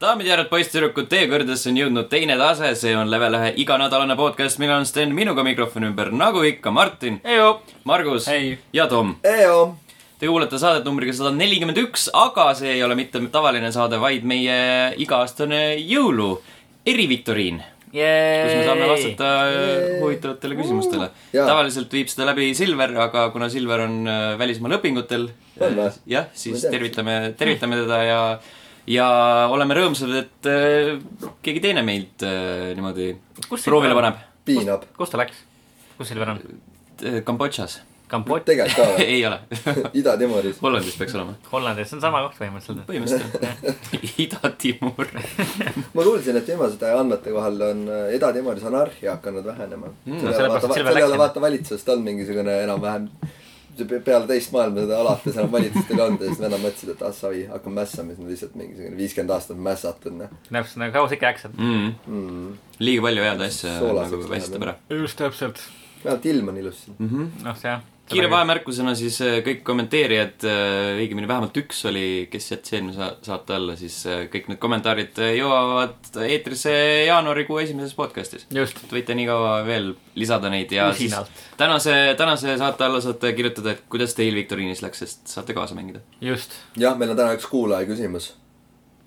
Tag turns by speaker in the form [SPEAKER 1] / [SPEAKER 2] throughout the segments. [SPEAKER 1] daamid ja härrad , poisssüdrukud , teie kõrgedesse on jõudnud teine tase , see on level ühe iganädalane podcast , millel on Sten minuga mikrofoni ümber , nagu ikka , Martin ,
[SPEAKER 2] Ejo.
[SPEAKER 1] Margus
[SPEAKER 2] Hei.
[SPEAKER 1] ja Tom .
[SPEAKER 3] Ejo ,
[SPEAKER 1] Te kuulete saadet numbriga sada nelikümmend üks , aga see ei ole mitte tavaline saade , vaid meie iga-aastane jõulu eriviktoriin , kus me saame vastata äh, huvitavatele küsimustele .
[SPEAKER 3] Jaa.
[SPEAKER 1] tavaliselt viib seda läbi Silver , aga kuna Silver on äh, välismaal õpingutel ,
[SPEAKER 3] On või?
[SPEAKER 1] jah , siis
[SPEAKER 3] Ma ei teadnud.
[SPEAKER 1] tervitame , tervitame teda ja , ja oleme rõõmsad , et äh, keegi teine meilt äh, niimoodi
[SPEAKER 2] Kus Silver
[SPEAKER 1] proovile
[SPEAKER 2] on?
[SPEAKER 1] paneb .
[SPEAKER 3] piinab .
[SPEAKER 2] kus ta läks ? kus Silver on ?
[SPEAKER 1] Kambodžas
[SPEAKER 2] Kambodž ,
[SPEAKER 3] tegelikult ka või ?
[SPEAKER 1] ei ole ,
[SPEAKER 3] Ida-Timoris .
[SPEAKER 1] Hollandis peaks olema .
[SPEAKER 2] Hollandis , see on sama koht põhimõtteliselt .
[SPEAKER 1] põhimõtteliselt Ida-Timur .
[SPEAKER 3] ma kuulsin , et viimaste andmete kohal on äh, Ida-Timoris anarhia hakanud vähenema mm, .
[SPEAKER 2] sellepärast, et Silver
[SPEAKER 3] selle
[SPEAKER 2] läks
[SPEAKER 3] jälle
[SPEAKER 2] sinna.
[SPEAKER 3] vaata valitsusest on mingisugune enam-vähem , peale teist maailmasõda alates enam valitsust ei olnud ja siis vennad mõtlesid , et ah savi , hakkame mässama , siis nad lihtsalt mingisugune viiskümmend aastat mässatud , noh .
[SPEAKER 2] täpselt nagu kaua sa ikka jääks sealt .
[SPEAKER 1] Mm. liiga palju head asja
[SPEAKER 3] Mm. Soolaseks
[SPEAKER 1] nagu väsistab
[SPEAKER 3] läheb,
[SPEAKER 1] ära .
[SPEAKER 2] just täpselt .
[SPEAKER 3] vähemalt ilm on ilus siin .
[SPEAKER 2] noh , see jah .
[SPEAKER 1] kiire . vahemärkusena siis äh, kõik kommenteerijad , õigemini vähemalt üks oli , kes jättis eelmise sa- saate alla , siis äh, kõik need kommentaarid äh, jõuavad eetrisse jaanuarikuu esimeses podcastis .
[SPEAKER 2] just .
[SPEAKER 1] võite nii kaua veel lisada neid ja siis
[SPEAKER 2] Usinalt.
[SPEAKER 1] tänase , tänase saate alla saate kirjutada , et kuidas teil viktoriinis läks , sest saate kaasa mängida .
[SPEAKER 2] just .
[SPEAKER 3] jah , meil on täna üks kuulaja küsimus .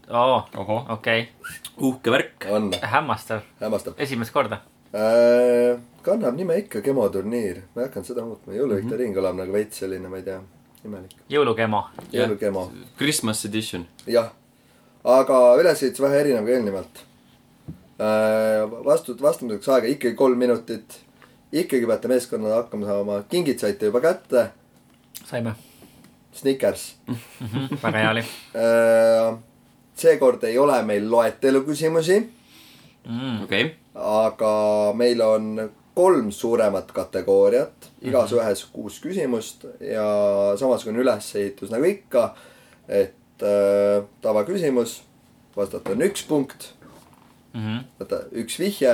[SPEAKER 2] oo ,
[SPEAKER 1] ohoh .
[SPEAKER 2] okei .
[SPEAKER 1] uhke värk .
[SPEAKER 3] on ,
[SPEAKER 2] hämmastav .
[SPEAKER 3] hämmastab .
[SPEAKER 2] esimest korda .
[SPEAKER 3] kannab nime ikka Gemoturniir , ma ei hakanud seda muutma , jõuluviktoriin kõlab nagu veits selline , ma ei tea , imelik .
[SPEAKER 2] jõulukemo .
[SPEAKER 1] Jah.
[SPEAKER 3] jõulugemo
[SPEAKER 1] Christmas edition .
[SPEAKER 3] jah , aga ülesehitus vähe erinev kui eelnevalt . vastu , vastamiseks aega ikkagi kolm minutit . ikkagi peate meeskonnaga hakkama saama , kingid saite juba kätte ,
[SPEAKER 2] saime .
[SPEAKER 3] Snickers .
[SPEAKER 2] väga hea oli .
[SPEAKER 3] seekord ei ole meil loetelu küsimusi ,
[SPEAKER 1] okei okay. .
[SPEAKER 3] aga meil on kolm suuremat kategooriat , igas ühes kuus küsimust ja samasugune ülesehitus nagu ikka . et äh, tavaküsimus , vastata on üks punkt
[SPEAKER 2] Mhm,
[SPEAKER 3] vaata üks vihje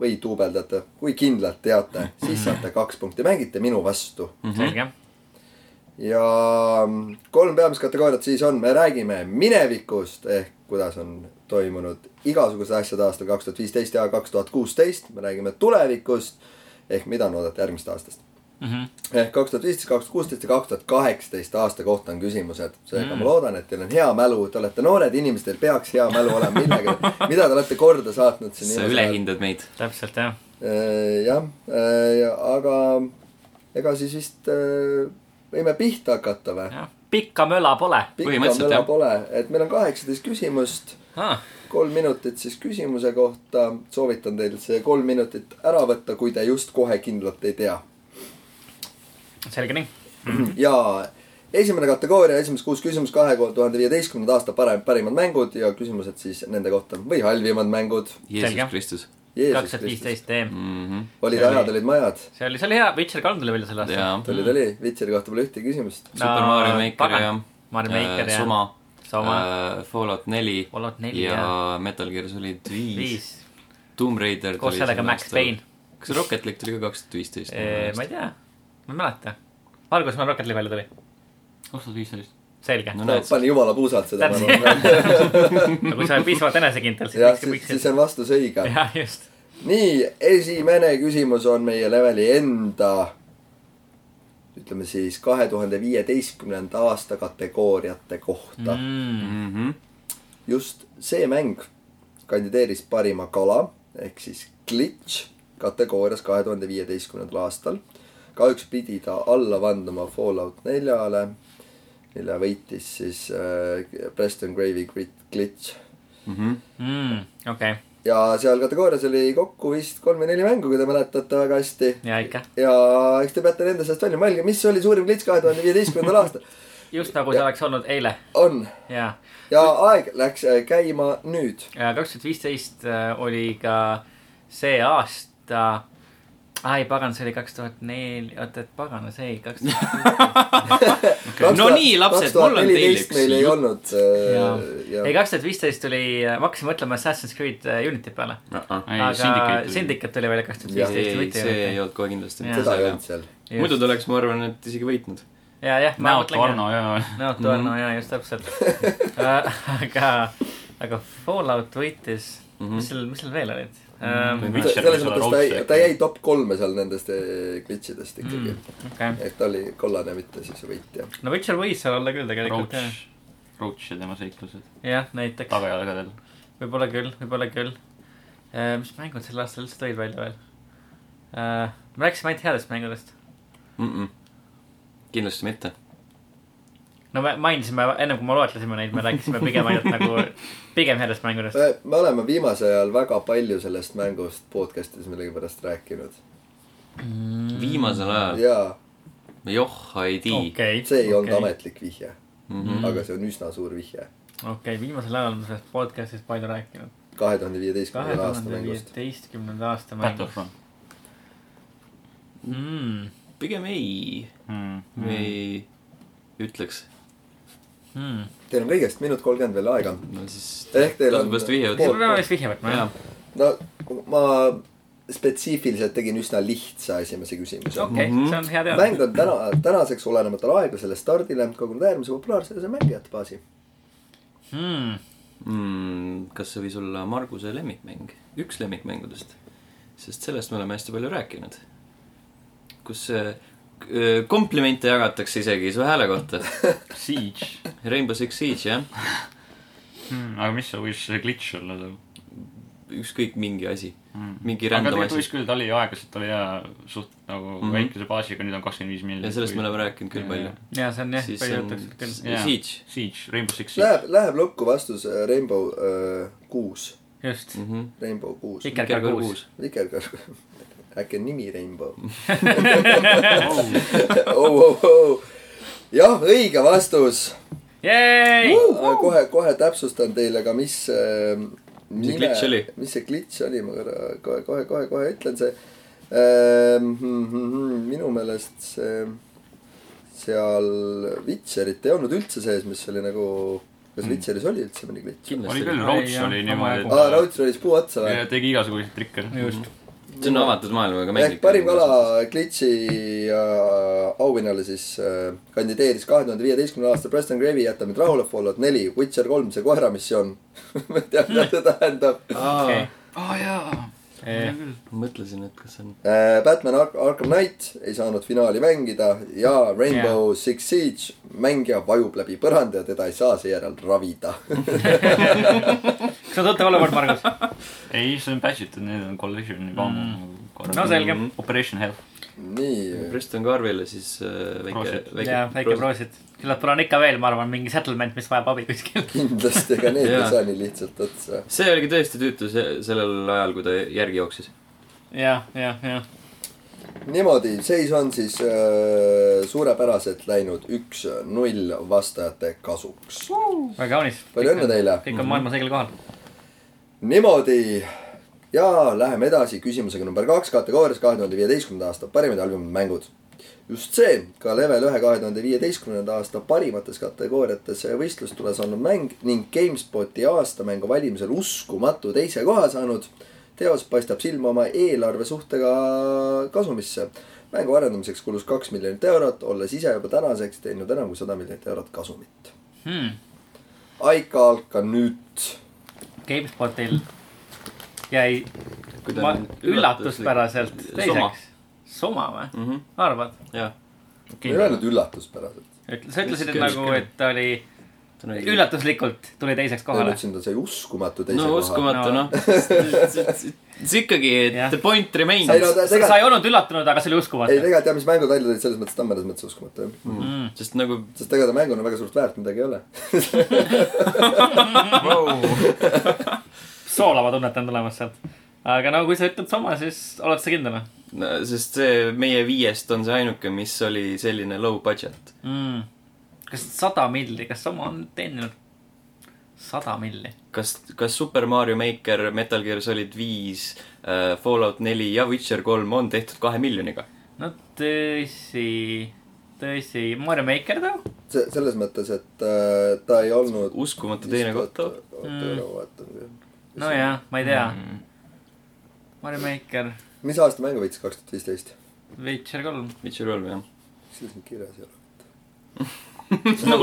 [SPEAKER 3] või duubeldate , kui kindlalt teate , siis saate kaks punkti , mängite minu vastu .
[SPEAKER 1] Mhm.
[SPEAKER 2] selge .
[SPEAKER 3] ja kolm peamist kategooriat siis on , me räägime minevikust ehk kuidas on toimunud igasugused asjad aastal kaks tuhat viisteist ja kaks tuhat kuusteist , me räägime tulevikust ehk mida on oodata järgmist aastast . ehk kaks tuhat viisteist , kaks tuhat kuusteist ja kaks tuhat kaheksateist aasta kohta on küsimused . seega mm. ma loodan , et teil on hea mälu , te olete noored inimesed , teil peaks hea mälu olema millegi , mida te olete korda saatnud siin
[SPEAKER 1] sa
[SPEAKER 3] viimasel ajal.
[SPEAKER 1] ülehindad meid .
[SPEAKER 2] täpselt jah .
[SPEAKER 3] Eh, jah , aga ega siis vist eh, võime pihta hakata või ?
[SPEAKER 2] jah , pikka möla pole .
[SPEAKER 3] pikka
[SPEAKER 1] Põhimõtteliselt,
[SPEAKER 3] möla
[SPEAKER 1] jah.
[SPEAKER 3] pole , et meil on kaheksateist küsimust , kolm minutit siis küsimuse kohta . soovitan teil see kolm minutit ära võtta , kui te just kohe kindlalt ei tea .
[SPEAKER 2] selge nii .
[SPEAKER 3] ja esimene kategooria , esimesed kuus küsimust kahe tuhande viieteistkümnenda aasta parem , parimad mängud ja küsimused siis nende kohta või halvimad mängud .
[SPEAKER 1] Jeesus
[SPEAKER 2] Selge.
[SPEAKER 1] Kristus .
[SPEAKER 2] kaks tuhat viisteist Mhm. EM .
[SPEAKER 1] Mm.
[SPEAKER 3] olid ajad , olid majad .
[SPEAKER 2] see oli , see oli hea . Witcher kolm tuli välja selle aasta .
[SPEAKER 1] jaa .
[SPEAKER 3] tuli , tuli , Witcheri kohta pole ühtegi küsimust .
[SPEAKER 1] Super
[SPEAKER 2] No,
[SPEAKER 1] Mario Maker
[SPEAKER 2] pagan.
[SPEAKER 1] ja
[SPEAKER 2] Mario Maker, jah.
[SPEAKER 1] Soma,
[SPEAKER 2] Soma.
[SPEAKER 1] äh, Fallout neli
[SPEAKER 2] Fallout neli,
[SPEAKER 1] ja Metal Gear Solid viis ,
[SPEAKER 2] viis .
[SPEAKER 1] Tomb Raider
[SPEAKER 2] koos
[SPEAKER 1] tuli
[SPEAKER 2] sellega
[SPEAKER 1] sel
[SPEAKER 2] Max
[SPEAKER 1] aastal.
[SPEAKER 2] Payne.
[SPEAKER 1] kas Rocket League tuli ka kaks tuhat viisteist ?
[SPEAKER 2] ma ei tea , ma ei mäleta . alguses meil Rocket League välja tuli ,
[SPEAKER 4] kaks tuhat viisteist .
[SPEAKER 2] selge
[SPEAKER 1] No
[SPEAKER 2] no, .
[SPEAKER 1] näed.
[SPEAKER 3] pani jumala puusalt seda .
[SPEAKER 2] aga kui sa oled piisavalt enesekindel , siis
[SPEAKER 3] jah ,
[SPEAKER 2] miks ,
[SPEAKER 3] siis ,
[SPEAKER 2] miks
[SPEAKER 3] siis
[SPEAKER 2] see .
[SPEAKER 3] on vastus õige .
[SPEAKER 2] jah , just .
[SPEAKER 3] nii , esimene küsimus on meie leveli enda , ütleme siis kahe tuhande viieteistkümnenda aasta kategooriate kohta mm. .
[SPEAKER 1] mhmh ,
[SPEAKER 3] just see mäng kandideeris parima kala ehk siis glitch kategoorias kahe tuhande viieteistkümnendal aastal . kahjuks pidi ta alla vanduma Fallout neljale , mille võitis siis äh, Preston Grave'i grit- glitch
[SPEAKER 1] mhmh ,
[SPEAKER 2] Mm, okei ,
[SPEAKER 3] ja seal kategoorias oli kokku vist kolm või neli mängu , kui te mäletate väga hästi .
[SPEAKER 2] ja ikka .
[SPEAKER 3] ja eks te peate nende seast välja mõelge , mis oli suurim klits kahe tuhande viieteistkümnendal aastal .
[SPEAKER 2] just nagu see oleks olnud eile
[SPEAKER 3] on
[SPEAKER 2] ja ,
[SPEAKER 3] ja aeg läks äh, käima nüüd .
[SPEAKER 2] ja Äh, kaks tuhat viisteist äh, oli ka see aasta . ai , pagan , see oli kaks tuhat neli , oota , et pagana , see ei , kaks tuhat .
[SPEAKER 1] No nii, lapsed, mul on teile üks
[SPEAKER 3] meil ei
[SPEAKER 1] jutt.
[SPEAKER 3] olnud äh,
[SPEAKER 2] ei ,
[SPEAKER 3] ja
[SPEAKER 2] kaks tuhat viisteist tuli , ma hakkasin mõtlema Assassin's Creed äh, Unity peale .
[SPEAKER 4] Ei,
[SPEAKER 2] aga
[SPEAKER 4] Syndicate oli-
[SPEAKER 2] Syndicate tuli välja kaks tuhat
[SPEAKER 3] Jah.
[SPEAKER 2] viisteist ,
[SPEAKER 1] ei ,
[SPEAKER 2] mitte
[SPEAKER 1] see ei
[SPEAKER 2] Unity .
[SPEAKER 1] olnud kohe kindlasti
[SPEAKER 2] Jaa.
[SPEAKER 3] seda ei
[SPEAKER 1] mitte
[SPEAKER 3] olnud seal .
[SPEAKER 1] muidu ta oleks , ma arvan , et isegi võitnud .
[SPEAKER 2] ja , jah , ma
[SPEAKER 4] näod
[SPEAKER 2] mõtlen ka
[SPEAKER 4] Arno ja ,
[SPEAKER 2] näotu Arno mm -hmm. ja just täpselt . Äh, aga aga Fallout võitis
[SPEAKER 1] Mhm.
[SPEAKER 2] mm , -hmm. mis seal , mis seal veel olid
[SPEAKER 3] Mm,
[SPEAKER 4] Mhm.
[SPEAKER 2] um, ?
[SPEAKER 4] Witcher
[SPEAKER 3] selles
[SPEAKER 4] võis olla
[SPEAKER 3] mõttes ta jäi ,
[SPEAKER 4] raudselt.
[SPEAKER 3] ta jäi top kolme seal nendest eh, glitchidest ikkagi mm. .
[SPEAKER 2] okei ,
[SPEAKER 3] et ta oli kollane , mitte siis võitja .
[SPEAKER 2] no Witcher võis seal olla küll tegelikult jah.
[SPEAKER 4] Roach , Roach ja tema seiklused
[SPEAKER 2] jah , näiteks ,
[SPEAKER 4] tagajalgadel .
[SPEAKER 2] võib-olla küll , võib-olla küll uh, . mis mängud sel aastal üldse tulid välja veel uh, ? me rääkisime ainult headest mängudest .
[SPEAKER 1] mm . -mm. kindlasti mitte .
[SPEAKER 2] no me mainisime , ennem kui me loetlesime neid , me rääkisime pigem ainult nagu , pigem headest mängudest .
[SPEAKER 3] Äh, me oleme viimasel ajal väga palju sellest mängust podcast'is millegipärast rääkinud .
[SPEAKER 2] Mm,
[SPEAKER 1] viimasel ajal ,
[SPEAKER 3] jaa ,
[SPEAKER 1] joh , ei tii .
[SPEAKER 2] okei ,
[SPEAKER 3] see ei
[SPEAKER 2] okei ,
[SPEAKER 3] okay. olnud
[SPEAKER 2] Mhm.
[SPEAKER 3] ametlik vihje mm , -hmm. aga see on üsna suur vihje .
[SPEAKER 2] okei , viimasel ajal oleme sellest podcast'ist palju rääkinud .
[SPEAKER 3] kahe tuhande
[SPEAKER 2] kahe
[SPEAKER 3] viieteistkümnenda aasta
[SPEAKER 2] tuhande
[SPEAKER 3] mängust .
[SPEAKER 2] viieteistkümnenda aasta mäng
[SPEAKER 4] Battlefront
[SPEAKER 2] mm. .
[SPEAKER 1] pigem ei ,
[SPEAKER 4] mm. .
[SPEAKER 1] me ei ütleks .
[SPEAKER 2] Mm.
[SPEAKER 3] Teil on kõigest minut kolmkümmend veel aega .
[SPEAKER 1] no siis
[SPEAKER 3] Ehk teil on-
[SPEAKER 1] tasub vast vihje
[SPEAKER 2] me
[SPEAKER 3] Pool-
[SPEAKER 1] võtta .
[SPEAKER 2] peame vist vihje võtma ,
[SPEAKER 1] jaa
[SPEAKER 2] jah .,
[SPEAKER 3] no ma spetsiifiliselt tegin üsna lihtsa esimese küsimuse okay. .
[SPEAKER 2] okei ,
[SPEAKER 1] Mhm.
[SPEAKER 2] see on hea teada .
[SPEAKER 3] mäng on täna , tänaseks olenemata aeglasele stardile kogunud äärmise populaarsuse mängijate baasi .
[SPEAKER 2] Hmm.
[SPEAKER 1] mm, . kas see võis olla Marguse lemmikmäng , üks lemmikmängudest ? sest sellest me oleme hästi palju rääkinud . kus äh, k- äh, komplimente jagatakse isegi su hääle kohta .
[SPEAKER 4] Siege
[SPEAKER 1] Rainbow Six Siege , jah ,
[SPEAKER 4] mm. . aga mis see võis see glitch olla seal
[SPEAKER 1] ükskõik mingi asi ,
[SPEAKER 4] mm. ?
[SPEAKER 1] mingi
[SPEAKER 4] aga
[SPEAKER 1] random
[SPEAKER 4] tegelikult
[SPEAKER 1] asi
[SPEAKER 4] võis . küll , ta oli aeglaselt , ta oli jaa suht nagu mm
[SPEAKER 1] Mhm.
[SPEAKER 4] -hmm. väikese baasiga , nüüd on kakskümmend viis miljonit .
[SPEAKER 1] ja sellest me oleme rääkinud küll palju .
[SPEAKER 2] jaa , see on jah ,
[SPEAKER 1] siis
[SPEAKER 2] palju
[SPEAKER 1] on
[SPEAKER 2] jutuks küll .
[SPEAKER 4] Jaa.
[SPEAKER 1] Siege .
[SPEAKER 4] Siege , Rainbow Six Siege .
[SPEAKER 3] Läheb , läheb lukku vastus äh, Rainbow äh, kuus ,
[SPEAKER 2] just ,
[SPEAKER 1] Mhm.
[SPEAKER 3] Rainbow kuus .
[SPEAKER 2] Vikerkaar kuus ..
[SPEAKER 3] vikerkaar , äkki on nimi Rainbow oh, ? Oh, oh. jah , õige vastus .
[SPEAKER 2] jäi ,
[SPEAKER 3] Äh, kohe , kohe täpsustan teile ka , mis äh,
[SPEAKER 1] see glitch oli?
[SPEAKER 3] mis see glitch oli , ma korra kohe , kohe , kohe , kohe ütlen see ähm, . minu meelest see , seal Witcherit ei olnud üldse sees , mis oli nagu , kas Witcheris oli üldse mõni glitch ?
[SPEAKER 4] oli
[SPEAKER 1] Hmm. kindlasti
[SPEAKER 4] küll ,
[SPEAKER 2] oli,
[SPEAKER 4] Roach
[SPEAKER 2] jah,
[SPEAKER 4] oli
[SPEAKER 2] omajagu.
[SPEAKER 4] niimoodi ,
[SPEAKER 3] aa , raudselt oli siis puu otsa või ?
[SPEAKER 4] et tegi igasuguseid trikke .
[SPEAKER 2] just ,
[SPEAKER 1] Mhm. see on avatud maailmaga nagu mäng .
[SPEAKER 3] ehk parim kala glitch'i äh, auhinnale siis äh, kandideeris kahe tuhande viieteistkümnenda aasta Preston Grave'i Jäta mind rahule , Fallout neli , Witcher kolm , see koeramissioon . ma ei tea , mida see tähendab .
[SPEAKER 2] okei .
[SPEAKER 4] aa jaa , hea küll .
[SPEAKER 1] mõtlesin , et kas on .
[SPEAKER 3] Äh, Batman Ar Arkham Knight ei saanud finaali mängida ja Rainbow yeah. Six Siege mängija vajub läbi põranda ja teda ei saa seejärel ravida .
[SPEAKER 2] kas on tuttav olukord , Margus ?
[SPEAKER 4] ei , see on batch itud , need on
[SPEAKER 1] Mhm.
[SPEAKER 4] collection'i vammu mm. .
[SPEAKER 2] No selge.
[SPEAKER 4] Operation Health .
[SPEAKER 3] nii ,
[SPEAKER 1] Preston Garvile siis äh, väike
[SPEAKER 4] Proosit. ,
[SPEAKER 1] väike
[SPEAKER 2] jaa , väike . proosid . küllap tal on ikka veel , ma arvan , mingi settlement , mis vajab abi kuskil .
[SPEAKER 3] kindlasti ega need ei
[SPEAKER 1] Jaa.
[SPEAKER 3] saa nii lihtsalt otsa .
[SPEAKER 1] see oligi tõesti tüütu se- sellel ajal , kui ta järgi jooksis .
[SPEAKER 2] jah , jah , jah .
[SPEAKER 3] niimoodi , seis on siis äh, suurepäraselt läinud üks-null vastajate kasuks .
[SPEAKER 2] väga kaunis .
[SPEAKER 3] palju õnne teile .
[SPEAKER 2] kõik on
[SPEAKER 1] Mhm.
[SPEAKER 2] maailmas õigel kohal .
[SPEAKER 3] niimoodi ja läheme edasi küsimusega number kaks kategoorias kahe tuhande viieteistkümnenda aasta parimad albumid mängud . just see , ka level ühe kahe tuhande viieteistkümnenda aasta parimates kategooriates võistlustules olnud mäng ning GameSpoti aastamängu valimisel uskumatu teise koha saanud . teos paistab silma oma eelarve suhtega kasumisse . mängu arendamiseks kulus kaks miljonit eurot , olles ise juba tänaseks teinud enam kui sada miljonit eurot kasumit .
[SPEAKER 2] Hmm.
[SPEAKER 3] Aika Alka nüüd
[SPEAKER 2] GameSpotil jäi
[SPEAKER 1] Kui ta
[SPEAKER 2] ma
[SPEAKER 1] on
[SPEAKER 2] üllatuspäraselt teiseks . soma või ?
[SPEAKER 1] mhmh ,
[SPEAKER 2] arvad ?
[SPEAKER 1] jah .
[SPEAKER 3] ma ei öelnud üllatuspäraselt .
[SPEAKER 2] ütle , sa ütlesid et
[SPEAKER 1] Just
[SPEAKER 2] nagu ,
[SPEAKER 1] küll.
[SPEAKER 2] et ta oli üllatuslikult tuli teiseks
[SPEAKER 3] ma
[SPEAKER 2] kohale .
[SPEAKER 3] ütlesin , ta sai uskumatu teise
[SPEAKER 1] no
[SPEAKER 3] koha .
[SPEAKER 1] uskumatu
[SPEAKER 2] No.
[SPEAKER 1] noh , see ikkagi , et
[SPEAKER 2] Jah.
[SPEAKER 1] the point remains
[SPEAKER 3] ei no
[SPEAKER 2] sa
[SPEAKER 3] ta-
[SPEAKER 2] sa ei
[SPEAKER 3] tegelikult ,
[SPEAKER 2] olnud üllatunud , aga see oli
[SPEAKER 3] ei
[SPEAKER 2] uskumatu .
[SPEAKER 3] tegelikult jah , mis mängud välja tulid , selles mõttes ta on mõnes mõttes uskumatu jah .
[SPEAKER 1] mm. . sest nagu
[SPEAKER 3] sest ega ta mänguna väga suurt väärt midagi ei ole .
[SPEAKER 2] soolava tunnet on tulemas sealt . aga no kui sa ütled sama , siis oled sa kindel või
[SPEAKER 1] no, , sest see meie viiest on see ainuke , mis oli selline low budget .
[SPEAKER 2] mm. ? kas sada milli , kas sama on teeninud sada milli ?
[SPEAKER 1] kas , kas Super Mario Maker , Metal Gear Solid viis äh, , Fallout neli ja Witcher kolm on tehtud kahe miljoniga ?
[SPEAKER 2] no tõsi , tõsi , Mario Maker too ?
[SPEAKER 3] see , selles mõttes , et äh, ta ei olnud .
[SPEAKER 1] uskumatu teine koht .
[SPEAKER 2] nojah , ma ei tea mm. . Mario Maker ,
[SPEAKER 3] mis aasta mängu võitis kaks tuhat viisteist ?
[SPEAKER 2] Witcher kolm ,
[SPEAKER 1] Witcher kolm jah .
[SPEAKER 3] mis seal siin kirjas ei ole ?
[SPEAKER 2] nagu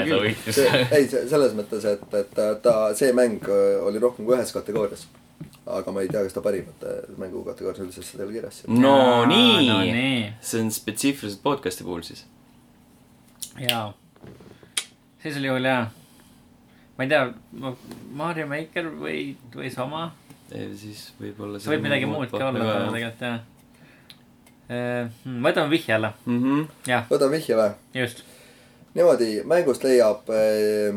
[SPEAKER 1] Huvitav küll.
[SPEAKER 2] soovitus .
[SPEAKER 3] see , ei , see selles mõttes , et , et ta, ta , see mäng öö, oli rohkem kui ühes kategoorias . aga ma ei tea , kas ta parimate mängukategoorias üldse seda ei ole kirjas .
[SPEAKER 1] no nii
[SPEAKER 2] no nii.
[SPEAKER 1] see on spetsiifiliselt podcast'i puhul siis .
[SPEAKER 2] jaa . sellisel juhul jaa . ma ei tea , Mario Maker või , või sama .
[SPEAKER 1] siis võib-olla .
[SPEAKER 2] see võib midagi muud ka olla
[SPEAKER 1] nagu-
[SPEAKER 2] täna tegelikult Äh, jah . võtame vihje alla ,
[SPEAKER 1] tegelikult .
[SPEAKER 2] jah ,
[SPEAKER 3] võtame vihje või ?
[SPEAKER 2] just .
[SPEAKER 3] niimoodi , mängust leiab öö,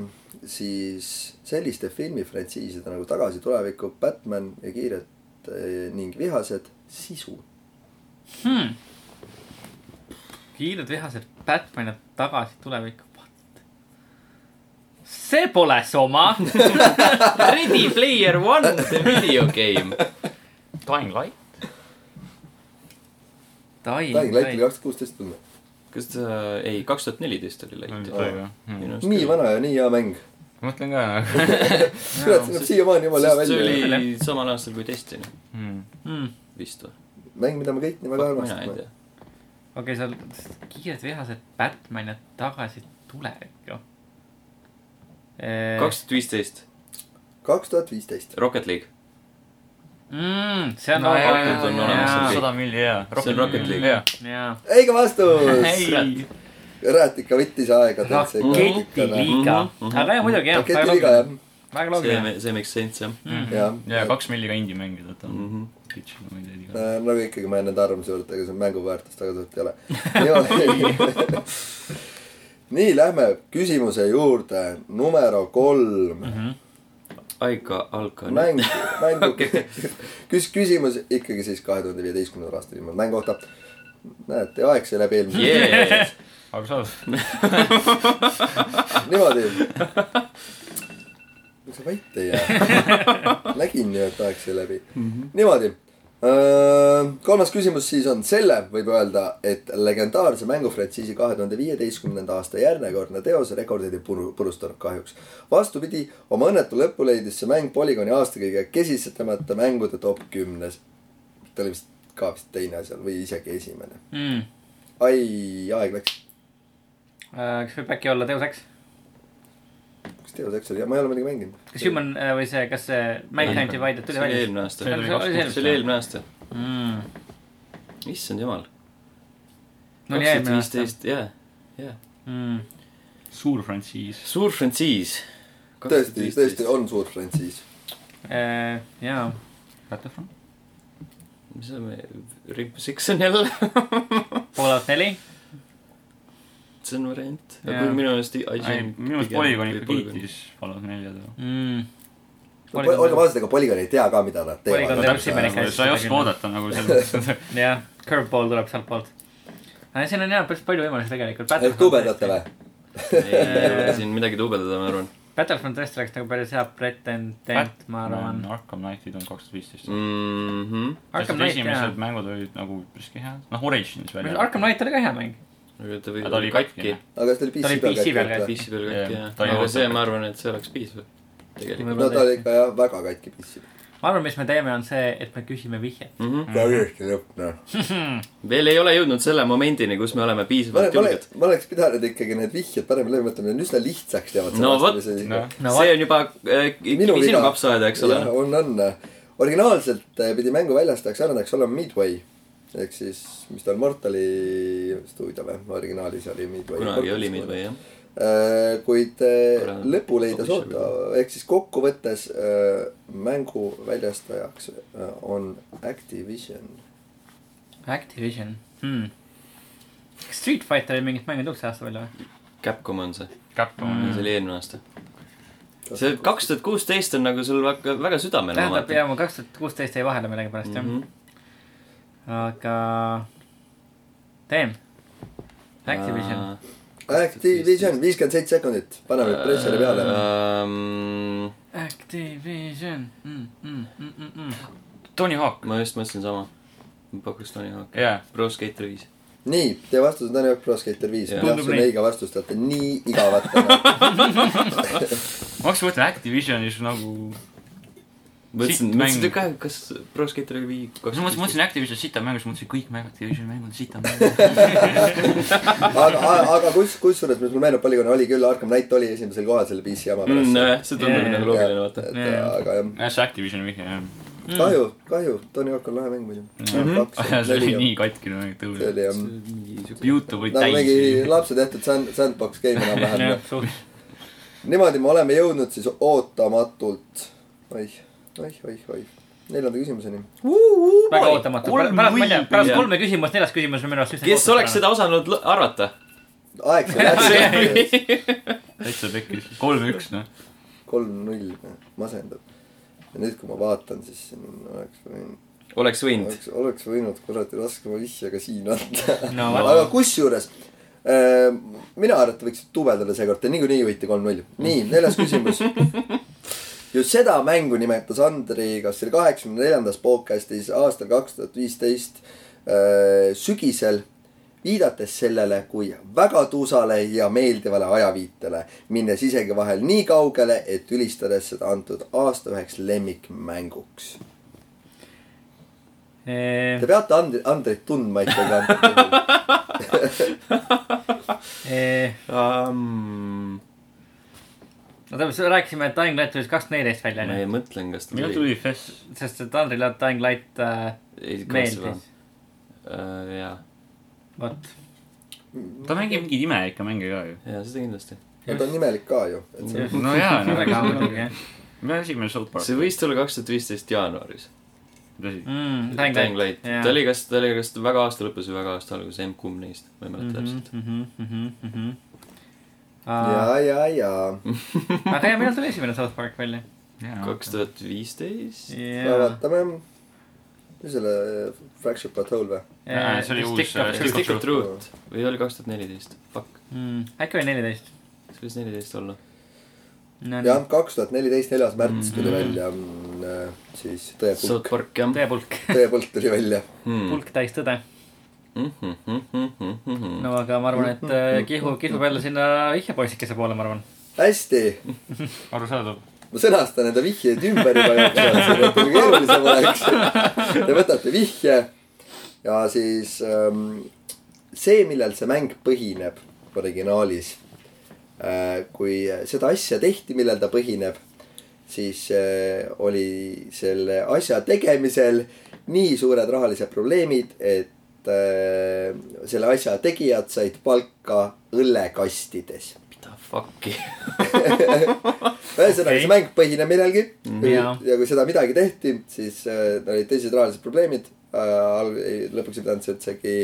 [SPEAKER 3] siis selliste filmifrantsiiside nagu Tagasi tulevikku , Batman ja kiired öö, ning vihased sisu .
[SPEAKER 2] kiired Hmm. vihased Batman ja tagasi tulevikku . see pole Soma .
[SPEAKER 1] Ready Player One , the video game .
[SPEAKER 4] Dying Light .
[SPEAKER 3] Dying Light oli kaks tuhat kuusteist tulnud .
[SPEAKER 1] kas ta , ei , kaks tuhat neliteist oli Light . Hmm.
[SPEAKER 3] nii vana ja nii hea mäng .
[SPEAKER 4] ma Hmm. mõtlen ka nagu .
[SPEAKER 3] kurat , see näeb siiamaani jumala hea
[SPEAKER 1] sest see
[SPEAKER 3] välja .
[SPEAKER 1] oli samal aastal kui Destiny
[SPEAKER 4] Hmm.
[SPEAKER 2] Hmm.
[SPEAKER 1] vist või ?
[SPEAKER 3] mäng , mida me kõik nii väga
[SPEAKER 1] mina ei
[SPEAKER 3] armastame
[SPEAKER 1] tea ..
[SPEAKER 2] okei , seal kiired vihased Batman ja tagasi Eh, tulevikku .
[SPEAKER 1] kaks tuhat viisteist ,
[SPEAKER 3] kaks tuhat viisteist .
[SPEAKER 1] Rocket League .
[SPEAKER 2] mm, . see on
[SPEAKER 1] No
[SPEAKER 2] no,
[SPEAKER 1] jaa,
[SPEAKER 2] väga
[SPEAKER 1] jaa,
[SPEAKER 2] hea
[SPEAKER 1] on
[SPEAKER 2] no,
[SPEAKER 1] olemas.
[SPEAKER 2] no,
[SPEAKER 4] sada milli jaa .
[SPEAKER 1] See on Rocket League.
[SPEAKER 4] jaa .
[SPEAKER 2] jaa ,
[SPEAKER 3] õige vastus .
[SPEAKER 1] Ei.
[SPEAKER 3] kurat , ikka võttis aega .
[SPEAKER 2] raketiliiga ,
[SPEAKER 1] Mhm,
[SPEAKER 2] Noh, aga jah , muidugi jah , väga
[SPEAKER 3] raketiliiga
[SPEAKER 2] loogiline ,
[SPEAKER 3] jah ,
[SPEAKER 2] väga
[SPEAKER 1] see
[SPEAKER 2] loogiline ,,
[SPEAKER 1] see makes sense jah .
[SPEAKER 3] jah .
[SPEAKER 4] jaa , kaks milli ka indie mängida , et on
[SPEAKER 1] Mhm.
[SPEAKER 4] pitch , ma ei tea iga .
[SPEAKER 3] nagu ikkagi ma jään nende arvamuse juurde , et ega see mängu väärtust väga suurt ei ole . nii , lähme küsimuse juurde . numero kolm .
[SPEAKER 1] Aika Alkan .
[SPEAKER 3] mäng , mängu küs- , küsimus ikkagi siis kahe tuhande viieteistkümnendal aastal ilmunud mängu kohta . näete , aeg sai läbi eelmise
[SPEAKER 1] Yeah.
[SPEAKER 4] arusaadav .
[SPEAKER 3] niimoodi . miks sa vait ei jää ? nägin ju , et aeg sai läbi mm . -hmm. niimoodi . kolmas küsimus siis on selle , võib öelda , et legendaarse mängufrantsiisi kahe tuhande viieteistkümnenda aasta järjekordne teos rekordeid ei puru- , purustanud kahjuks . vastupidi , oma õnnetu lõppu leidis see mäng Polygoni aasta kõige kesistamata mängude top kümnes . ta oli vist ka vist teine seal või isegi esimene .
[SPEAKER 2] Mm.
[SPEAKER 3] ai , aeg läks .
[SPEAKER 2] Äh, kas võib äkki olla teos eks ,
[SPEAKER 3] kas teos läks oli , ma ei ole muidugi mänginud .
[SPEAKER 2] kas Human äh, või see , kas see Mankind Divided
[SPEAKER 1] see
[SPEAKER 2] tuli
[SPEAKER 1] oli
[SPEAKER 2] välja
[SPEAKER 1] eelmine aasta .
[SPEAKER 4] See oli kaks tuhat-
[SPEAKER 1] see oli eelmine aasta .
[SPEAKER 2] mm. ?
[SPEAKER 1] issand jumal .
[SPEAKER 2] no oli eelmine aasta
[SPEAKER 1] viisteist , jaa , jaa .
[SPEAKER 2] mm. .
[SPEAKER 4] suur frantsiis .
[SPEAKER 1] suur frantsiis .
[SPEAKER 3] tõesti , tõesti . on suur frantsiis .
[SPEAKER 2] Äh, jaa ,
[SPEAKER 4] Battlefront .
[SPEAKER 1] mis see me , Rainbow Six on jälle .
[SPEAKER 2] Fallout neli ,
[SPEAKER 1] see on variant .
[SPEAKER 2] Jaa.
[SPEAKER 1] aga kuule, minu meelest .
[SPEAKER 4] ei , minu arust Polygon ikka kiitis Fallout nelja teda .
[SPEAKER 2] Mm. Polygon-
[SPEAKER 3] olgem ausad , ega Polygon ei tea ka , mida nad
[SPEAKER 2] Polygon
[SPEAKER 3] teevad
[SPEAKER 2] teeb . Simerica hästi
[SPEAKER 4] sa ei oska
[SPEAKER 2] küll.
[SPEAKER 4] oodata nagu selles mõttes .
[SPEAKER 2] jah , Curveball tuleb sealtpoolt . siin on jaa , päris palju võimalusi tegelikult .
[SPEAKER 3] ehk tubedate või ??
[SPEAKER 1] ei ole siin midagi tubedada , ma arvan
[SPEAKER 2] Battlefront tõesti oleks nagu päris hea pretendent , ma arvan .
[SPEAKER 4] Arkham Knightid on kaks tuhat viisteist .
[SPEAKER 1] mm . -hmm.
[SPEAKER 2] Arkham
[SPEAKER 4] Arkham
[SPEAKER 2] Knight,
[SPEAKER 4] Knight
[SPEAKER 2] jaa.
[SPEAKER 4] esimesed mängud olid nagu üpriski head , noh Origins välja .
[SPEAKER 2] Arkham Knight oli ka hea mäng .
[SPEAKER 1] aga ta võib
[SPEAKER 4] Aga ta oli
[SPEAKER 1] olla katki
[SPEAKER 4] katkine. .
[SPEAKER 3] aga kas ta oli
[SPEAKER 2] Ta oli
[SPEAKER 3] PC
[SPEAKER 2] PC peal ka,
[SPEAKER 3] peal katki
[SPEAKER 1] PC peal
[SPEAKER 3] või ?
[SPEAKER 4] Jaa,
[SPEAKER 1] katki jah .
[SPEAKER 4] ta oli
[SPEAKER 1] aga see ,
[SPEAKER 4] ootamatu.
[SPEAKER 1] ma arvan , et see oleks piisav . tegelikult .
[SPEAKER 3] no ta oli ikka jah , väga katki PC peal .
[SPEAKER 2] ma arvan , mis me teeme , on see , et me küsime vihjet .
[SPEAKER 4] Mm.
[SPEAKER 3] täiesti lõpp noh .
[SPEAKER 1] veel ei ole jõudnud selle momendini , kus me oleme
[SPEAKER 3] ma
[SPEAKER 1] piisavalt
[SPEAKER 3] oleks
[SPEAKER 1] julged .,
[SPEAKER 3] ma oleks pidanud ikkagi need vihjed parem läbi mõtlema , need on üsna lihtsaks jäävad .
[SPEAKER 1] No vot,
[SPEAKER 4] noh ,
[SPEAKER 2] no
[SPEAKER 1] see on juba äh,
[SPEAKER 3] Minu
[SPEAKER 1] sinu
[SPEAKER 3] viga.
[SPEAKER 1] kapsaaeda , eks ole .
[SPEAKER 3] on , on . originaalselt eh, pidi mängu väljastajaks arendajaks olema Midway ehk siis , mis ta on , Mortali stuudio või , originaalis oli Midway .
[SPEAKER 1] kunagi oli meid või jah .
[SPEAKER 3] Äh, kuid äh,
[SPEAKER 1] Kurat,
[SPEAKER 3] lõpule ei ta
[SPEAKER 1] publisher
[SPEAKER 3] soota , ehk siis kokkuvõttes äh, mängu väljastajaks äh, on Activision .
[SPEAKER 2] Activision hmm. . kas Street Fighteril mingit mängu tuleb see aasta välja või ?
[SPEAKER 1] Capcom on see ,
[SPEAKER 4] Capcom
[SPEAKER 1] see
[SPEAKER 4] on
[SPEAKER 1] oli eelmine aasta . see kaks tuhat kuusteist on nagu sul väga , väga Mhm. südamele
[SPEAKER 2] tähendab
[SPEAKER 1] omatav .
[SPEAKER 2] jaa , ma kaks tuhat kuusteist jäi vahele millegipärast
[SPEAKER 4] Mhm.
[SPEAKER 2] jah . aga teeme . Activision .
[SPEAKER 1] Äh,
[SPEAKER 3] Activision , viiskümmend seitse sekundit , paneme pressile peale .
[SPEAKER 1] ähm,
[SPEAKER 2] Activision mm, . Mm, mm, mm, mm.
[SPEAKER 4] Tony Hawk .
[SPEAKER 1] ma just mõtlesin sama . ma pakuks Tony Hawk'i .
[SPEAKER 4] jaa ,
[SPEAKER 1] Pro Skater viis .
[SPEAKER 3] nii , teie vastus on Tony Hawk Pro Skater viis .
[SPEAKER 1] Jah.
[SPEAKER 3] jah ,
[SPEAKER 2] Tundub
[SPEAKER 3] see on
[SPEAKER 2] nii.
[SPEAKER 3] õige vastus , te olete nii igavad täna .
[SPEAKER 4] ma hakkasin mõtlema Activisionis nagu
[SPEAKER 1] mõtlesin ,
[SPEAKER 4] Sitt
[SPEAKER 1] mõtlesin ,
[SPEAKER 4] mäng.
[SPEAKER 1] et ka , kas Pro Skater oli viis ,
[SPEAKER 4] ma
[SPEAKER 1] kaks
[SPEAKER 4] mõtlesin , ma mõtlesin Activision sita mängu , siis mõtlesin kõik mängud , Activision mängud on sita mängud .
[SPEAKER 3] aga , aga kus , kusjuures , mis mulle meenub , Polygon oli küll , Arkham Knight oli esimesel kohal selle PC jama pärast
[SPEAKER 1] mm, . nojah , see tundub nagu
[SPEAKER 2] Jaa, jaa,
[SPEAKER 1] loogiline , vaata .
[SPEAKER 3] et
[SPEAKER 2] Jaa, jaa.
[SPEAKER 3] aga jah ,
[SPEAKER 4] jah , see Activisioni vihje jah .
[SPEAKER 3] kahju , kahju , Tony Hawk on lahe mäng muidu .
[SPEAKER 4] see oli nii katkine mäng ,
[SPEAKER 3] see
[SPEAKER 4] tõus .
[SPEAKER 3] oli jah ,
[SPEAKER 4] Youtube'i
[SPEAKER 3] nagu mingi
[SPEAKER 4] täis .
[SPEAKER 3] lapse tehtud sand , sandbox game enam-vähem .
[SPEAKER 2] jah , suht .
[SPEAKER 3] niimoodi me oleme jõudnud siis ootamatult , oih , oih , oih , oih , neljanda küsimuseni .
[SPEAKER 2] väga ootamatu .
[SPEAKER 4] kolm
[SPEAKER 2] pärast , ma ei tea , pärast
[SPEAKER 1] võidu.
[SPEAKER 2] kolme küsimust , neljas küsimus on minu arust .
[SPEAKER 1] kes oleks ? seda osanud lo- arvata ?
[SPEAKER 3] aeg sai läbi ,
[SPEAKER 4] täitsa pekkis , kolm-üks noh .
[SPEAKER 3] kolm-null , masendab . noh, ja nüüd , kui ma vaatan , siis siin oleks võinud ,
[SPEAKER 1] oleks võinud .
[SPEAKER 3] oleks , oleks võinud kuradi raskema vihje ka siin anda .
[SPEAKER 2] no vot ,
[SPEAKER 3] aga kusjuures äh, mina arvan , et te võiksite tubedale seekord , te niikuinii võite kolm-null . nii , neljas küsimus . just seda mängu nimetas Andri , kas see oli kaheksakümne neljandas podcast'is aastal kaks tuhat viisteist äh, sügisel , viidates sellele kui väga tuusale ja meeldivale ajaviitele , minnes isegi vahel nii kaugele , et ülistades seda antud aasta üheks lemmikmänguks . Te peate Andri , Andrit tundma ikkagi .
[SPEAKER 1] ma
[SPEAKER 2] no tähendab , rääkisime , et Dying Light tuli kaks neliteist välja , onju .
[SPEAKER 1] ei mõtlen , kas ta
[SPEAKER 4] millal
[SPEAKER 1] tuli .
[SPEAKER 4] tuli Fess ?
[SPEAKER 2] sest et Andrile Dying Light äh, meeldis .
[SPEAKER 1] Äh, jaa ,
[SPEAKER 2] vot .
[SPEAKER 4] ta mängib mingeid imelikke mänge ka ju .
[SPEAKER 1] jaa , seda kindlasti .
[SPEAKER 3] ja ta on imelik ka ju , et see on
[SPEAKER 4] no jaa , noh. no
[SPEAKER 2] väga
[SPEAKER 4] väga
[SPEAKER 2] muidugi jah .
[SPEAKER 4] hea . esimene South Park .
[SPEAKER 1] see võis tulla kaks tuhat viisteist jaanuaris .
[SPEAKER 4] tõsi .
[SPEAKER 2] Mm, Dying
[SPEAKER 1] Dying Mm, Light .
[SPEAKER 2] Light .
[SPEAKER 1] ta oli kas , ta oli kas väga aasta lõpus või väga aasta alguses , emb-kumb neist , ma ei mäleta täpselt .
[SPEAKER 2] Mhm, täpselt .
[SPEAKER 3] ja , ja , ja .
[SPEAKER 2] Ah, aga ja millal tuli esimene South Park välja ?
[SPEAKER 1] kaks tuhat viisteist .
[SPEAKER 3] no vaatame . mis selle äh, Fractured Patrol või ?
[SPEAKER 4] Jaa, see oli uus, äh,
[SPEAKER 1] kas
[SPEAKER 4] Stick
[SPEAKER 1] Stick
[SPEAKER 4] of
[SPEAKER 1] of Truth või oli kaks tuhat neliteist ? Fuck ,
[SPEAKER 2] Mm, äkki oli neliteist ?
[SPEAKER 1] see võis neliteist olla .
[SPEAKER 3] jah , kaks tuhat neliteist , neljas märts tuli välja mm, äh, siis Tõepulk
[SPEAKER 1] South . Park jah . Hmm.
[SPEAKER 2] tõepulk ,
[SPEAKER 3] tõepulk tuli välja .
[SPEAKER 1] Mm.
[SPEAKER 2] pulk täis tõde .
[SPEAKER 1] Mm-hmm.
[SPEAKER 2] no aga ma arvan , et äh, kihu , kihub jälle sinna vihjepoisikese poole , ma arvan .
[SPEAKER 3] hästi ,
[SPEAKER 4] arusaadav .
[SPEAKER 3] ma sõnastan enda vihjeid ümber juba jooksvalt , et teil keerulisem oleks . Te võtate vihje ja siis ähm, see , millel see mäng põhineb originaalis . kui seda asja tehti , millel ta põhineb , siis äh, oli selle asja tegemisel nii suured rahalised probleemid , et äh, selle asja tegijad said palka õllekastides .
[SPEAKER 1] mida fuck'i ?
[SPEAKER 3] ühesõnaga , see
[SPEAKER 2] Okei. Mhm.
[SPEAKER 3] mäng põhineb millelgi
[SPEAKER 2] jaa.
[SPEAKER 3] ja kui seda midagi tehti , siis äh, olid teised rahalised probleemid äh, . lõpuks ei pidanud see üldsegi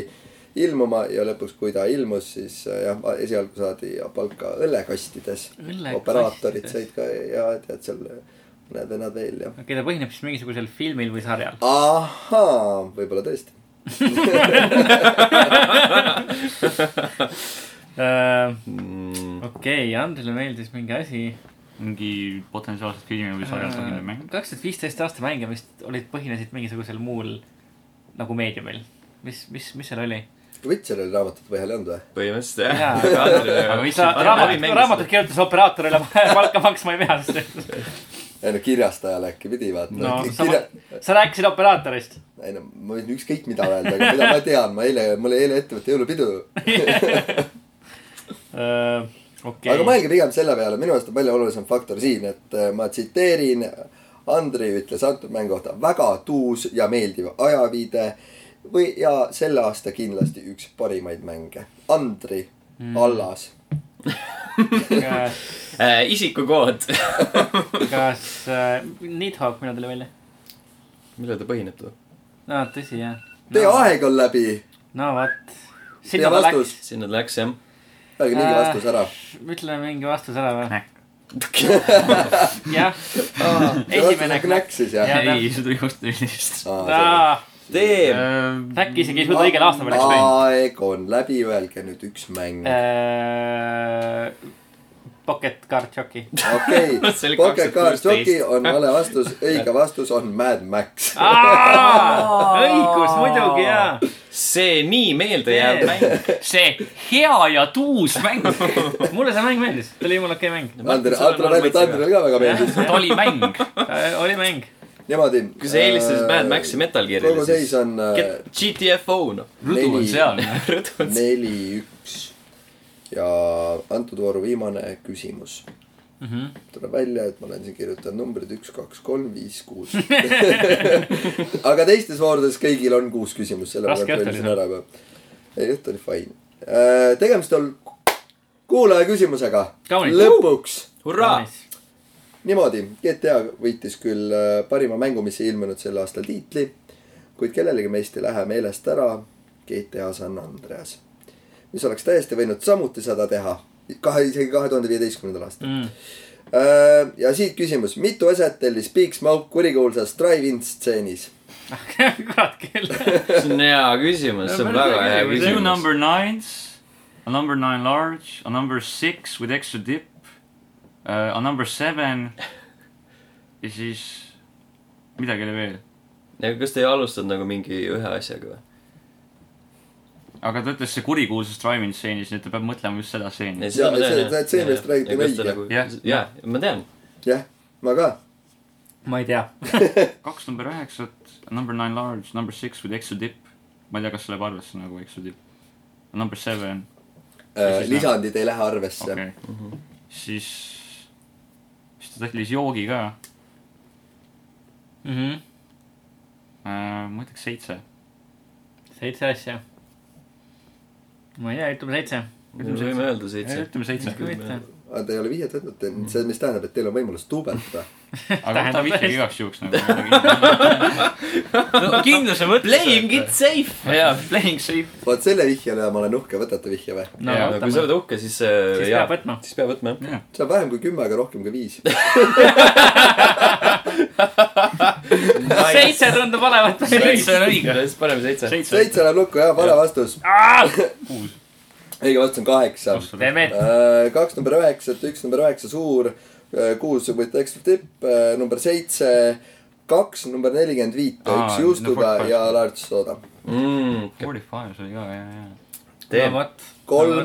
[SPEAKER 3] ilmuma ja lõpuks , kui ta ilmus , siis äh, jah , esialgu saadi palka õllekastides .
[SPEAKER 2] Õllekastides.
[SPEAKER 3] operaatorid said ka ja tead seal mõned vennad veel ja .
[SPEAKER 2] okei , ta põhineb siis mingisugusel filmil või sarjal .
[SPEAKER 3] ahaa , võib-olla tõesti .
[SPEAKER 2] Äh,
[SPEAKER 1] Hmm,
[SPEAKER 2] okei , Andrile meeldis mingi asi .
[SPEAKER 4] mingi potentsiaalselt filmi või sarjal põhinev mäng .
[SPEAKER 2] kaks tuhat viisteist aasta mänge vist olid , põhinesid mingisugusel muul nagu meediumil . mis , mis , mis seal oli ?
[SPEAKER 3] Witcher oli raamatute põhjal ei olnud või ?
[SPEAKER 1] põhimõtteliselt
[SPEAKER 2] Jaa.
[SPEAKER 1] jah .
[SPEAKER 4] Või
[SPEAKER 2] sa
[SPEAKER 4] see-
[SPEAKER 2] raamatut ,
[SPEAKER 1] mängis
[SPEAKER 2] raamatut kirjutas operaatorile palka maksma ei pea , sest
[SPEAKER 3] ei no kirjastajale äkki pidi vaata
[SPEAKER 2] no
[SPEAKER 3] Ki-
[SPEAKER 2] sa
[SPEAKER 3] kirja- ,
[SPEAKER 2] sa rääkisid operaatorist .
[SPEAKER 3] ei no ma võin ükskõik mida öelda , aga mida ma tean , ma eile , mul oli eile ettevõtte jõulupidu okay. . aga
[SPEAKER 2] Äh, okei ,
[SPEAKER 3] mõelge pigem selle peale , minu arust on palju olulisem faktor siin , et äh, ma tsiteerin . Andrei ütles antud mängu kohta väga tuus ja meeldiv ajaviide või , ja selle aasta kindlasti üks parimaid mänge . Andri mm. Allas .
[SPEAKER 1] Äh, isikukood .
[SPEAKER 2] kas äh, Nidhogg , millal tuli välja ?
[SPEAKER 1] millal ta põhineb too ?
[SPEAKER 2] aa , tõsi jah .
[SPEAKER 3] Teie no. aeg on läbi .
[SPEAKER 2] no vot .
[SPEAKER 3] Teie
[SPEAKER 2] sinna ta läks ,
[SPEAKER 3] vastus ,
[SPEAKER 1] sinna ta läks jah .
[SPEAKER 3] öelge mingi
[SPEAKER 2] Äh.
[SPEAKER 3] vastus ära .
[SPEAKER 2] ütle mingi vastus ära või ? jah , esimene
[SPEAKER 3] knäkk siis jah ?
[SPEAKER 2] Jah.
[SPEAKER 4] ei , see tuli kaks tuhat neliteist .
[SPEAKER 1] teeb .
[SPEAKER 4] Äh,
[SPEAKER 2] äkki isegi ei suuda õigel aastal Äh. veel , eks ju .
[SPEAKER 3] aeg on läbi , öelge nüüd üks mäng .
[SPEAKER 2] Äh, Pocket Card Jockey .
[SPEAKER 3] okei
[SPEAKER 1] See oli
[SPEAKER 3] Pocket Car
[SPEAKER 1] 2016.
[SPEAKER 3] Jockey on vale vastus , õige vastus on Mad Max .
[SPEAKER 2] õigus , muidugi jaa .
[SPEAKER 1] see nii meeldejääv
[SPEAKER 2] Teeb.
[SPEAKER 1] mäng .
[SPEAKER 4] see hea ja tuus mäng .
[SPEAKER 2] mulle see mäng meeldis , ta oli jumala okei mäng .
[SPEAKER 3] Andrei , Andrei , Andrei , Andrei ka väga meeldis .
[SPEAKER 4] ta oli mäng .
[SPEAKER 2] Äh, oli mäng .
[SPEAKER 3] niimoodi .
[SPEAKER 1] kui sa eelistasid Mad Maxi Metal Gear'ile ,
[SPEAKER 3] kogu seis on äh,
[SPEAKER 1] Get GTFO noh .
[SPEAKER 4] rõdu on
[SPEAKER 3] Neli.
[SPEAKER 4] seal .
[SPEAKER 1] rõdu on see .
[SPEAKER 3] neli , üks . ja antud vooru viimane küsimus .
[SPEAKER 1] Mhm.
[SPEAKER 3] tuleb välja , et ma olen siin kirjutanud numbrid üks , kaks , kolm , viis , kuus . aga teistes voorudes kõigil on kuus küsimust , selle ma
[SPEAKER 2] Raske õht oli
[SPEAKER 3] kontrollisin ära juba . ei , õht oli fine . tegemist on kuulaja küsimusega .
[SPEAKER 2] Kaunis.
[SPEAKER 3] lõpuks
[SPEAKER 1] hurraa !
[SPEAKER 3] niimoodi , GTA võitis küll äh, parima mängu , mis ei ilmunud sel aastal tiitli , kuid kellelegi meist ei lähe meelest ära GTA San Andreas , mis oleks täiesti võinud samuti seda teha , kahe , isegi kahe tuhande viieteistkümnendal aastal .
[SPEAKER 2] Mm.
[SPEAKER 3] ja siit küsimus , mitu eset tellis Big Smoke kurikuulsas Drive-In stseenis ?
[SPEAKER 2] kurat küll .
[SPEAKER 1] see on hea küsimus , see on väga hea
[SPEAKER 4] Two
[SPEAKER 1] küsimus .
[SPEAKER 4] number nines , a number nine large , a number six with extra dip uh, , a number seven ja siis midagi oli veel .
[SPEAKER 1] kas te ei alustanud nagu mingi ühe asjaga või ?
[SPEAKER 4] aga ta ütles see kurikuulsas Drive-In stseenis , nii et ta peab mõtlema just seda stseeni .
[SPEAKER 3] Mm. Jaa, see- see- see, millest räägiti, on õige.
[SPEAKER 1] jah
[SPEAKER 4] Jah. ,
[SPEAKER 1] nagu- jaa , ma tean .
[SPEAKER 3] jah , ma ka .
[SPEAKER 2] ma ei tea .
[SPEAKER 4] kaks number üheksat , a number nine large , number six with extra dip . ma ei tea , kas see läheb arvesse nagu extra dip . Number seven , siis noh.
[SPEAKER 3] äh, lisandid ei lähe arvesse
[SPEAKER 4] okei
[SPEAKER 3] okay. .
[SPEAKER 4] okay. .
[SPEAKER 1] Mhm.
[SPEAKER 4] siis , siis ta tellis joogi ka
[SPEAKER 2] Mhm.
[SPEAKER 4] uh, , ma ütleks seitse .
[SPEAKER 2] seitse asja . ma ei tea , ütleme seitse .
[SPEAKER 1] me võime öelda seitse .
[SPEAKER 4] ütleme seitse .
[SPEAKER 2] huvitav .
[SPEAKER 3] aga te ei ole vihjet võtnud , see , mis tähendab , et teil on võimalus duubeldada .
[SPEAKER 4] aga
[SPEAKER 2] Tähendab
[SPEAKER 4] võtame ikkagi
[SPEAKER 2] tõesti.
[SPEAKER 4] igaks juhuks nagu .
[SPEAKER 2] no kindluse mõttes .
[SPEAKER 1] Playing it safe .
[SPEAKER 4] jaa , playing safe .
[SPEAKER 3] vot selle vihje üle ma olen uhke , võtate vihje või ?
[SPEAKER 2] no
[SPEAKER 4] Jaa,
[SPEAKER 1] kui sa
[SPEAKER 2] võtame .
[SPEAKER 1] oled uhke , siis äh,
[SPEAKER 2] Siis
[SPEAKER 1] jaa.
[SPEAKER 2] peab võtma.
[SPEAKER 1] siis peab võtma jah .
[SPEAKER 3] see on vähem kui kümme , aga rohkem kui viis .
[SPEAKER 2] seitse tundub olevat .
[SPEAKER 1] seitse on õige . siis paneme seitse .
[SPEAKER 4] seitse ,
[SPEAKER 3] seitse läheb lukku , jah , vale vastus .
[SPEAKER 4] kuus .
[SPEAKER 3] õige vastus on kaheksa .
[SPEAKER 2] teeme ,
[SPEAKER 3] kaks number üheksat , üks number üheksa suur , kuus võit ekstra tipp , number seitse , kaks number nelikümmend viit ,
[SPEAKER 4] Aa,
[SPEAKER 3] üks
[SPEAKER 4] no
[SPEAKER 3] juustuga
[SPEAKER 4] fuck, fuck.
[SPEAKER 3] ja large soda .
[SPEAKER 1] Mm,
[SPEAKER 4] Forty five , see oli ka , jaa , jaa .
[SPEAKER 2] no
[SPEAKER 1] teeme .
[SPEAKER 2] vot .
[SPEAKER 3] kolm ,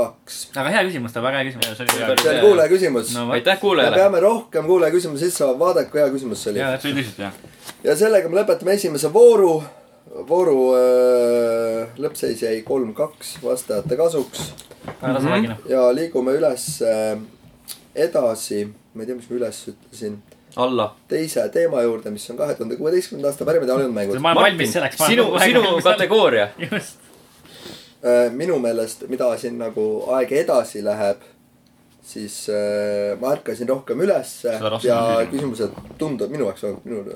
[SPEAKER 3] kaks .
[SPEAKER 2] aga hea küsimus , ta on väga hea küsimus .
[SPEAKER 4] see oli hea
[SPEAKER 3] see on kuulaja küsimus .
[SPEAKER 2] no vot ,
[SPEAKER 1] aitäh
[SPEAKER 3] me
[SPEAKER 1] kuulajale .
[SPEAKER 3] peame rohkem kuulaja küsimusi sisse saama , vaadake , kui hea küsimus see oli .
[SPEAKER 2] Jaa.
[SPEAKER 4] see oli lihtsalt jah .
[SPEAKER 3] ja sellega me lõpetame esimese vooru . vooru äh, lõppseis jäi kolm-kaks vastajate kasuks
[SPEAKER 2] ära sa räägi noh .
[SPEAKER 3] ja liigume üles äh, edasi . ma ei tea , mis ma üles ütlesin
[SPEAKER 1] alla .
[SPEAKER 3] teise teema juurde , mis on kahe tuhande kuueteistkümnenda aasta parimad jalgpallimängud .
[SPEAKER 2] ma olen valmis selleks .
[SPEAKER 1] sinu , sinu . kategooria .
[SPEAKER 2] just .
[SPEAKER 3] Äh, minu meelest , mida siin nagu aeg edasi läheb , siis äh, ma ärkasin rohkem ülesse
[SPEAKER 4] Seda raskem
[SPEAKER 3] ja
[SPEAKER 4] on küsimus.
[SPEAKER 3] küsimused tunduvad minu jaoks olnud minu äh,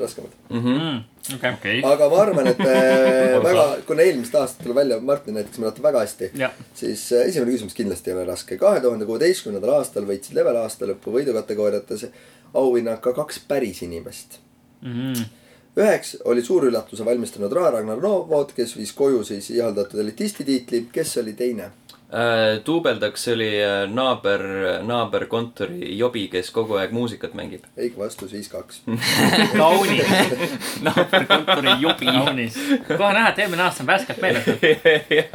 [SPEAKER 3] raskemad .
[SPEAKER 1] Mhm.
[SPEAKER 2] Mm, okei .
[SPEAKER 4] okei ,
[SPEAKER 3] aga ma arvan , et äh, väga , kuna eelmist aastat tuleb välja Martin näiteks mäletab väga hästi ,
[SPEAKER 2] jah ,
[SPEAKER 3] siis äh, esimene küsimus kindlasti ei ole raske . kahe tuhande kuueteistkümnendal aastal võitsid level aasta lõpu võidukategooriates auhinnaga kaks päris inimest
[SPEAKER 2] Mm-hmm.
[SPEAKER 3] üheks oli suur üllatuse valmistanud Ra- Ragnar Novod , kes viis koju siis ihaldatud elitisti tiitli , kes oli teine ?
[SPEAKER 1] duubeldaks oli äh, naaber , naaberkontori jobi , kes kogu aeg muusikat mängib .
[SPEAKER 3] õige vastus viis-kaks .
[SPEAKER 2] kaunis ,
[SPEAKER 4] kontori jobi .
[SPEAKER 2] kaunis . kohe näha , et eelmine aasta on värskelt meeles .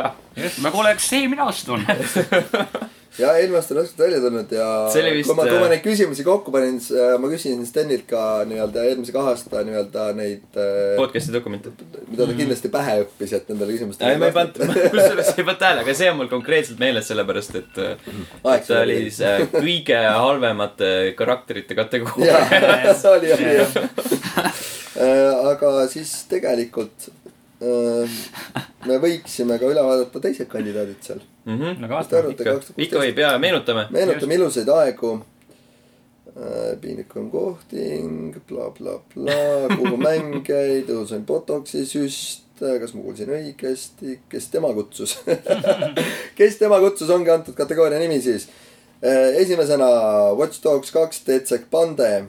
[SPEAKER 4] nagu oleks see minu aasta olnud .
[SPEAKER 3] ja eelmine aasta on raskelt välja tulnud ja
[SPEAKER 1] See oli vist,
[SPEAKER 3] kui ma , kui ma
[SPEAKER 1] äh,
[SPEAKER 3] neid küsimusi kokku panin , siis äh, ma küsisin Stenilt ka nii-öelda eelmise kahe aasta nii-öelda neid äh, ,
[SPEAKER 1] podcast'i dokumente .
[SPEAKER 3] mida ta kindlasti pähe õppis , et nendele küsimustele
[SPEAKER 1] ei , ma ei pannud , kusjuures ei pannud tähele , aga see on mul konkreetselt meeles , sellepärast et äh,
[SPEAKER 3] Aeg
[SPEAKER 1] ta
[SPEAKER 3] sai
[SPEAKER 1] oli
[SPEAKER 3] läbi.
[SPEAKER 1] siis äh, kõige halvemate karakterite kategooria .
[SPEAKER 3] jaa , oli , oli , jah . aga siis tegelikult äh, me võiksime ka üle vaadata teised kandidaadid seal .
[SPEAKER 2] no
[SPEAKER 3] mis te
[SPEAKER 2] kaasa .
[SPEAKER 3] arvate , kaks tuhat
[SPEAKER 1] Mhm. ikka võib ja meenutame .
[SPEAKER 3] meenutame ilusaid aegu . piinlik on kohting bla, , blablabla , kuhu mäng jäi , tõusin botoksi süst , kas ma kuulsin õigesti , kes tema kutsus ? kes tema kutsus , ongi antud kategooria nimi siis . esimesena Watch Dogs kaks , Detsec Pande .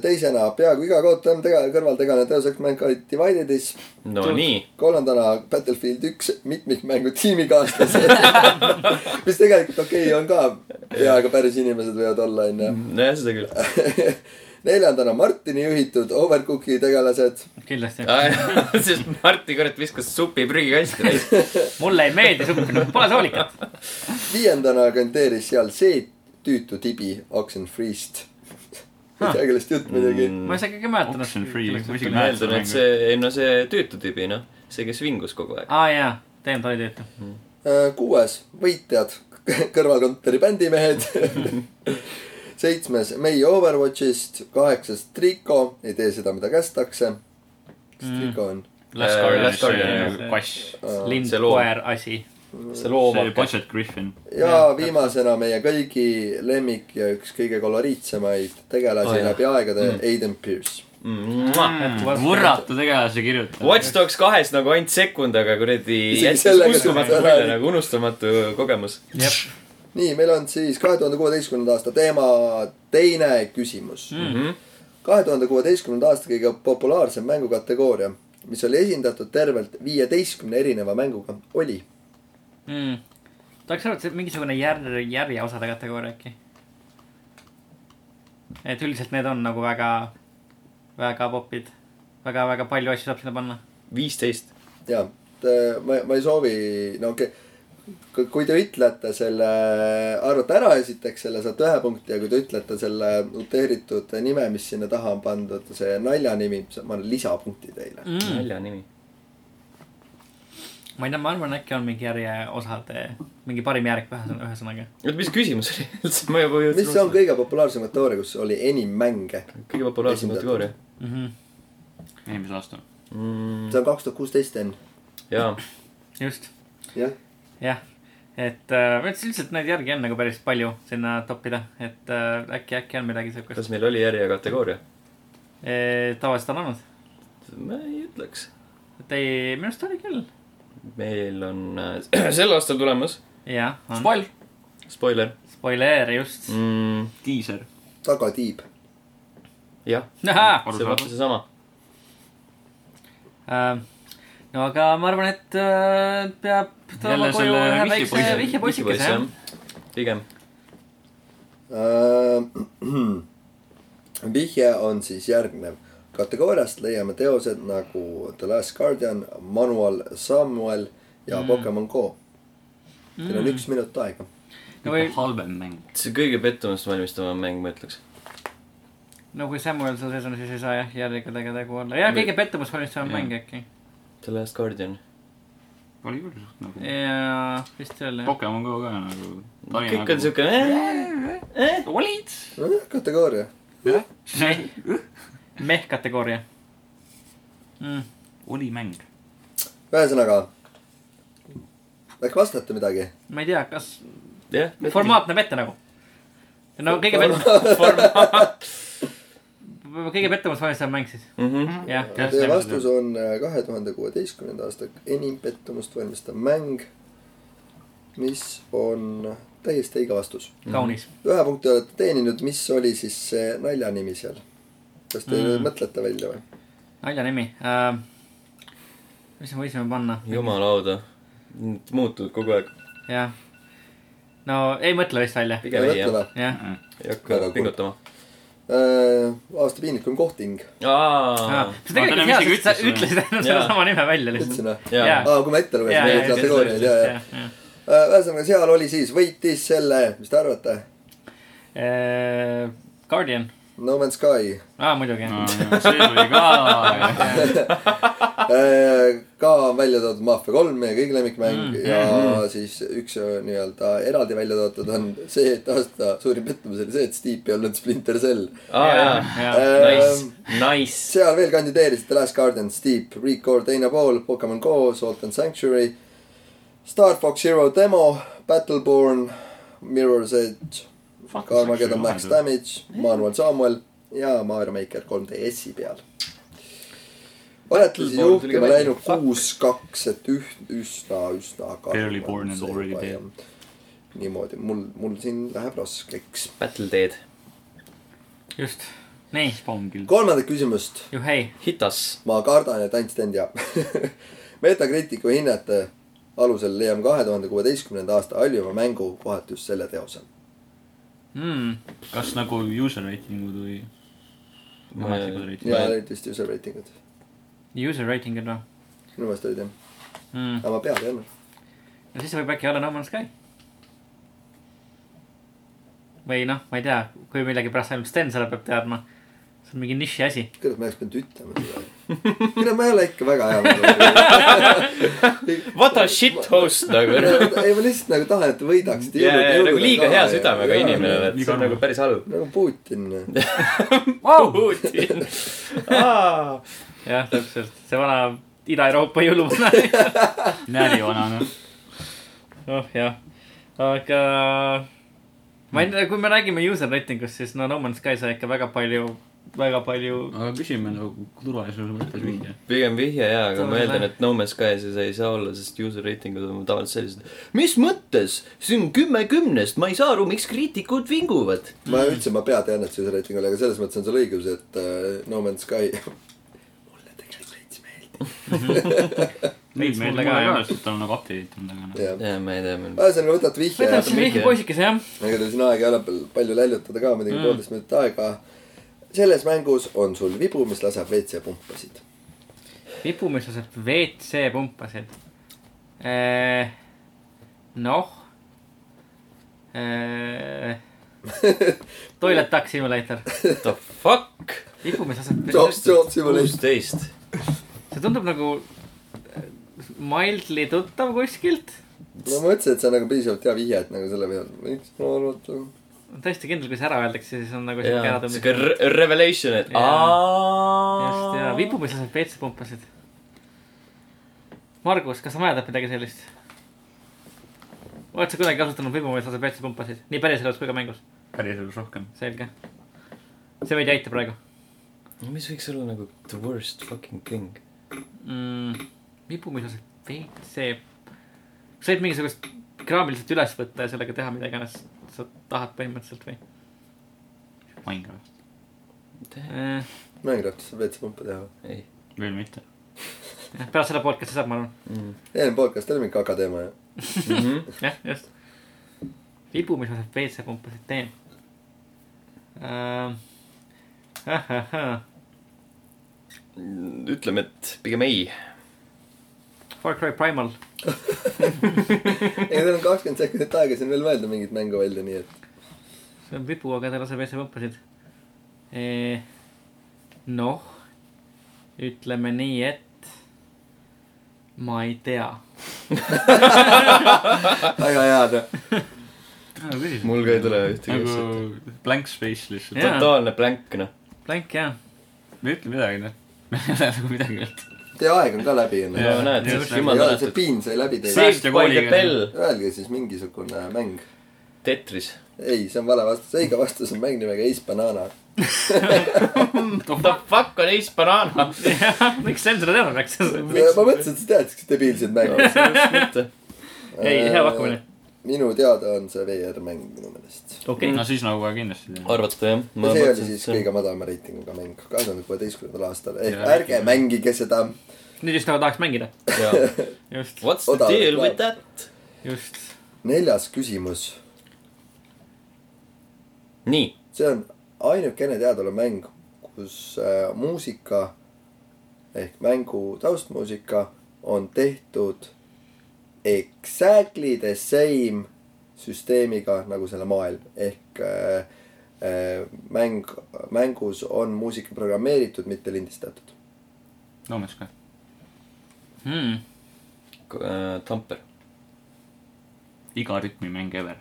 [SPEAKER 3] teisena peaaegu iga kood kõrvaltegelane tõuseks mäng oli Divided'is .
[SPEAKER 1] no nii .
[SPEAKER 3] kolmandana Battlefield üks mitmikmängu tiimikaaslased , mis tegelikult okei okay, on ka , peaaegu päris inimesed võivad olla , onju .
[SPEAKER 1] nojah , seda küll .
[SPEAKER 3] neljandana Martini juhitud Overcooki tegelased .
[SPEAKER 2] Mm, kindlasti .
[SPEAKER 1] sest Martti kurat viskas supi prügikasti täis .
[SPEAKER 2] mulle ei meeldi supp , no pole soolikat .
[SPEAKER 3] viiendana kanteeris seal see tüütu tibi Oxenfree'st . ei tea , kellest jutt muidugi .
[SPEAKER 1] Mm.
[SPEAKER 2] ma ei saa ikkagi mäletada .
[SPEAKER 4] Oxen Free, ma isegi
[SPEAKER 1] ma
[SPEAKER 4] mäletan.
[SPEAKER 1] eeldan , et see , ei no see tüütu tüübi noh , see , kes vingus kogu aeg .
[SPEAKER 2] aa jaa , tegelikult oli tüütu .
[SPEAKER 3] Äh, kuues , võitjad , kõrvalkontori bändimehed . seitsmes , meie Overwatchist , kaheksas , Trico , ei tee seda , mida kästakse . kes Trico on ?
[SPEAKER 2] Last
[SPEAKER 1] Äh,
[SPEAKER 2] Guardian
[SPEAKER 1] Last Guardian,
[SPEAKER 4] see nagu kass .
[SPEAKER 2] lind
[SPEAKER 3] Äh,
[SPEAKER 1] see , loom.
[SPEAKER 2] koer , asi .
[SPEAKER 1] see
[SPEAKER 4] see
[SPEAKER 1] loomake .
[SPEAKER 4] Budget Griffin .
[SPEAKER 3] ja viimasena meie kõigi lemmik ja üks kõige koloriitsemaid tegelasi
[SPEAKER 1] Oh,
[SPEAKER 3] oh,
[SPEAKER 1] jah.
[SPEAKER 3] läbi aegade mm. , Aiden Pierce .
[SPEAKER 2] Jätkuvalt.
[SPEAKER 4] võrratu tegelase kirjutaja .
[SPEAKER 1] Mm, Watch Dogs kahes nagu ainult sekund , aga kuradi
[SPEAKER 3] Isegi
[SPEAKER 1] jättis
[SPEAKER 3] sellega
[SPEAKER 1] uskumatu
[SPEAKER 3] saad ära-
[SPEAKER 1] mulje nagu unustamatu kogemus .
[SPEAKER 3] nii , meil on siis kahe tuhande kuueteistkümnenda aasta teema teine küsimus . kahe tuhande kuueteistkümnenda aasta kõige populaarsem mängukategooria , mis oli esindatud tervelt viieteistkümne erineva mänguga , oli
[SPEAKER 2] Mm. tahaks arvata , et see on mingisugune järg , järjeosade kategooria äkki . et üldiselt need on nagu väga , väga popid . väga , väga palju asju saab sinna panna .
[SPEAKER 1] viisteist .
[SPEAKER 3] ja t- ma , ma ei soovi , no okei okay. . kui te ütlete selle , arvate ära esiteks selle , saate ühe punkti ja kui te ütlete selle noteeritud nime , mis sinna taha on pandud , see naljanimi , ma annan lisapunkti teile .
[SPEAKER 1] nalja nimi .
[SPEAKER 2] ma ei tea , ma arvan , äkki on mingi järjeosade , mingi parim järg ühesõnaga- ühesõnaga .
[SPEAKER 1] oota , mis küsimus oli üldse , ma juba jõudsin .
[SPEAKER 3] mis on ? kõige populaarsem kategooria , kus oli enim mänge ?
[SPEAKER 1] kõige populaarsem
[SPEAKER 3] esindatud?
[SPEAKER 1] kategooria .
[SPEAKER 2] Mhm.
[SPEAKER 4] eelmisel aastal .
[SPEAKER 3] see on kaks tuhat kuusteist , Enn .
[SPEAKER 1] jaa ,
[SPEAKER 2] just ,
[SPEAKER 3] jah ,
[SPEAKER 2] jah . et äh, üldiselt neid järgi on nagu päris palju sinna toppida , et äh, äkki , äkki on midagi siukest .
[SPEAKER 1] kas meil oli järjekategooria ?
[SPEAKER 2] tavaliselt on olnud .
[SPEAKER 1] ma ei ütleks .
[SPEAKER 2] et ei , minu arust oli küll .
[SPEAKER 1] meil on äh, sel aastal tulemas .
[SPEAKER 2] jah , on .
[SPEAKER 1] Spoil . Spoiler
[SPEAKER 2] spoiler , just mm. .
[SPEAKER 1] mm, .
[SPEAKER 4] diiser .
[SPEAKER 3] tagatiib .
[SPEAKER 1] jah ,
[SPEAKER 2] ahah
[SPEAKER 1] see on vaata
[SPEAKER 4] arusaadav .
[SPEAKER 1] seesama .
[SPEAKER 2] äh, . no aga ma arvan , et äh, peab tooma
[SPEAKER 4] Jälle
[SPEAKER 2] koju
[SPEAKER 4] selle
[SPEAKER 2] ühe väikse
[SPEAKER 4] vihjepoisi-
[SPEAKER 2] vihjepoisikese , jah .
[SPEAKER 1] pigem .
[SPEAKER 3] Äh, vihje on siis järgnev . kategooriast leiame teosed nagu The Last Guardian , Manual Samuel ja mm. Pokemon Go . Teil on üks minut aega .
[SPEAKER 2] no või ,
[SPEAKER 4] halvem mäng .
[SPEAKER 1] see kõige pettumust valmistava mäng , ma ütleks .
[SPEAKER 2] no kui Samuel seal sees on , siis ei saa jah , järjekordadega tegu olla . ja kõige pettumust valmistav
[SPEAKER 4] Jah.
[SPEAKER 2] mäng äkki .
[SPEAKER 1] The Last Guardian .
[SPEAKER 4] oli küll suht nagu .
[SPEAKER 2] ja vist oli jah .
[SPEAKER 4] Pokemon Go ka nagu .
[SPEAKER 1] kõik on . siuke eh, .
[SPEAKER 4] olid .
[SPEAKER 3] nojah , kategooria .
[SPEAKER 2] meh kategooria mm. .
[SPEAKER 4] oli mäng .
[SPEAKER 3] ühesõnaga , äkki vastate midagi ?
[SPEAKER 2] ma ei tea , kas
[SPEAKER 1] jah .
[SPEAKER 2] formaat näeb ette nagu . no kõige pettumus , formaat . kõige pettumust valmistav mäng siis ,
[SPEAKER 1] mhmh ,
[SPEAKER 2] jah .
[SPEAKER 3] Teie vastus on äh, kahe tuhande kuueteistkümnenda aasta enim pettumust valmistav mäng , mis on täiesti õige vastus .
[SPEAKER 2] kaunis .
[SPEAKER 3] ühe punkti olete teeninud , mis oli siis see naljanimi seal ? kas te mm. mõtlete välja või ?
[SPEAKER 2] nalja nimi uh, . mis me võisime panna ?
[SPEAKER 1] jumala auda . Need muutuvad kogu aeg .
[SPEAKER 2] jah . no ei mõtle vist välja .
[SPEAKER 1] pigem ei jah ,
[SPEAKER 2] jah ,
[SPEAKER 1] ei hakka
[SPEAKER 3] Väga kurb.
[SPEAKER 1] pingutama .
[SPEAKER 3] Äh, aasta piinlikum kohting ,
[SPEAKER 1] aa ,
[SPEAKER 2] see tegelikult
[SPEAKER 4] enam
[SPEAKER 2] hea ,
[SPEAKER 4] isegi
[SPEAKER 2] sest sa
[SPEAKER 4] ütlesin.
[SPEAKER 2] ütlesid enne
[SPEAKER 1] Jaa.
[SPEAKER 2] sedasama nime välja lihtsalt .
[SPEAKER 3] ütlesin või ?
[SPEAKER 1] jaa
[SPEAKER 2] Jaa.
[SPEAKER 1] yeah. .
[SPEAKER 3] noh. aa , kui ma ette lugesin
[SPEAKER 2] Jaa,
[SPEAKER 3] neid
[SPEAKER 2] jaa,
[SPEAKER 3] kategooriaid , jaa , jaa .
[SPEAKER 2] jah .
[SPEAKER 3] ühesõnaga , seal oli siis , võitis selle , mis te arvate ?
[SPEAKER 2] Eh, Guardian ,
[SPEAKER 3] No Man's Sky .
[SPEAKER 2] aa muidugi jah .
[SPEAKER 4] see oli ka .
[SPEAKER 3] Äh, ka on välja toodud Mafia kolm , meie kõigi lemmikmäng mm. ja mm. siis üks äh, nii-öelda eraldi välja toodud on see , et aasta suurim pettumus oli see , et Steep ei olnud Splinter Cell .
[SPEAKER 1] aa jaa .
[SPEAKER 3] Eh.
[SPEAKER 1] Nice , nice .
[SPEAKER 3] seal veel kandideerisid The Last Guardian , Steep , Record , teine pool , Pokemon Go , Salt and Sanctuary , Star Fox Zero demo , Battleborn , Mirror's Edge , Armageddon Max Damage , Manuel Samuel ja Mario Maker 3DS-i peal . olete
[SPEAKER 1] Battleborn
[SPEAKER 3] siis
[SPEAKER 1] tuli ka
[SPEAKER 3] juhtima
[SPEAKER 1] välja.
[SPEAKER 3] läinud
[SPEAKER 1] Fuck.
[SPEAKER 3] kuus-kaks , et üht , üsna , üsna .
[SPEAKER 4] Barely born and already dead. .
[SPEAKER 3] niimoodi , mul , mul siin läheb raskeks .
[SPEAKER 1] Battle Dead .
[SPEAKER 2] just , nii ,
[SPEAKER 4] Spongil .
[SPEAKER 3] kolmandat küsimust
[SPEAKER 2] juhei ,
[SPEAKER 1] Hitas .
[SPEAKER 3] ma kardan , et ainult Sten teab . Metacriticu hinnete alusel leiame kahe tuhande kuueteistkümnenda aasta halvima mängu kohati just selle teose .
[SPEAKER 2] Hmm.
[SPEAKER 4] kas nagu user rating'ud või ametlikud
[SPEAKER 3] ja
[SPEAKER 4] reitingud ?
[SPEAKER 3] olid vist user reitingud ,
[SPEAKER 2] user rating'ud või
[SPEAKER 3] minu meelest olid jah ,
[SPEAKER 2] mm. ?
[SPEAKER 3] aga ma pead ei olnud .
[SPEAKER 2] no siis see võib äkki olla No Man's Sky . või noh , ma ei tea , kui millegipärast ainult Sten selle peab teadma . see on mingi niši asi .
[SPEAKER 3] kuidas ma oleks pidanud ütlema seda ? kuule , ma ei ole ikka väga hea .
[SPEAKER 1] What a shit host nagu .
[SPEAKER 3] ei , ma lihtsalt nagu tahan , et võidaksite .
[SPEAKER 1] ja , ja nagu liiga hea südamega inimene , et see
[SPEAKER 4] Iga
[SPEAKER 1] on nagu päris halb .
[SPEAKER 3] nagu Putin .
[SPEAKER 1] Putin .
[SPEAKER 2] jah , täpselt , see vana Ida-Euroopa jõuluvana .
[SPEAKER 4] näärivanane .
[SPEAKER 2] oh jah , aga ma ei tea , kui me räägime user rating ust , siis no No Man's Sky sai ikka väga palju , väga palju
[SPEAKER 4] aga küsime nagu turvalisuse mõttes mingi .
[SPEAKER 1] pigem vihje jaa , aga ma eeldan , et No Man's Sky siis ei saa olla , sest user reitingud on tavaliselt sellised . mis mõttes , see on kümme kümnest , ma ei saa aru , miks kriitikud vinguvad .
[SPEAKER 3] ma üldse , ma pead ei anneta selle reitingule , aga selles mõttes on sul õigus , et äh, No Man's Sky mulle tegelikult veits meeldib .
[SPEAKER 4] nüüd meil
[SPEAKER 2] mulle
[SPEAKER 4] mulle
[SPEAKER 2] ka,
[SPEAKER 4] ka ei
[SPEAKER 2] jah.
[SPEAKER 4] ole , sest ta on nagu update itud , aga noh .
[SPEAKER 3] jah ,
[SPEAKER 1] jaa , ma ei tea .
[SPEAKER 3] ühesõnaga võtad vihje .
[SPEAKER 2] võtame siis mingi
[SPEAKER 1] mingi-
[SPEAKER 2] poisikese jah .
[SPEAKER 3] ega teil siin aega ei ole pal- palju läljutada ka , muidugi mm. poolteist minutit aega . selles mängus on sul vibu , mis laseb WC-pumpasid .
[SPEAKER 2] vipumislased WC pumpasid . noh . Toilet Duck Simulator ,
[SPEAKER 1] What the fuck ?
[SPEAKER 3] Jops ,
[SPEAKER 2] vipumislased .
[SPEAKER 3] Jops , juba leidsin .
[SPEAKER 1] kuusteist .
[SPEAKER 2] see tundub nagu eh, mildly tuttav kuskilt .
[SPEAKER 3] no ma mõtlesin , et see on nagu piisavalt hea vihje , et nagu selle peale võiks arvata .
[SPEAKER 2] täiesti kindel , kui see ära öeldakse , siis on nagu siuke
[SPEAKER 1] jaa , siuke re-
[SPEAKER 2] äratõmbis .
[SPEAKER 1] revelation , et
[SPEAKER 2] Jaa. just ja
[SPEAKER 1] aa .
[SPEAKER 2] vipumislased WC pumpasid . Margus , kas sa mäletad midagi sellist ? oled sa kuidagi kasutanud vipumislased WC pumpasid , nii päriselus kui ka mängus ?
[SPEAKER 4] päriselus rohkem .
[SPEAKER 2] selge . see meid ei aita praegu
[SPEAKER 1] mis võiks olla nagu the worst fucking thing ?
[SPEAKER 2] mm, . vipumislased , see , sa võid mingisugust kraamiliselt üles võtta ja sellega teha mida iganes sa tahad põhimõtteliselt või
[SPEAKER 4] Minecraft .
[SPEAKER 2] eh, ?
[SPEAKER 3] Minecraftis saab WC-pumpa teha .
[SPEAKER 1] ei .
[SPEAKER 4] veel mitte .
[SPEAKER 2] pärast selle podcast'i saab , ma arvan .
[SPEAKER 3] eelmine podcast oli mingi kaka teema ju .
[SPEAKER 1] Mhm.
[SPEAKER 2] jah , just . vibumislased WC-pumpasid teen uh, . ah,
[SPEAKER 1] Mm-hmm. ütleme , et pigem ei .
[SPEAKER 2] Far Cry Primal ,
[SPEAKER 3] ei , teil on kakskümmend sekundit aega siin veel mõelda mingit mängu välja , nii et .
[SPEAKER 2] see on vibu , aga ta laseb WC-pumpasid eh, . noh , ütleme nii , et ma ei tea
[SPEAKER 3] väga hea noh .
[SPEAKER 1] mul ka ei tule ühtegi
[SPEAKER 4] nagu
[SPEAKER 1] asja .
[SPEAKER 4] blank space lihtsalt .
[SPEAKER 2] Jaa.
[SPEAKER 1] totaalne blank , noh .
[SPEAKER 2] blank jah ,
[SPEAKER 4] me ei ütle midagi , noh . meil ei ole nagu midagi öelda .
[SPEAKER 3] Teie aeg on ka läbi ju
[SPEAKER 1] no
[SPEAKER 3] noh .
[SPEAKER 1] näed ,
[SPEAKER 4] just.
[SPEAKER 1] jumal
[SPEAKER 3] ei ole , see
[SPEAKER 1] tänatud .
[SPEAKER 3] piin sai läbi teil .
[SPEAKER 1] Saved by the
[SPEAKER 4] Päästekooliga.
[SPEAKER 1] bell .
[SPEAKER 3] Öelge siis mingisugune mäng .
[SPEAKER 1] Tetris .
[SPEAKER 3] ei , see on vale vastus , õige vastus on mäng nimega Ace Banana .
[SPEAKER 1] What the fuck on Ace Banana ?
[SPEAKER 2] miks Sven seda teadma peaks ?
[SPEAKER 3] ma mõtlesin , et sa tead siukest debiilset mängu .
[SPEAKER 2] ei , hea pakkumine .
[SPEAKER 3] minu teada on see VR-mäng minu meelest .
[SPEAKER 2] okei
[SPEAKER 4] no siis nagu ka kindlasti .
[SPEAKER 1] arvate jah ?
[SPEAKER 3] ja Mm. see oli siis kõige madalama reitinguga mäng kahe tuhande kuueteistkümnendal aastal , ehk
[SPEAKER 4] Ja,
[SPEAKER 3] ärge mängige seda .
[SPEAKER 2] nüüd just nagu tahaks mängida .
[SPEAKER 1] kõige .
[SPEAKER 2] just ,
[SPEAKER 1] What's the
[SPEAKER 3] Odav
[SPEAKER 1] deal
[SPEAKER 3] reklaam.
[SPEAKER 1] with that ?
[SPEAKER 2] just .
[SPEAKER 3] neljas küsimus ,
[SPEAKER 1] nii ,
[SPEAKER 3] see on ainukene teadaolev mäng , kus äh, muusika ehk mängu taustmuusika on tehtud exactly the same süsteemiga nagu selle maailm ehk äh, äh, mäng , mängus on muusika programmeeritud , mitte lindistatud .
[SPEAKER 4] no ma ei oska .
[SPEAKER 2] Hmm.
[SPEAKER 1] äh, Tamper .
[SPEAKER 4] iga rütmimäng ever .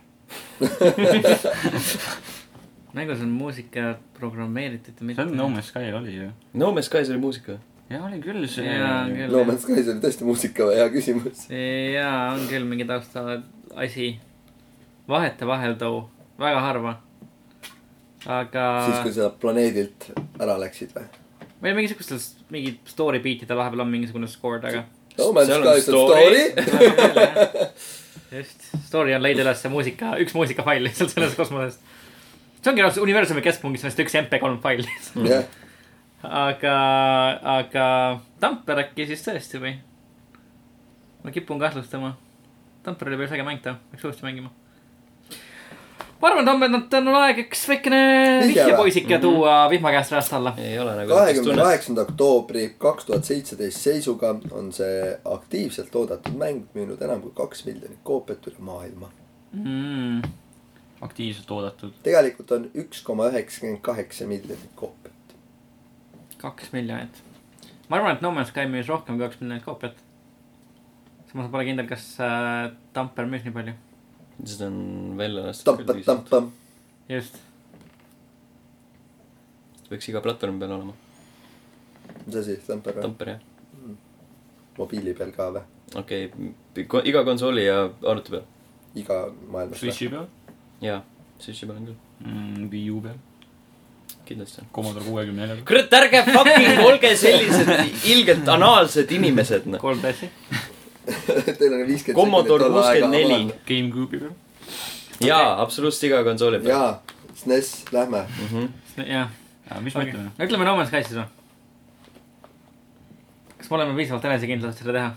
[SPEAKER 2] mängus on muusika programmeeritud ja
[SPEAKER 4] see
[SPEAKER 2] mitte .
[SPEAKER 4] on No Man's Sky oli ju .
[SPEAKER 1] No Man's Sky , see oli muusika .
[SPEAKER 4] jaa , oli küll see .
[SPEAKER 2] jaa , on
[SPEAKER 3] no
[SPEAKER 2] küll .
[SPEAKER 3] Man's Sky , see oli tõesti muusika , hea küsimus .
[SPEAKER 2] jaa , on küll mingi tausta asi . vahetevahel too , väga harva . aga
[SPEAKER 3] siis , kui sa planeedilt ära läksid või ?
[SPEAKER 2] meil mingisugustel , mingi story beat'ide vahepeal on mingisugune skoor taga .
[SPEAKER 3] no man's
[SPEAKER 1] Seal on
[SPEAKER 3] sky's on story,
[SPEAKER 1] story.
[SPEAKER 3] story. .
[SPEAKER 2] just , story on leida üles muusika , üks muusikafail lihtsalt selles kosmoses . see ongi noh , universumi keskpunktis on vist üks MP3 fail lihtsalt .
[SPEAKER 1] Hmm.
[SPEAKER 3] jah ,
[SPEAKER 2] aga , aga Tamper äkki siis tõesti või ? ma kipun kahtlustama . Tamper oli päris äge mäng ta , peaks uuesti mängima . ma arvan , Tammer , nad on aeg üks väikene
[SPEAKER 3] Vihje või? Mhm.
[SPEAKER 2] vihjepoisike tuua vihma käest rajast alla .
[SPEAKER 1] ei ole nagu .
[SPEAKER 3] kahekümne . kaheksanda oktoobri kaks tuhat seitseteist seisuga on see aktiivselt
[SPEAKER 2] Mm,
[SPEAKER 3] oodatud mäng müünud enam kui kaks miljonit koopiat üle maailma .
[SPEAKER 2] aktiivselt oodatud .
[SPEAKER 3] tegelikult on üks koma üheksakümmend kaheksa miljonit koopiat .
[SPEAKER 2] kaks miljonit . ma arvan , et No Man's Sky müüs rohkem kui kaks miljonit koopiat . samas ma pole kindel , kas äh, Tamper müüs nii palju .
[SPEAKER 1] seda on välja lastud küll viis aastat .
[SPEAKER 3] tamp-tamp-tamp .
[SPEAKER 2] just .
[SPEAKER 1] peaks iga platvormi peal olema .
[SPEAKER 3] mis asi , tamper või ?
[SPEAKER 1] Tamper jah .
[SPEAKER 3] mobiili peal ka või ?
[SPEAKER 1] okei okay. , iga konsooli ja arvuti peal .
[SPEAKER 3] iga maailmas või ?
[SPEAKER 4] Switchi peal
[SPEAKER 1] jaa , Switchi peal on küll ,
[SPEAKER 4] mm, , Wii U peal ,
[SPEAKER 1] kindlasti on .
[SPEAKER 4] Commodore kuuekümne neljaga .
[SPEAKER 1] kurat , ärge fucking olge sellised ilgelt anaalsed inimesed , noh .
[SPEAKER 2] kolm tassi .
[SPEAKER 3] Teil on viiskümmend .
[SPEAKER 1] Commodore 64. .
[SPEAKER 4] GameCube'i peal .
[SPEAKER 1] jaa , absoluutselt iga konsooli peal .
[SPEAKER 3] jaa , SNES , lähme .
[SPEAKER 1] Mm.
[SPEAKER 2] jah .
[SPEAKER 4] mis me ütleme ?
[SPEAKER 2] no ütleme No Man's Sky siis või ? kas me oleme piisavalt enesekindlad , et seda teha ?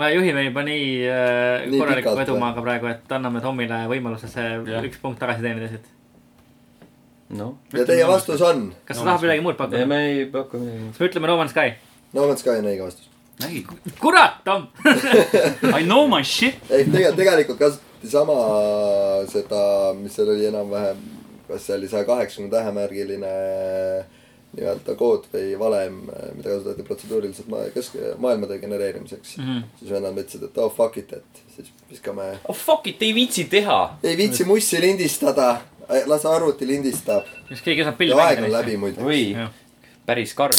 [SPEAKER 2] me juhime juba nii, äh,
[SPEAKER 3] Nii
[SPEAKER 2] korraliku
[SPEAKER 3] pikalt või?
[SPEAKER 2] edumaaga praegu , et anname Tomile võimaluse see
[SPEAKER 4] Jah.
[SPEAKER 2] üks punkt tagasi teenida siit .
[SPEAKER 1] noh ,
[SPEAKER 3] ja teie vastus on ?
[SPEAKER 2] kas
[SPEAKER 4] No
[SPEAKER 2] sa tahad
[SPEAKER 4] Man's Sky.
[SPEAKER 2] midagi muud pakkuda ?
[SPEAKER 1] me ei paku midagi muud .
[SPEAKER 2] me ütleme No Man's Sky .
[SPEAKER 3] no Man's Sky on õige vastus .
[SPEAKER 4] nägid ?
[SPEAKER 2] kurat , Tom .
[SPEAKER 4] I know my shit .
[SPEAKER 3] ehk tegelikult , tegelikult kasutati sama seda , mis seal oli enam-vähem , kas see oli saja kaheksakümne tähemärgiline nii-öelda kood või valem , mida kasutati protseduuriliselt ma- , kesk- , maailmade genereerimiseks mm . -hmm. siis vennad mõtlesid , et oh fuck it , et siis viskame ,
[SPEAKER 1] oh fuck it , ei viitsi teha .
[SPEAKER 3] ei viitsi mussi lindistada , las arvuti lindistab .
[SPEAKER 2] kas keegi saab pilli
[SPEAKER 3] ja aeg
[SPEAKER 2] mängida
[SPEAKER 3] on
[SPEAKER 2] neist ?
[SPEAKER 3] läbi muidu .
[SPEAKER 1] oi , päris karm .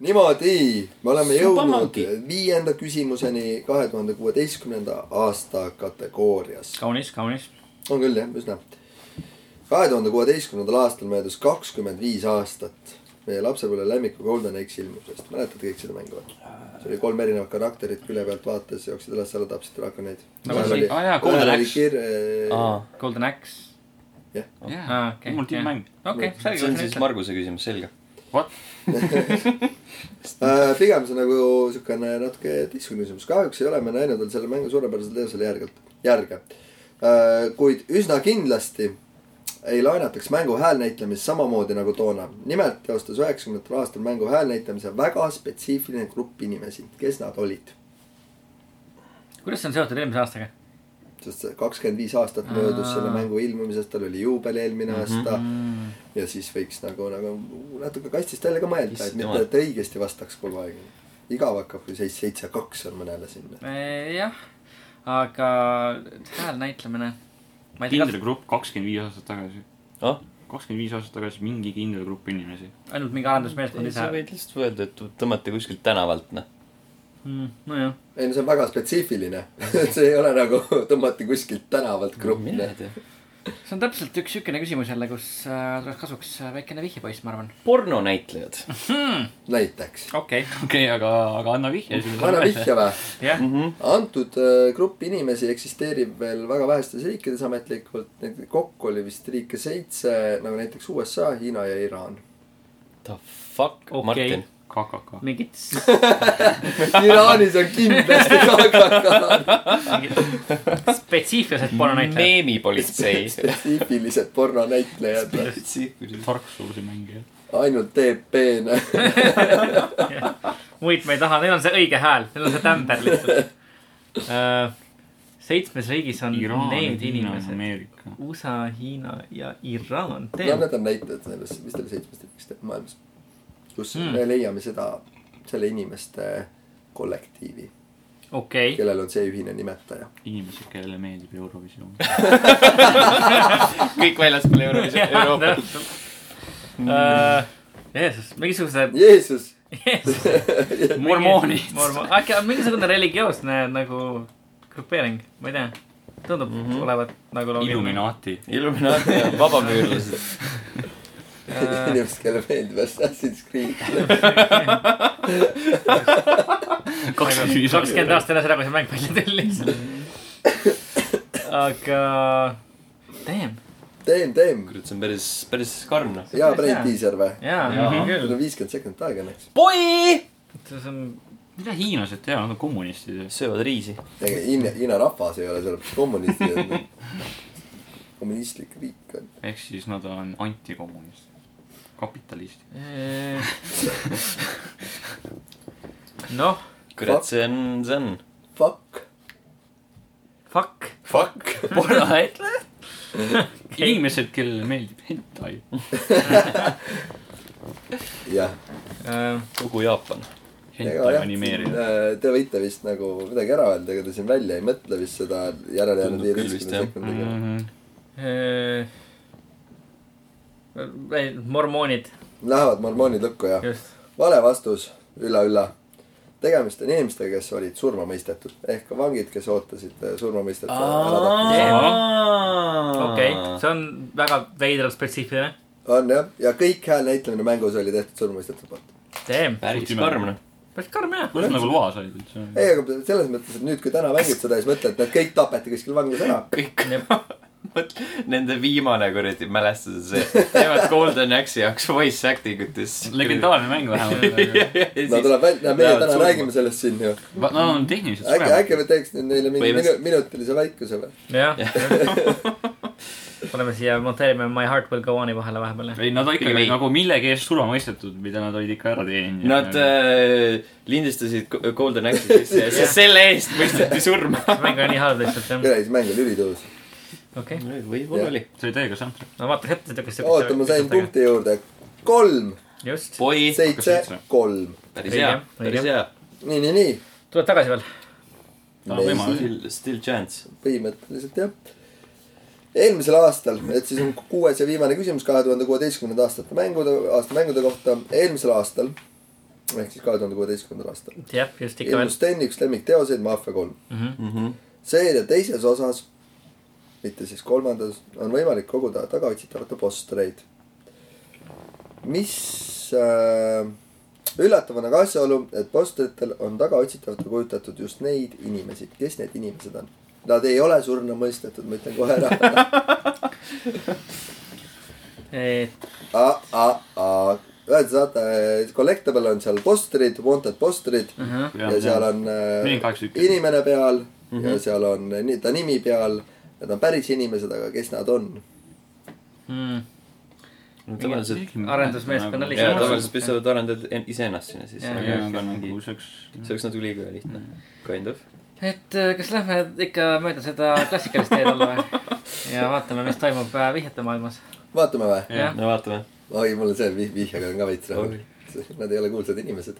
[SPEAKER 3] niimoodi , me oleme jõudnud
[SPEAKER 1] Supamangi.
[SPEAKER 3] viienda küsimuseni kahe tuhande kuueteistkümnenda aasta kategoorias .
[SPEAKER 2] kaunis , kaunis .
[SPEAKER 3] on küll jah , üsna . kahe tuhande kuueteistkümnendal aastal möödus kakskümmend viis aastat meie lapsepõlve lemmiku Golden Age ilmumisest . mäletad kõik seda mängu või ? see oli kolm erinevat karakterit külje pealt vaates , jooksid üles , alla tapsid drakoneid .
[SPEAKER 4] Nagu see- aa jaa, Golden Axe.
[SPEAKER 1] aa ,
[SPEAKER 2] Golden Axe .
[SPEAKER 4] jaa ,
[SPEAKER 2] aa , okei .
[SPEAKER 4] mul tiimimäng .
[SPEAKER 2] okei ,
[SPEAKER 1] see on siis
[SPEAKER 2] selge .
[SPEAKER 1] Marguse küsimus , selge .
[SPEAKER 3] Äh, pigem see nagu siukene natuke teistsugune küsimus , kahjuks ei ole me näinud veel selle mängu suurepärasel teosel järgelt , järge . kuid üsna kindlasti ei laenataks mängu häälnäitlemist samamoodi nagu toona . nimelt teostas üheksakümnendatel aastatel mängu häälnäitlemise väga spetsiifiline grupp inimesi , kes nad olid .
[SPEAKER 2] kuidas see on seotud eelmise aastaga ?
[SPEAKER 3] sest kakskümmend viis aastat
[SPEAKER 2] Aa.
[SPEAKER 3] möödus selle mängu ilmumisest , tal oli juubel eelmine aasta ja siis võiks nagu , nagu natuke kastist välja ka mõelda , et
[SPEAKER 1] Issand
[SPEAKER 3] mitte ,
[SPEAKER 1] jumal.
[SPEAKER 3] et õigesti vastaks kogu aeg . igav hakkab , kui seitse , seitse , kaks on mõnele sinna .
[SPEAKER 4] Äh,
[SPEAKER 2] jah , aga hääl näitlemine . ma ei
[SPEAKER 4] kindel
[SPEAKER 2] tea ,
[SPEAKER 4] grupp kakskümmend viis aastat tagasi .
[SPEAKER 1] ah ,
[SPEAKER 4] kakskümmend viis aastat tagasi mingi kindel grupp inimesi .
[SPEAKER 2] ainult mingi arendusmeeskond
[SPEAKER 1] ei , sa
[SPEAKER 2] ise .
[SPEAKER 1] võid lihtsalt öelda , et tõmmati kuskilt tänavalt , noh .
[SPEAKER 2] Hmm, nojah ,
[SPEAKER 3] ei no see on väga spetsiifiline , see ei ole nagu tõmmati kuskilt tänavalt gruppi .
[SPEAKER 1] mina ei tea .
[SPEAKER 2] see on täpselt üks siukene küsimus jälle , kus äh, tuleks kasuks äh, väikene vihjepoiss , ma arvan .
[SPEAKER 1] pornonäitlejad .
[SPEAKER 3] näiteks .
[SPEAKER 2] okei ,
[SPEAKER 4] okei , aga , aga anna vihje .
[SPEAKER 3] anna vihje või ?
[SPEAKER 2] jah ,
[SPEAKER 3] antud äh, grupp inimesi eksisteerib veel väga vähestes riikides ametlikult , neid kokku oli vist riike seitse , nagu näiteks USA , Hiina ja Iraan .
[SPEAKER 1] The fuck
[SPEAKER 2] Okei.
[SPEAKER 1] okay. , Martin .
[SPEAKER 4] KKK .
[SPEAKER 2] mingid ,
[SPEAKER 3] Iraanis on kindlasti KKK
[SPEAKER 2] mingid spetsiifilised pornonäitlejad .
[SPEAKER 1] meemipolitsei .
[SPEAKER 3] spetsiifilised pornonäitlejad ,
[SPEAKER 4] tarksuuse mängija .
[SPEAKER 3] ainult TP-na .
[SPEAKER 2] muid me ei taha , neil on see õige hääl , neil on see tämber lihtsalt äh, . seitsmes riigis on
[SPEAKER 4] Iraan ,
[SPEAKER 2] need
[SPEAKER 4] Hiina ,
[SPEAKER 2] inimesed .
[SPEAKER 4] Ameerika .
[SPEAKER 2] USA , Hiina ja Iraan .
[SPEAKER 3] no need on näitajad sellest , mis teil seitsmest riigist teeb maailmas . kus
[SPEAKER 2] Hmm.
[SPEAKER 3] mm. me leiame seda , selle inimeste kollektiivi
[SPEAKER 2] okei ,
[SPEAKER 3] kellel on see ühine nimetaja .
[SPEAKER 4] inimesed , kellele meeldib Eurovisioon .
[SPEAKER 1] kõik väljaspool Eurovisiooni , Euroopat .
[SPEAKER 2] Äh, Jeesus , mingisuguse ,
[SPEAKER 3] Jeesus ,
[SPEAKER 2] Jeesus ,
[SPEAKER 4] mormoonid .
[SPEAKER 2] mormo- , äkki on mingisugune religioosne nagu grupeering , ma ei tea , tundub mm -hmm. olevat nagu loogiline .
[SPEAKER 4] Illuminaati .
[SPEAKER 1] Illuminaat ja vabamüürlased .
[SPEAKER 2] Äh,
[SPEAKER 3] inimesed , kellele meeldib Assassin's Creed .
[SPEAKER 4] kakskümmend viis
[SPEAKER 2] kakskümmend aastat enne seda , kui see mäng välja tellis . aga , damn ,
[SPEAKER 3] Teem , teem .
[SPEAKER 1] kurat , see on päris , päris karm , noh .
[SPEAKER 3] hea Priit Tiisar või ?
[SPEAKER 2] jaa
[SPEAKER 1] Jaa. ,
[SPEAKER 3] meil
[SPEAKER 2] küll
[SPEAKER 3] on , viiskümmend sekundit aega õnneks .
[SPEAKER 1] boi !
[SPEAKER 2] see on ,
[SPEAKER 4] mida hiinlased teevad , nad on kommunistid ju .
[SPEAKER 1] söövad riisi .
[SPEAKER 3] tegelikult Hiina , Hiina rahvas ei ole sellepärast kommunistid . kommunistlik riik on .
[SPEAKER 4] ehk siis nad on antikommunistid . kapitalistid .
[SPEAKER 2] noh , Noh,
[SPEAKER 1] kurat , see on , see on .
[SPEAKER 3] Fuck .
[SPEAKER 2] fuck ,
[SPEAKER 3] Fuck .
[SPEAKER 4] pornohetleja . inimesed , kellele meeldib hentai .
[SPEAKER 3] jah .
[SPEAKER 2] Äh,
[SPEAKER 1] kogu Jaapan .
[SPEAKER 4] hentai animeerida .
[SPEAKER 3] äh, Te võite vist nagu midagi ära öelda , ega te siin välja ei mõtle vist seda järelejäänud
[SPEAKER 1] Tundub küll vist, jah. Mhm.
[SPEAKER 3] viieteistkümne sekundiga .
[SPEAKER 2] eh, ei , mormoonid ,
[SPEAKER 3] Lähevad mormoonid lukku ja
[SPEAKER 2] just .
[SPEAKER 3] vale vastus ülla, , ülla-ülla . tegemist on inimestega , kes olid surma mõistetud ehk vangid , kes ootasid eh, surmamõistet .
[SPEAKER 2] okei , see on väga veidralt spetsiifiline .
[SPEAKER 3] on jah , ja kõik hääl näitlemine mängus oli tehtud surmamõistete poolt .
[SPEAKER 2] Damn ,
[SPEAKER 1] päris karm , noh .
[SPEAKER 2] päris karm jah .
[SPEAKER 4] kuidas nagu loas olid üldse ?
[SPEAKER 3] ei , aga selles mõttes , et nüüd , kui täna mängid seda , siis mõtled , et nad kõik tapeti kuskil vanglas ära .
[SPEAKER 1] kõik . Nende viimane kuradi mälestus on see , teevad Golden Axe'i jaoks voice acting utes .
[SPEAKER 4] legendaarne mäng vähemalt .
[SPEAKER 3] no tuleb välja , meie täna räägime sellest siin ju .
[SPEAKER 4] Nad on tehniliselt
[SPEAKER 3] äkki ,
[SPEAKER 4] suuremad .
[SPEAKER 3] äkki me teeks nüüd neile mingi minu,
[SPEAKER 1] Põhimõtteliselt.
[SPEAKER 3] minutilise vaikuse või ?
[SPEAKER 2] jah , paneme siia , monteerime My heart will go on'i vahele vahepeal jah .
[SPEAKER 4] ei , nad ikka
[SPEAKER 1] Pigem ei.
[SPEAKER 4] olid nagu millegi eest surma mõistetud , mida nad olid ikka ära teeninud .
[SPEAKER 1] Nad äh, lindistasid Go- Golden Axe'i sisse ja siis selle eest mõisteti surma .
[SPEAKER 2] mäng on nii halb lihtsalt jah ,
[SPEAKER 3] kuule , see mäng oli ülitõus .
[SPEAKER 2] okei okay. .
[SPEAKER 1] võib-olla oli .
[SPEAKER 4] see oli täiega soundtrack .
[SPEAKER 2] no vaata , kätte tükk .
[SPEAKER 3] oota , ma sain . punkti juurde . kolm ,
[SPEAKER 2] just ,
[SPEAKER 1] Boy ,
[SPEAKER 3] seitse
[SPEAKER 4] seitse? ,
[SPEAKER 3] kolm .
[SPEAKER 1] päris hea , päris hea .
[SPEAKER 3] nii , nii , nii .
[SPEAKER 2] tuleb tagasi veel .
[SPEAKER 4] tal on võimalus .
[SPEAKER 1] Still , still chance .
[SPEAKER 3] põhimõtteliselt jah . eelmisel aastal , et siis on kuues ja viimane küsimus kahe tuhande kuueteistkümnenda aastate mängude , aasta mängude kohta . eelmisel aastal ehk siis kahe tuhande kuueteistkümnendal aastal
[SPEAKER 2] jah , just ikka veel
[SPEAKER 3] ilmus . Steni üks lemmikteoseid Mafia kolm . seeria teises osas , mitte siis kolmandas , on võimalik koguda tagaotsitavate postreid . mis äh, üllatav on aga asjaolu , et posteritel on tagaotsitavatele kujutatud just neid inimesi , kes need inimesed on . Nad ei ole surnu mõistetud , ma ütlen kohe ära . ühesõnaga saate , Collectable on seal postrid , wanted postrid
[SPEAKER 2] uh-huh.
[SPEAKER 3] ja seal on
[SPEAKER 4] Nii,
[SPEAKER 3] äh,
[SPEAKER 4] kaheksa tükki. Mhm.
[SPEAKER 3] inimene peal mm -hmm. ja seal on nii, ta nimi peal . Nad on päris inimesed , aga kes nad on ?
[SPEAKER 2] Hmm.
[SPEAKER 1] tavaliselt ,
[SPEAKER 2] arendusmeeskonna
[SPEAKER 1] jaa ,
[SPEAKER 2] liige.
[SPEAKER 1] tavaliselt pistavad arendajad en- iseennast sinna sisse .
[SPEAKER 2] Jaa,
[SPEAKER 4] ja , aga nagu see oleks .
[SPEAKER 1] see oleks natuke liiga lihtne . Kind of .
[SPEAKER 2] et äh, kas lähme ikka mööda seda klassikalist teed olla või ? ja vaatame , mis toimub äh, vihjete maailmas .
[SPEAKER 3] vaatame või ?
[SPEAKER 2] jah ,
[SPEAKER 1] no vaatame .
[SPEAKER 3] oi , mul on see vih- , vihjaga on ka veits rahul . Nad ei ole kuulsad inimesed .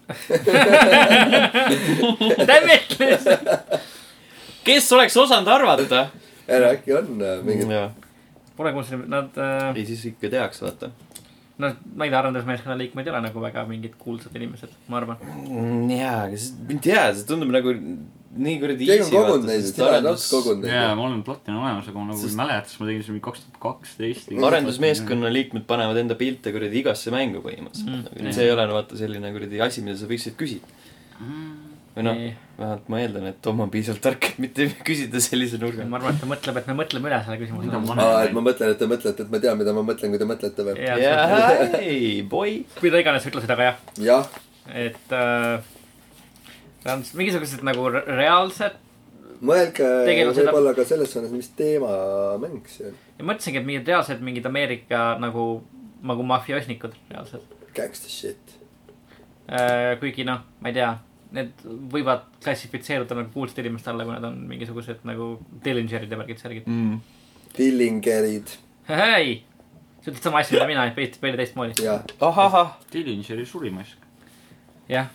[SPEAKER 2] damn it lihtsalt .
[SPEAKER 1] kes oleks osanud arvata ?
[SPEAKER 3] ära , äkki on äh,
[SPEAKER 4] Mm.
[SPEAKER 3] mingid ,
[SPEAKER 1] ei ,
[SPEAKER 2] Pole kuulnud , nad ,
[SPEAKER 1] siis ikka teaks , vaata .
[SPEAKER 2] nad , ma ei tea , arendusmeeskonna liikmed ei ole nagu väga mingid kuulsad inimesed , ma arvan .
[SPEAKER 1] Mm, jaa , aga see , ma ei tea , see tundub nagu nii kuradi .
[SPEAKER 3] keegi on kogunud neid , sina oled natuke kogunud
[SPEAKER 4] jaa ,
[SPEAKER 3] neid .
[SPEAKER 4] ma olen platini olemas , aga ma nagu ei
[SPEAKER 1] Sest-
[SPEAKER 4] mäleta , sest ma tegin seda mingi kaks tuhat kaksteist .
[SPEAKER 1] arendusmeeskonna liikmed panevad enda pilte kuradi igasse mängu põhimõtteliselt
[SPEAKER 4] Mm.
[SPEAKER 1] mm. . see ei ole no vaata selline kuradi asi , mida sa võiksid küsida . või noh ,
[SPEAKER 2] Ei.
[SPEAKER 1] vähemalt ma eeldan , et Tom on piisavalt tark , et mitte küsida sellise nurga
[SPEAKER 2] ma
[SPEAKER 1] alt .
[SPEAKER 2] arvan , et ta mõtleb , et me mõtleme üle selle küsimuse .
[SPEAKER 3] aa , et ma mõtlen , et te mõtlete , et ma tean , mida ma mõtlen , kui te mõtlete või ?
[SPEAKER 2] Jaa.
[SPEAKER 1] jaa , ei , boy .
[SPEAKER 2] mida iganes sa ütlesid , aga jah ,
[SPEAKER 3] jah ,
[SPEAKER 2] et äh, ta on s- mingisugused nagu re- reaalsed
[SPEAKER 3] mõelge
[SPEAKER 2] Tegelikult seda-
[SPEAKER 3] võib-olla ka selles suunas , mis teemamäng see on .
[SPEAKER 2] ja mõtlesingi , et mingid reaalsed mingid Ameerika nagu , nagu mafioosnikud reaalselt .
[SPEAKER 3] Gangsta shit .
[SPEAKER 2] Äh, kuigi noh , ma ei tea , need võivad klassifitseeruda nagu kuulsate inimeste alla , kui nad on mingisugused nagu Dillingerid ja värgid särgid .
[SPEAKER 3] Dillingerid
[SPEAKER 2] hei , sa ütled sama asja , mida mina , veidi , veidi teistmoodi .
[SPEAKER 3] ja
[SPEAKER 1] ahahah .
[SPEAKER 4] Dillingeri surimask .
[SPEAKER 2] jah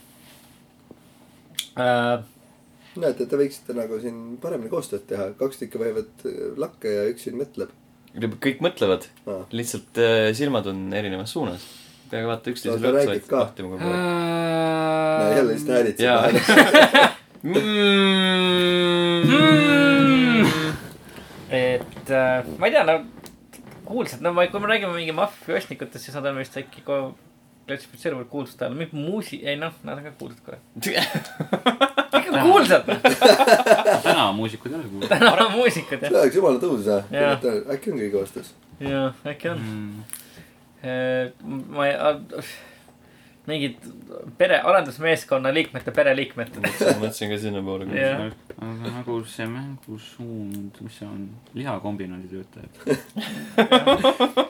[SPEAKER 2] äh, .
[SPEAKER 3] näete , te võiksite nagu siin paremini koostööd teha , kaks tükki vahivad äh, lakke ja üks siin mõtleb .
[SPEAKER 1] kõik mõtlevad ,
[SPEAKER 3] Aa.
[SPEAKER 1] lihtsalt äh, silmad on erinevas suunas . peaaegu vaata üksteisele
[SPEAKER 3] No ta
[SPEAKER 1] otsa
[SPEAKER 3] räägib
[SPEAKER 1] vaid-
[SPEAKER 3] ka.
[SPEAKER 1] vahtima kogu aeg .
[SPEAKER 3] no
[SPEAKER 2] Ähm,
[SPEAKER 3] jälle lihtsalt häälid siin
[SPEAKER 1] jaa
[SPEAKER 3] vahel ..
[SPEAKER 2] Hmm. et äh, ma ei tea , no kuulsad , no ma , kui me räägime mingi mafioosnikutest , siis nad on vist äkki ka klassifitseeruvad kuulsuste alla , mingi muusi , ei noh , nad on ka kuulsad kohe . ikka kuulsad ,
[SPEAKER 4] täna muusikuid ei ole kuulda .
[SPEAKER 2] nad on muusikud jah .
[SPEAKER 3] see oleks jumala tõus
[SPEAKER 2] Jaa.
[SPEAKER 3] jah . äkki on kõige vastus .
[SPEAKER 2] jaa , äkki on . ma ei , mingid pere , arendusmeeskonna liikmete pereliikmed .
[SPEAKER 1] mõtlesin ka sinnapoole .
[SPEAKER 2] Jah.
[SPEAKER 4] aga nagu see mängusuund , mis see on , lihakombinaadi töötajad ,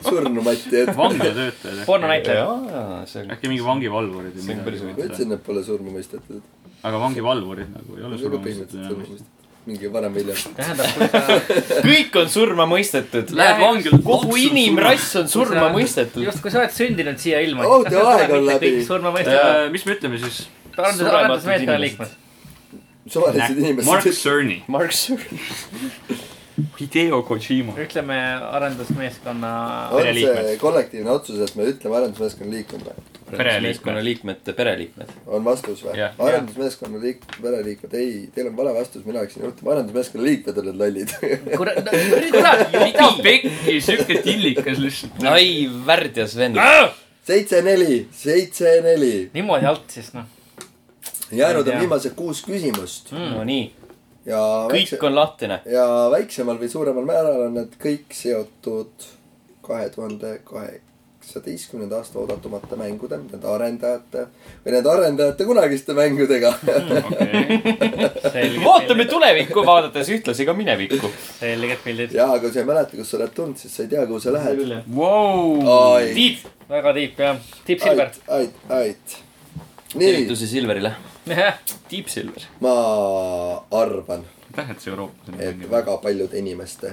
[SPEAKER 3] surnu Mati , et ma
[SPEAKER 4] vangla töötajad .
[SPEAKER 2] pornonäitlejad .
[SPEAKER 1] jaa , see on .
[SPEAKER 4] äkki mingi vangivalvurid
[SPEAKER 1] See on
[SPEAKER 4] või
[SPEAKER 1] päris
[SPEAKER 4] midagi
[SPEAKER 1] huvitav.
[SPEAKER 4] üldse .
[SPEAKER 3] ütlesin , et pole surma mõistetud .
[SPEAKER 4] aga vangivalvurid nagu ei ole
[SPEAKER 3] nagu
[SPEAKER 4] surmamõistetud
[SPEAKER 3] põhimõtteliselt surma
[SPEAKER 4] enam .
[SPEAKER 3] mõistetud . mingi varem või hiljem .
[SPEAKER 2] tähendab , kui sa ,
[SPEAKER 1] kõik on surma mõistetud .
[SPEAKER 4] Lähed vangile,
[SPEAKER 1] kogu
[SPEAKER 4] loksu
[SPEAKER 1] inimrass on surma
[SPEAKER 2] Sa-
[SPEAKER 1] mõistetud .
[SPEAKER 2] just kui sa oled sündinud siia ilma .
[SPEAKER 3] Oota, Oh, aeg on läbi.
[SPEAKER 2] kõik surma mõistetud .
[SPEAKER 4] Äh, mis me ütleme siis ?
[SPEAKER 2] arendus ,
[SPEAKER 1] surematud
[SPEAKER 2] arendusmeeskonna
[SPEAKER 1] inimesed.
[SPEAKER 2] liikmed .
[SPEAKER 3] suvalised
[SPEAKER 4] Mark
[SPEAKER 3] inimesed .
[SPEAKER 4] Cerny .
[SPEAKER 1] Mark Cerny .
[SPEAKER 4] Hideo Kojima .
[SPEAKER 2] ütleme arendusmeeskonna .
[SPEAKER 3] on see
[SPEAKER 1] pereliikmed.
[SPEAKER 3] kollektiivne otsus , et me ütleme arendusmeeskonna liikmed või ?
[SPEAKER 1] meeskonna liikmete pereliikmed .
[SPEAKER 3] on vastus või
[SPEAKER 4] Jah. ?
[SPEAKER 3] arendusmeeskonna liik- , pereliikmed , ei , teil on vale vastus , mina läksin juhtuma , arendusmeeskonna liikmed olid lollid .
[SPEAKER 2] kurat , kurat ,
[SPEAKER 4] mida
[SPEAKER 2] jopi .
[SPEAKER 4] pekki , siuke tillikas lihtsalt .
[SPEAKER 1] ai , värdjas vend .
[SPEAKER 3] seitse , neli , seitse , neli .
[SPEAKER 2] niimoodi alt siis noh .
[SPEAKER 3] jäänud
[SPEAKER 2] Ei
[SPEAKER 3] on
[SPEAKER 2] tea.
[SPEAKER 3] viimased kuus küsimust
[SPEAKER 1] Nonii ,
[SPEAKER 3] ja
[SPEAKER 1] Mm. kõik on lahtine .
[SPEAKER 3] ja väiksemal või suuremal määral on need kõik seotud kahe tuhande kaheksateistkümnenda aasta oodatumate mängude , nende arendajate või nende arendajate kunagiste mängudega .
[SPEAKER 4] okei ,
[SPEAKER 1] vaatame . tulevikku , vaadates ühtlasi ka minevikku .
[SPEAKER 2] selged pildid .
[SPEAKER 3] ja kui sa ei mäleta , kus sa oled tulnud , siis sa ei tea , kuhu sa lähed .
[SPEAKER 4] vau .
[SPEAKER 3] ait ,
[SPEAKER 1] Tiit ,
[SPEAKER 2] väga tiip jah , tiip Silver .
[SPEAKER 3] ait , ait , ait . nii ,
[SPEAKER 1] tervitusi Silverile . Tiit Silver .
[SPEAKER 3] ma arvan ,
[SPEAKER 4] aitäh , et see Euroopas on
[SPEAKER 3] et . väga paljude inimeste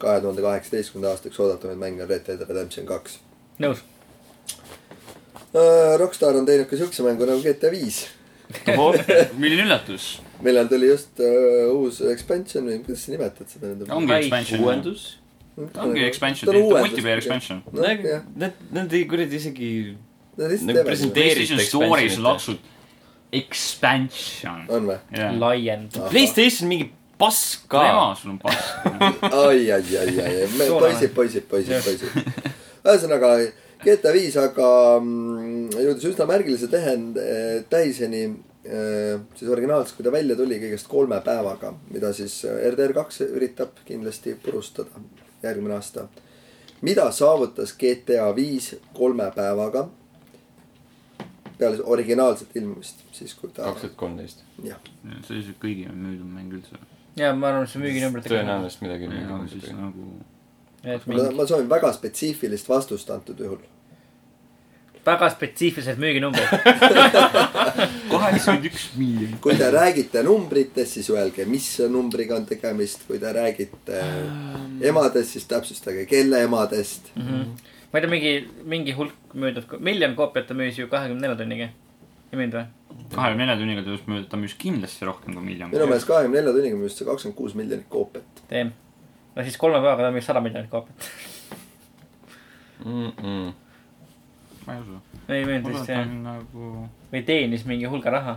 [SPEAKER 3] kahe tuhande kaheksateistkümnenda aastaks oodatumaid mänge on Red Dead Redemption kaks .
[SPEAKER 2] nõus .
[SPEAKER 3] Äh, Rockstar on teinud ka siukse mängu nagu GTA viis
[SPEAKER 4] milline üllatus .
[SPEAKER 3] millal tuli just uh, uus expansion või kuidas sa nimetad seda nüüd ?
[SPEAKER 4] Ongi expansion.
[SPEAKER 1] uuendus .
[SPEAKER 4] ongi expansion , multiplayer . expansion .
[SPEAKER 3] jah ,
[SPEAKER 1] Nad , nad ei kuradi isegi .
[SPEAKER 3] nad
[SPEAKER 1] Nagu
[SPEAKER 3] lihtsalt teevad .
[SPEAKER 1] presente-
[SPEAKER 4] PlayStation Store'is
[SPEAKER 1] expansionite.
[SPEAKER 4] laksud expansion .
[SPEAKER 3] on või ?
[SPEAKER 4] jaa .
[SPEAKER 2] laiend .
[SPEAKER 1] Playstation mingi pass ka .
[SPEAKER 4] ema , sul on pass .
[SPEAKER 3] ai , ai , ai , ai , ai ,
[SPEAKER 2] Soolane.
[SPEAKER 3] poisid , poisid , poisid , poisid . ühesõnaga GTA viis aga mm, jõudis üsna märgilise tähend- , tähiseni eh, siis originaalselt , kui ta välja tuli , kõigest kolme päevaga , mida siis eh, RDR kaks üritab kindlasti purustada järgmine aasta . mida saavutas GTA viis kolme päevaga peale originaalset ilmumist , siis kui ta ,
[SPEAKER 1] tuhat kolmteist .
[SPEAKER 3] jah ,
[SPEAKER 4] see oli see kõigi müüdud mäng üldse .
[SPEAKER 2] ja ma arvan , et see müüginumbrid .
[SPEAKER 1] tõenäoliselt midagi .
[SPEAKER 4] ja siis nagu .
[SPEAKER 3] ma
[SPEAKER 2] tõenäoliselt .
[SPEAKER 3] ma soovin väga spetsiifilist vastust antud juhul .
[SPEAKER 2] väga spetsiifilised müüginumbrid .
[SPEAKER 4] kaheksakümmend üks miljonit .
[SPEAKER 3] kui te räägite numbritest , siis öelge , mis numbriga on tegemist , kui te räägite emadest , siis täpsustage , kelle emadest .
[SPEAKER 2] Mhm. ma ei tea , mingi , mingi hulk müüdud , miljon koopiat ta müüs ju kahekümne nelja tunniga . ei müünud või ?
[SPEAKER 4] kahekümne nelja tunniga tõus mööda , ta müüs kindlasti rohkem kui miljon .
[SPEAKER 3] minu meelest kahekümne nelja tunniga müüs see kakskümmend kuus miljonit koopiat .
[SPEAKER 2] teeb . no siis kolme päevaga ta müüs sada miljonit koopiat .
[SPEAKER 4] ma ei usu .
[SPEAKER 2] ei müünud
[SPEAKER 4] ma arvan , et
[SPEAKER 2] vist
[SPEAKER 4] ta
[SPEAKER 2] jah .
[SPEAKER 4] on nagu .
[SPEAKER 2] või teenis mingi hulga raha .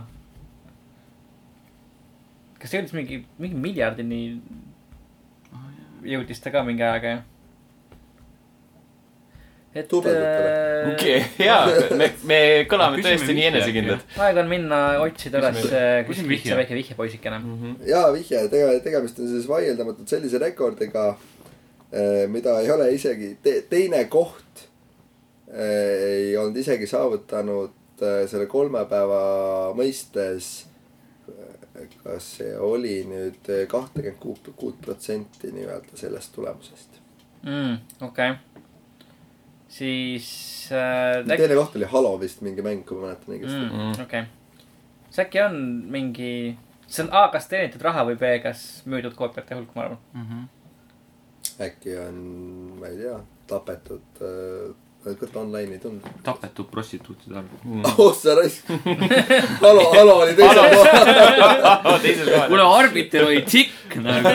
[SPEAKER 2] kas jõudis mingi , mingi miljardini jõudis ta ka mingi ajaga ju ? et
[SPEAKER 3] Tubeldatele.
[SPEAKER 2] äh,
[SPEAKER 1] okei , jaa , me , me kõlame
[SPEAKER 4] Küsime
[SPEAKER 1] tõesti nii
[SPEAKER 4] vihje,
[SPEAKER 1] enesekindlad .
[SPEAKER 2] aeg on minna otsida üles
[SPEAKER 1] Küsime-
[SPEAKER 2] äh,
[SPEAKER 4] küsime
[SPEAKER 2] kuskilt see
[SPEAKER 4] vihje.
[SPEAKER 2] väike vihjepoisikene .
[SPEAKER 1] Mhm.
[SPEAKER 3] ja vihje , tegemist on siis vaieldamatult sellise rekordiga , mida ei ole isegi te, , teine koht eh, ei olnud isegi saavutanud eh, selle kolme päeva mõistes . kas see oli nüüd kahtekümmend kuut , kuut protsenti nii-öelda sellest tulemusest ?
[SPEAKER 2] mm, . okei okay. , siis äh, äkki ,
[SPEAKER 3] teine koht oli Halo vist mingi mäng , kui ma mäletan õigesti mm. .
[SPEAKER 1] Mhm.
[SPEAKER 2] mm, okei okay. , siis äkki on mingi , see on A kas teenitud raha või B kas müüdud koopiate hulk , ma arvan .
[SPEAKER 4] Mhm.
[SPEAKER 3] äkki on , ma ei tea , tapetud äh, , kurat online ei tulnud .
[SPEAKER 4] tapetud prostituutide arv .
[SPEAKER 3] oh sa raisk . Halo , Halo oli teisel kohal .
[SPEAKER 4] kuule , arbitel oli tikk nagu .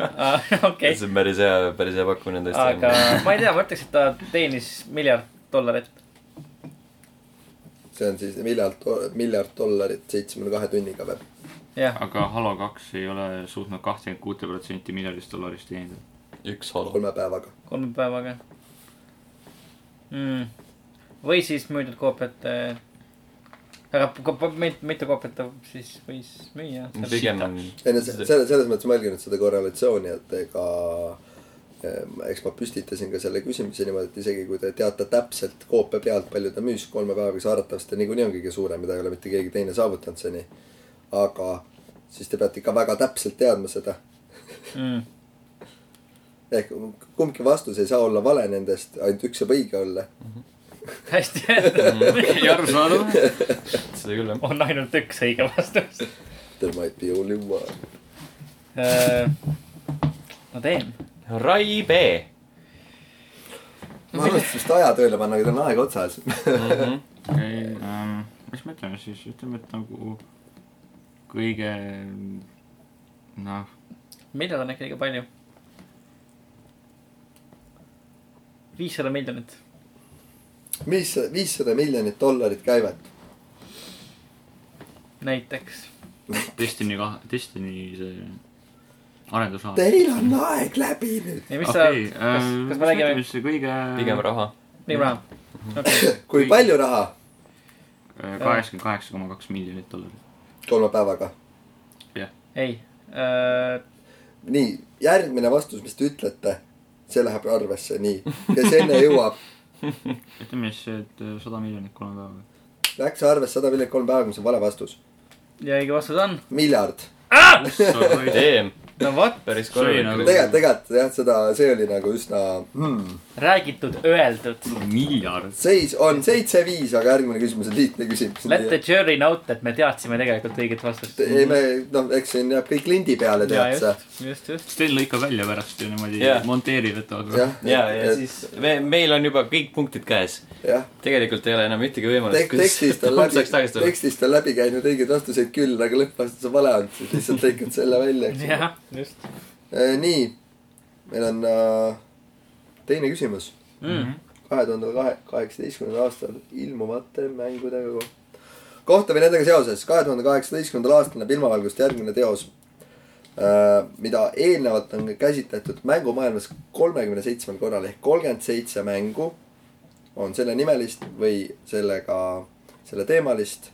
[SPEAKER 2] Ah, okei ,
[SPEAKER 1] see on päris hea , päris hea pakkumine
[SPEAKER 2] aga
[SPEAKER 1] tõesti .
[SPEAKER 2] ma ei tea , ma ütleks , et ta teenis miljard dollarit .
[SPEAKER 3] see on siis miljard , miljard dollarit seitsmekümne kahe tunniga või ?
[SPEAKER 2] jah ,
[SPEAKER 4] aga Halo kaks ei ole suutnud kahtekümmet kuute protsenti miljardist dollarist teenida .
[SPEAKER 1] üks halb .
[SPEAKER 3] kolme päevaga .
[SPEAKER 2] kolme päevaga mm. . või siis müüdud koopiate , aga ko- ko- mit- mitu koopiat ta siis võis müüa ?
[SPEAKER 1] pigem on .
[SPEAKER 3] ei no se- selle , selles mõttes ma jälgin nüüd seda korrelatsiooni , et ega ehm, eks ma püstitasin ka selle küsimuse niimoodi , et isegi kui te teate täpselt koopia pealt , palju ta müüs kolme päevaga , siis arvatavasti niikuinii on kõige suurem , mida ei ole mitte keegi teine saavutanud seni . aga siis te peate ikka väga täpselt teadma seda .
[SPEAKER 2] Mm.
[SPEAKER 3] ehk kumbki vastus ei saa olla vale nendest , ainult üks saab õige olla .
[SPEAKER 2] hästi ,
[SPEAKER 1] Mhm.
[SPEAKER 4] ei aru saada või ?
[SPEAKER 1] seda küll jah .
[SPEAKER 2] on ainult üks õige vastus .
[SPEAKER 3] There might be only one .
[SPEAKER 2] ma Äh, teen .
[SPEAKER 1] Rai B
[SPEAKER 3] ma mõtlesin vist aja tööle panna , aga tal on aeg otsas .
[SPEAKER 1] mm . -hmm.
[SPEAKER 4] okei , mis me ütleme siis , ütleme , et nagu kõige noh ,
[SPEAKER 2] millal on äkki liiga palju ? viissada miljonit .
[SPEAKER 3] mis , viissada miljonit dollarit käivet .
[SPEAKER 2] näiteks .
[SPEAKER 4] Destiny kahe , Destiny see arendusraha .
[SPEAKER 3] Teil on aeg läbi nüüd .
[SPEAKER 2] ja mis sa
[SPEAKER 4] okei ,,
[SPEAKER 2] kas , kas me
[SPEAKER 4] mis me
[SPEAKER 2] räägime
[SPEAKER 4] ütleme siis see kõige
[SPEAKER 2] Mm.
[SPEAKER 1] pigem raha .
[SPEAKER 2] nii raha ? okei ,
[SPEAKER 3] kui
[SPEAKER 4] Kõik.
[SPEAKER 3] palju raha
[SPEAKER 4] äh, kaheksakümmend kaheksa koma kaks miljonit dollarit .
[SPEAKER 3] kolme päevaga ?
[SPEAKER 2] ei . äh,
[SPEAKER 3] nii , järgmine vastus , mis te ütlete , see läheb arvesse , nii . kes enne jõuab ,
[SPEAKER 4] ütleme siis , et äh, sada miljonit kolme päevaga .
[SPEAKER 3] läks arvesse sada miljonit kolm päeva , mis on vale vastus .
[SPEAKER 2] ja õige vastus on ,
[SPEAKER 3] miljard .
[SPEAKER 1] Damn ,
[SPEAKER 2] no vot ,
[SPEAKER 1] päris
[SPEAKER 4] See oli nagu-
[SPEAKER 1] korralik .
[SPEAKER 3] tegelikult , tegelikult jah , seda , see oli nagu üsna hmm. .
[SPEAKER 2] räägitud , öeldud .
[SPEAKER 4] miljard .
[SPEAKER 3] seis on seitse-viis , aga järgmine küsimus on lihtne küsimus .
[SPEAKER 2] Let the jury note , et me teadsime tegelikult õiget vastust .
[SPEAKER 3] ei , me , noh , eks siin jääb kõik lindi peale , tead sa .
[SPEAKER 2] just , just , just .
[SPEAKER 4] Sten lõikab välja pärast ju niimoodi
[SPEAKER 1] Jah.
[SPEAKER 4] yeah. , monteerib , et aga
[SPEAKER 3] jah ,
[SPEAKER 1] ja , ja siis me , meil on juba kõik punktid käes .
[SPEAKER 3] jah ,
[SPEAKER 1] tegelikult ei ole enam ühtegi võimalust ,
[SPEAKER 3] tek- , tekstist on läbi
[SPEAKER 1] saaks , tagasi tulla .
[SPEAKER 3] tekstist on läbi käinud õiged vastuseid küll , aga lõppvastus on vale olnud , siis lihtsalt lõikad selle välja , eks ju .
[SPEAKER 2] jah , just
[SPEAKER 3] Eh, nii , meil on äh, teine küsimus
[SPEAKER 2] mm. .
[SPEAKER 3] kahe tuhande kahe , kaheksateistkümnendal aastal ilmuvate mängudega kohta . kohta või nendega seoses , kahe tuhande kaheksateistkümnendal aastal näeb ilmavalgust järgmine teos , mida eelnevalt on käsitletud mängumaailmas kolmekümne seitsmel korral ehk kolmkümmend seitse mängu on selle nimelist või sellega , selle teemalist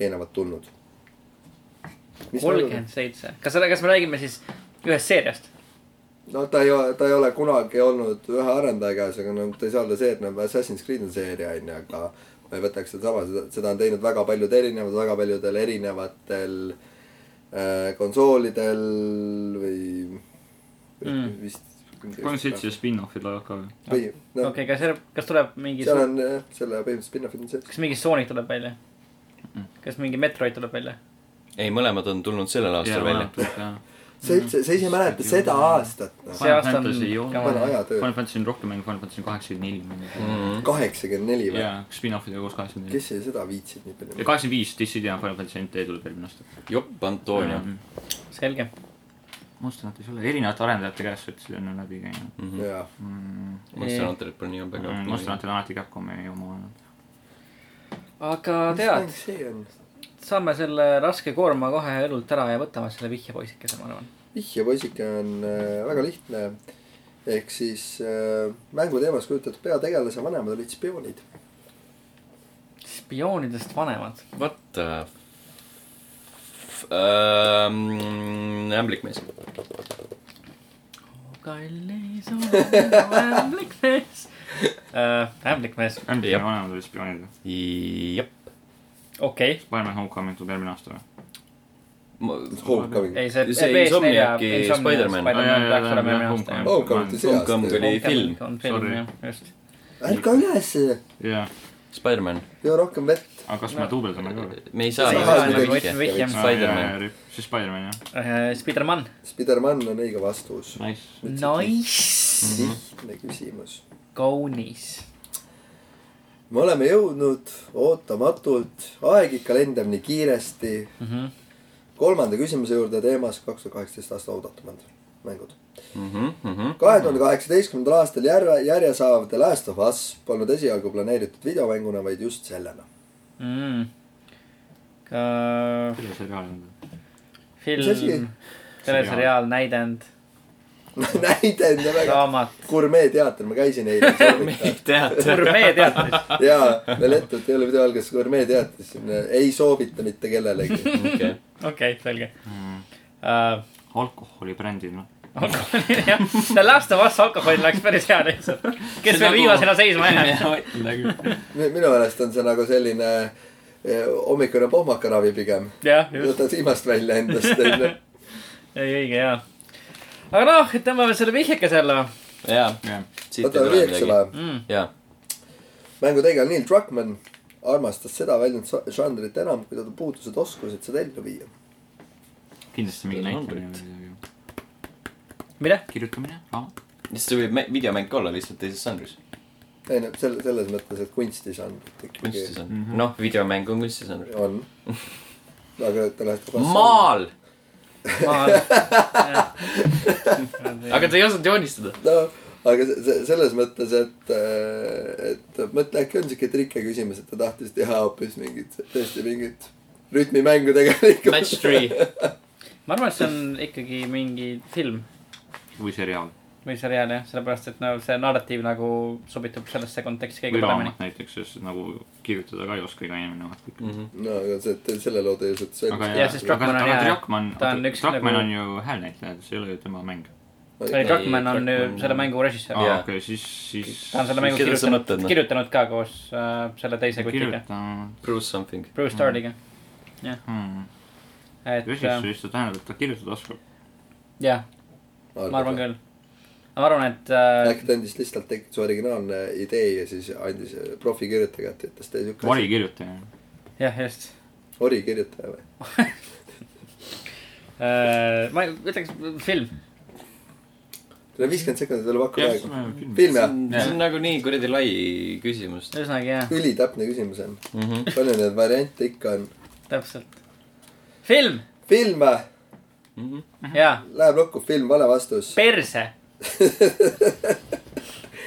[SPEAKER 3] eelnevalt tulnud .
[SPEAKER 2] kolmkümmend seitse . kas , kas me räägime siis ühest seeriast ?
[SPEAKER 3] no ta ei ole , ta ei ole kunagi olnud ühe arendaja käes , aga noh , ta ei saa olla see , et noh , Assassin's Creed on seeria on ju , aga ma ei võtaks seda sama , seda , seda on teinud väga paljud erinevad , väga paljudel erinevatel äh, konsoolidel või
[SPEAKER 2] Mm.
[SPEAKER 3] või vist .
[SPEAKER 4] kolmkümmend seitse . spin-off'i tuleb ka .
[SPEAKER 3] või
[SPEAKER 2] okei
[SPEAKER 3] noh ,
[SPEAKER 2] okay, , kas , kas tuleb mingi ,
[SPEAKER 3] seal on jah, selle põhimõtteliselt spin-off'id on sees .
[SPEAKER 2] kas mingi Sonic tuleb välja ? kas mingi Metroid tuleb välja ?
[SPEAKER 1] ei , mõlemad on tulnud sellel aastal välja .
[SPEAKER 3] sa üldse , sa ise mäletad seda aastat noh ,
[SPEAKER 2] see aasta on
[SPEAKER 4] Fantasy ei ole.
[SPEAKER 2] jama.
[SPEAKER 3] pane ajatöö
[SPEAKER 4] Final . Fantasy on rohkem mängu , Final Fantasy on kaheksakümmend neli .
[SPEAKER 1] Mm.
[SPEAKER 3] kaheksakümmend neli või ?
[SPEAKER 4] jaa , spin-off idega koos kaheksakümmend neli .
[SPEAKER 3] kes see seda viitsib nii
[SPEAKER 4] ja
[SPEAKER 3] palju ?
[SPEAKER 4] kaheksakümmend viis , DCD on Final Fantasy MT tuleb järgmine aasta .
[SPEAKER 1] jopp , Antonio .
[SPEAKER 2] Mm-hmm. selge .
[SPEAKER 4] Monster Hunter ei ole , erinevate arendajate käes võtsid enne läbi käinud
[SPEAKER 3] jaa ,
[SPEAKER 4] mm, .
[SPEAKER 1] Monster Hunterit pole nii väga .
[SPEAKER 2] Mm,
[SPEAKER 4] Monster Hunter on alati Capcomi oma olnud .
[SPEAKER 2] aga
[SPEAKER 3] mis
[SPEAKER 2] tead
[SPEAKER 3] mäng , see on ?
[SPEAKER 2] saame selle raske koorma kohe elult ära ja võtame selle vihjepoisikese , ma arvan .
[SPEAKER 3] vihjepoisike on äh, väga lihtne . ehk siis äh, mängu teemas kujutatud peategelase vanemad olid spioonid .
[SPEAKER 2] spioonidest vanemad .
[SPEAKER 1] What the f- ähm, ämblikmees .
[SPEAKER 2] kallis on ämblikmees äh, . ämblikmees ,
[SPEAKER 4] MT
[SPEAKER 1] Jah.
[SPEAKER 4] vanemad olid spioonid .
[SPEAKER 1] jah .
[SPEAKER 2] okei
[SPEAKER 4] Spider-man Homecoming tuleb järgmine aasta või ?
[SPEAKER 1] Mm.
[SPEAKER 3] Homecoming .
[SPEAKER 2] okay. . ei , see .
[SPEAKER 1] See
[SPEAKER 2] uh,
[SPEAKER 1] Insomniaci Spider-man.
[SPEAKER 4] Aa, jaa, jaa, jaa, jaa,
[SPEAKER 2] Spider-man .
[SPEAKER 3] Homecoming oli see aasta
[SPEAKER 1] Homecoming
[SPEAKER 3] ju .
[SPEAKER 1] oli film ,
[SPEAKER 2] on
[SPEAKER 4] Sorry.
[SPEAKER 2] film , jah , just .
[SPEAKER 3] ärka ülesse ,
[SPEAKER 4] jaa ,
[SPEAKER 1] Spider-man .
[SPEAKER 3] joo rohkem vett .
[SPEAKER 4] aga kas me
[SPEAKER 2] No.
[SPEAKER 4] duubeldame ka või ? Ah,
[SPEAKER 1] me ei saa .
[SPEAKER 3] Ei saa midagi
[SPEAKER 2] võtma vihje .
[SPEAKER 1] Spider-man. .
[SPEAKER 4] siis Spider-man jah .
[SPEAKER 2] Eh, Spider-man .
[SPEAKER 3] Spider-man on õige vastus .
[SPEAKER 4] Nice .
[SPEAKER 2] Nice .
[SPEAKER 1] Mhm.
[SPEAKER 3] lihtne küsimus .
[SPEAKER 2] kaunis .
[SPEAKER 3] me oleme jõudnud ootamatult , aeg ikka lendab nii kiiresti , kolmanda küsimuse juurde teemas kaks tuhat kaheksateist aasta oodatumad mängud .
[SPEAKER 1] Mm-hmm,
[SPEAKER 3] kahe tuhande kaheksateistkümnendal aastal järve , järje saav The Last of Us polnud esialgu planeeritud videomänguna , vaid just sellena .
[SPEAKER 2] Mm. ka
[SPEAKER 4] kuidas see reaalne on ?
[SPEAKER 3] Mis asi?
[SPEAKER 2] film , teleseriaal , näidend ,
[SPEAKER 3] näidend ja väga
[SPEAKER 2] raamat ,
[SPEAKER 3] gurmeeteater , ma käisin eile soovitan
[SPEAKER 1] teater .
[SPEAKER 2] turbeeteatris .
[SPEAKER 3] ja veel ettevõte ei ole video algas gurmeeteatris , ei soovita mitte kellelegi .
[SPEAKER 2] okei , selge uh, .
[SPEAKER 4] alkoholibrändid noh .
[SPEAKER 2] alkoholi , jah , see Last of Us alkohol läks päris hea lihtsalt . kes veel viimasena seisma jääb .
[SPEAKER 4] jääb ?
[SPEAKER 3] minu meelest on see nagu selline eh, hommikune pohmakaravi pigem .
[SPEAKER 2] jah , just ,
[SPEAKER 3] võtad viimast välja endast , onju .
[SPEAKER 2] ei õige jaa . aga noh , tõmbame selle vihjekese alla
[SPEAKER 1] jaa ,
[SPEAKER 4] jah .
[SPEAKER 1] siit ei
[SPEAKER 3] võtame
[SPEAKER 1] tule
[SPEAKER 3] viieks
[SPEAKER 1] midagi .
[SPEAKER 3] üle .
[SPEAKER 2] mm. .
[SPEAKER 1] jaa ,
[SPEAKER 3] mängu tegelane Neil Druckmann armastas seda väljund žanrit enam , kui teda puudusid oskused seda ellu viia .
[SPEAKER 4] kindlasti mingi
[SPEAKER 1] Seda
[SPEAKER 4] näitlemine
[SPEAKER 1] numbrit.
[SPEAKER 4] või midagi.
[SPEAKER 2] mida ?
[SPEAKER 4] kirjutamine , raamat .
[SPEAKER 1] siis see võib mä- videomäng ka olla lihtsalt teises žanris .
[SPEAKER 3] ei no selle , selles mõttes , et kunstis on ikkagi
[SPEAKER 1] kunstižanr . noh , videomäng on kunstižanr .
[SPEAKER 3] on . aga te lähete
[SPEAKER 1] maal ,
[SPEAKER 2] aga
[SPEAKER 1] aga ta ei osanud joonistada .
[SPEAKER 3] no aga se- se- selles mõttes , et , et mõtle , äkki on siuke trike küsimus , et ta tahtis teha hoopis mingit , tõesti mingit rütmimängu
[SPEAKER 1] Match
[SPEAKER 3] tegelikult .
[SPEAKER 1] three .
[SPEAKER 2] ma arvan , et see on ikkagi mingi film
[SPEAKER 4] või seriaal .
[SPEAKER 2] või seriaal jah , sellepärast et no see narratiiv nagu sobitub sellesse konteksti kõige
[SPEAKER 4] või
[SPEAKER 2] paremini .
[SPEAKER 4] raamat näiteks , sest nagu kirjutada ka ei oska iga inimene vaata .
[SPEAKER 1] Mm-hmm.
[SPEAKER 3] no aga see , selle loo ta ilmselt
[SPEAKER 4] aga
[SPEAKER 2] jah, sest Druckmann on
[SPEAKER 4] aga
[SPEAKER 2] hea.
[SPEAKER 4] Druckmann
[SPEAKER 2] Ta on üks
[SPEAKER 4] Druckmann
[SPEAKER 2] nagu-
[SPEAKER 4] on ju häälnäitleja , see ei ole ju tema mäng .
[SPEAKER 2] ei , Druckmann on ju
[SPEAKER 1] Druckmann-
[SPEAKER 2] selle mängu režissöör
[SPEAKER 1] Jaa.
[SPEAKER 4] aa , okei , siis , siis .
[SPEAKER 2] ta on selle mängu
[SPEAKER 1] Keda sa
[SPEAKER 2] kirjutanud
[SPEAKER 1] mõtled, , noh?
[SPEAKER 2] kirjutanud ka koos äh, selle teise kutiga ,
[SPEAKER 4] kirjutanud .
[SPEAKER 1] Bruce something .
[SPEAKER 2] Bruce Dardiga , et äh,
[SPEAKER 4] režissöörist , see tähendab , et hmm. ta kirjutada oskab .
[SPEAKER 2] jah , ma arvan . küll . ma arvan , et
[SPEAKER 3] äkki
[SPEAKER 2] äh,
[SPEAKER 3] ta andis lihtsalt , tekkis originaalne idee ja siis andis profikirjutaja , et ütles tee siuke asi .
[SPEAKER 4] varikirjutaja .
[SPEAKER 2] jah , just
[SPEAKER 3] orikirjutaja või ?
[SPEAKER 2] äh, . ma ei- ütleks film ,
[SPEAKER 3] selle viiskümmend sekundit veel pakub
[SPEAKER 4] jah , siis
[SPEAKER 3] aega .
[SPEAKER 4] me filmi .
[SPEAKER 3] film
[SPEAKER 1] see
[SPEAKER 3] jah ?
[SPEAKER 1] on see on nagunii kuradi lai küsimus .
[SPEAKER 2] ühesõnaga jah ,
[SPEAKER 3] ülitäpne küsimus on .
[SPEAKER 1] Mm -hmm.
[SPEAKER 3] palju neid variante ikka on ?
[SPEAKER 2] täpselt . film ,
[SPEAKER 3] film või ?
[SPEAKER 1] mm -hmm.
[SPEAKER 2] jaa ,
[SPEAKER 3] Läheb lukku , film , vale vastus .
[SPEAKER 2] perse .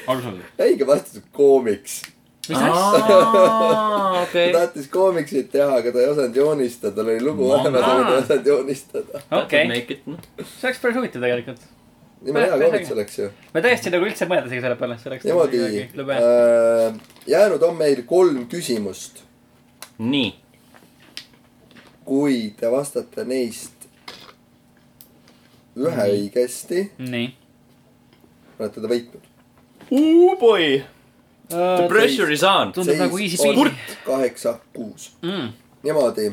[SPEAKER 4] arusaadav .
[SPEAKER 3] õige vastus on koomiks .
[SPEAKER 2] mis asja ?
[SPEAKER 3] ta
[SPEAKER 1] okei .
[SPEAKER 3] tahtis koomiksit teha , aga ta ei osanud joonistada , tal oli lugu
[SPEAKER 4] Aa.
[SPEAKER 3] olemas , aga ta ei osanud joonistada .
[SPEAKER 2] okei ,
[SPEAKER 1] okei .
[SPEAKER 2] see oleks päris huvitav tegelikult .
[SPEAKER 3] jumala hea
[SPEAKER 2] Päris
[SPEAKER 3] koomik see oleks ju .
[SPEAKER 2] ma tõesti nagu üldse ei mõelnud isegi selle peale , see oleks nagu
[SPEAKER 3] niimoodi
[SPEAKER 2] kuidagi lõbe .
[SPEAKER 3] äh, . jäänud on meil kolm küsimust .
[SPEAKER 1] nii ,
[SPEAKER 3] kui te vastate neist ühe õigesti ,
[SPEAKER 2] nii .
[SPEAKER 3] olete te võitnud .
[SPEAKER 1] Ooh boy ,
[SPEAKER 2] Äh,
[SPEAKER 1] the pressure is on .
[SPEAKER 2] Tundub nagu easy peasy.
[SPEAKER 3] kurt . kaheksa , kuus .
[SPEAKER 2] mm. .
[SPEAKER 3] niimoodi .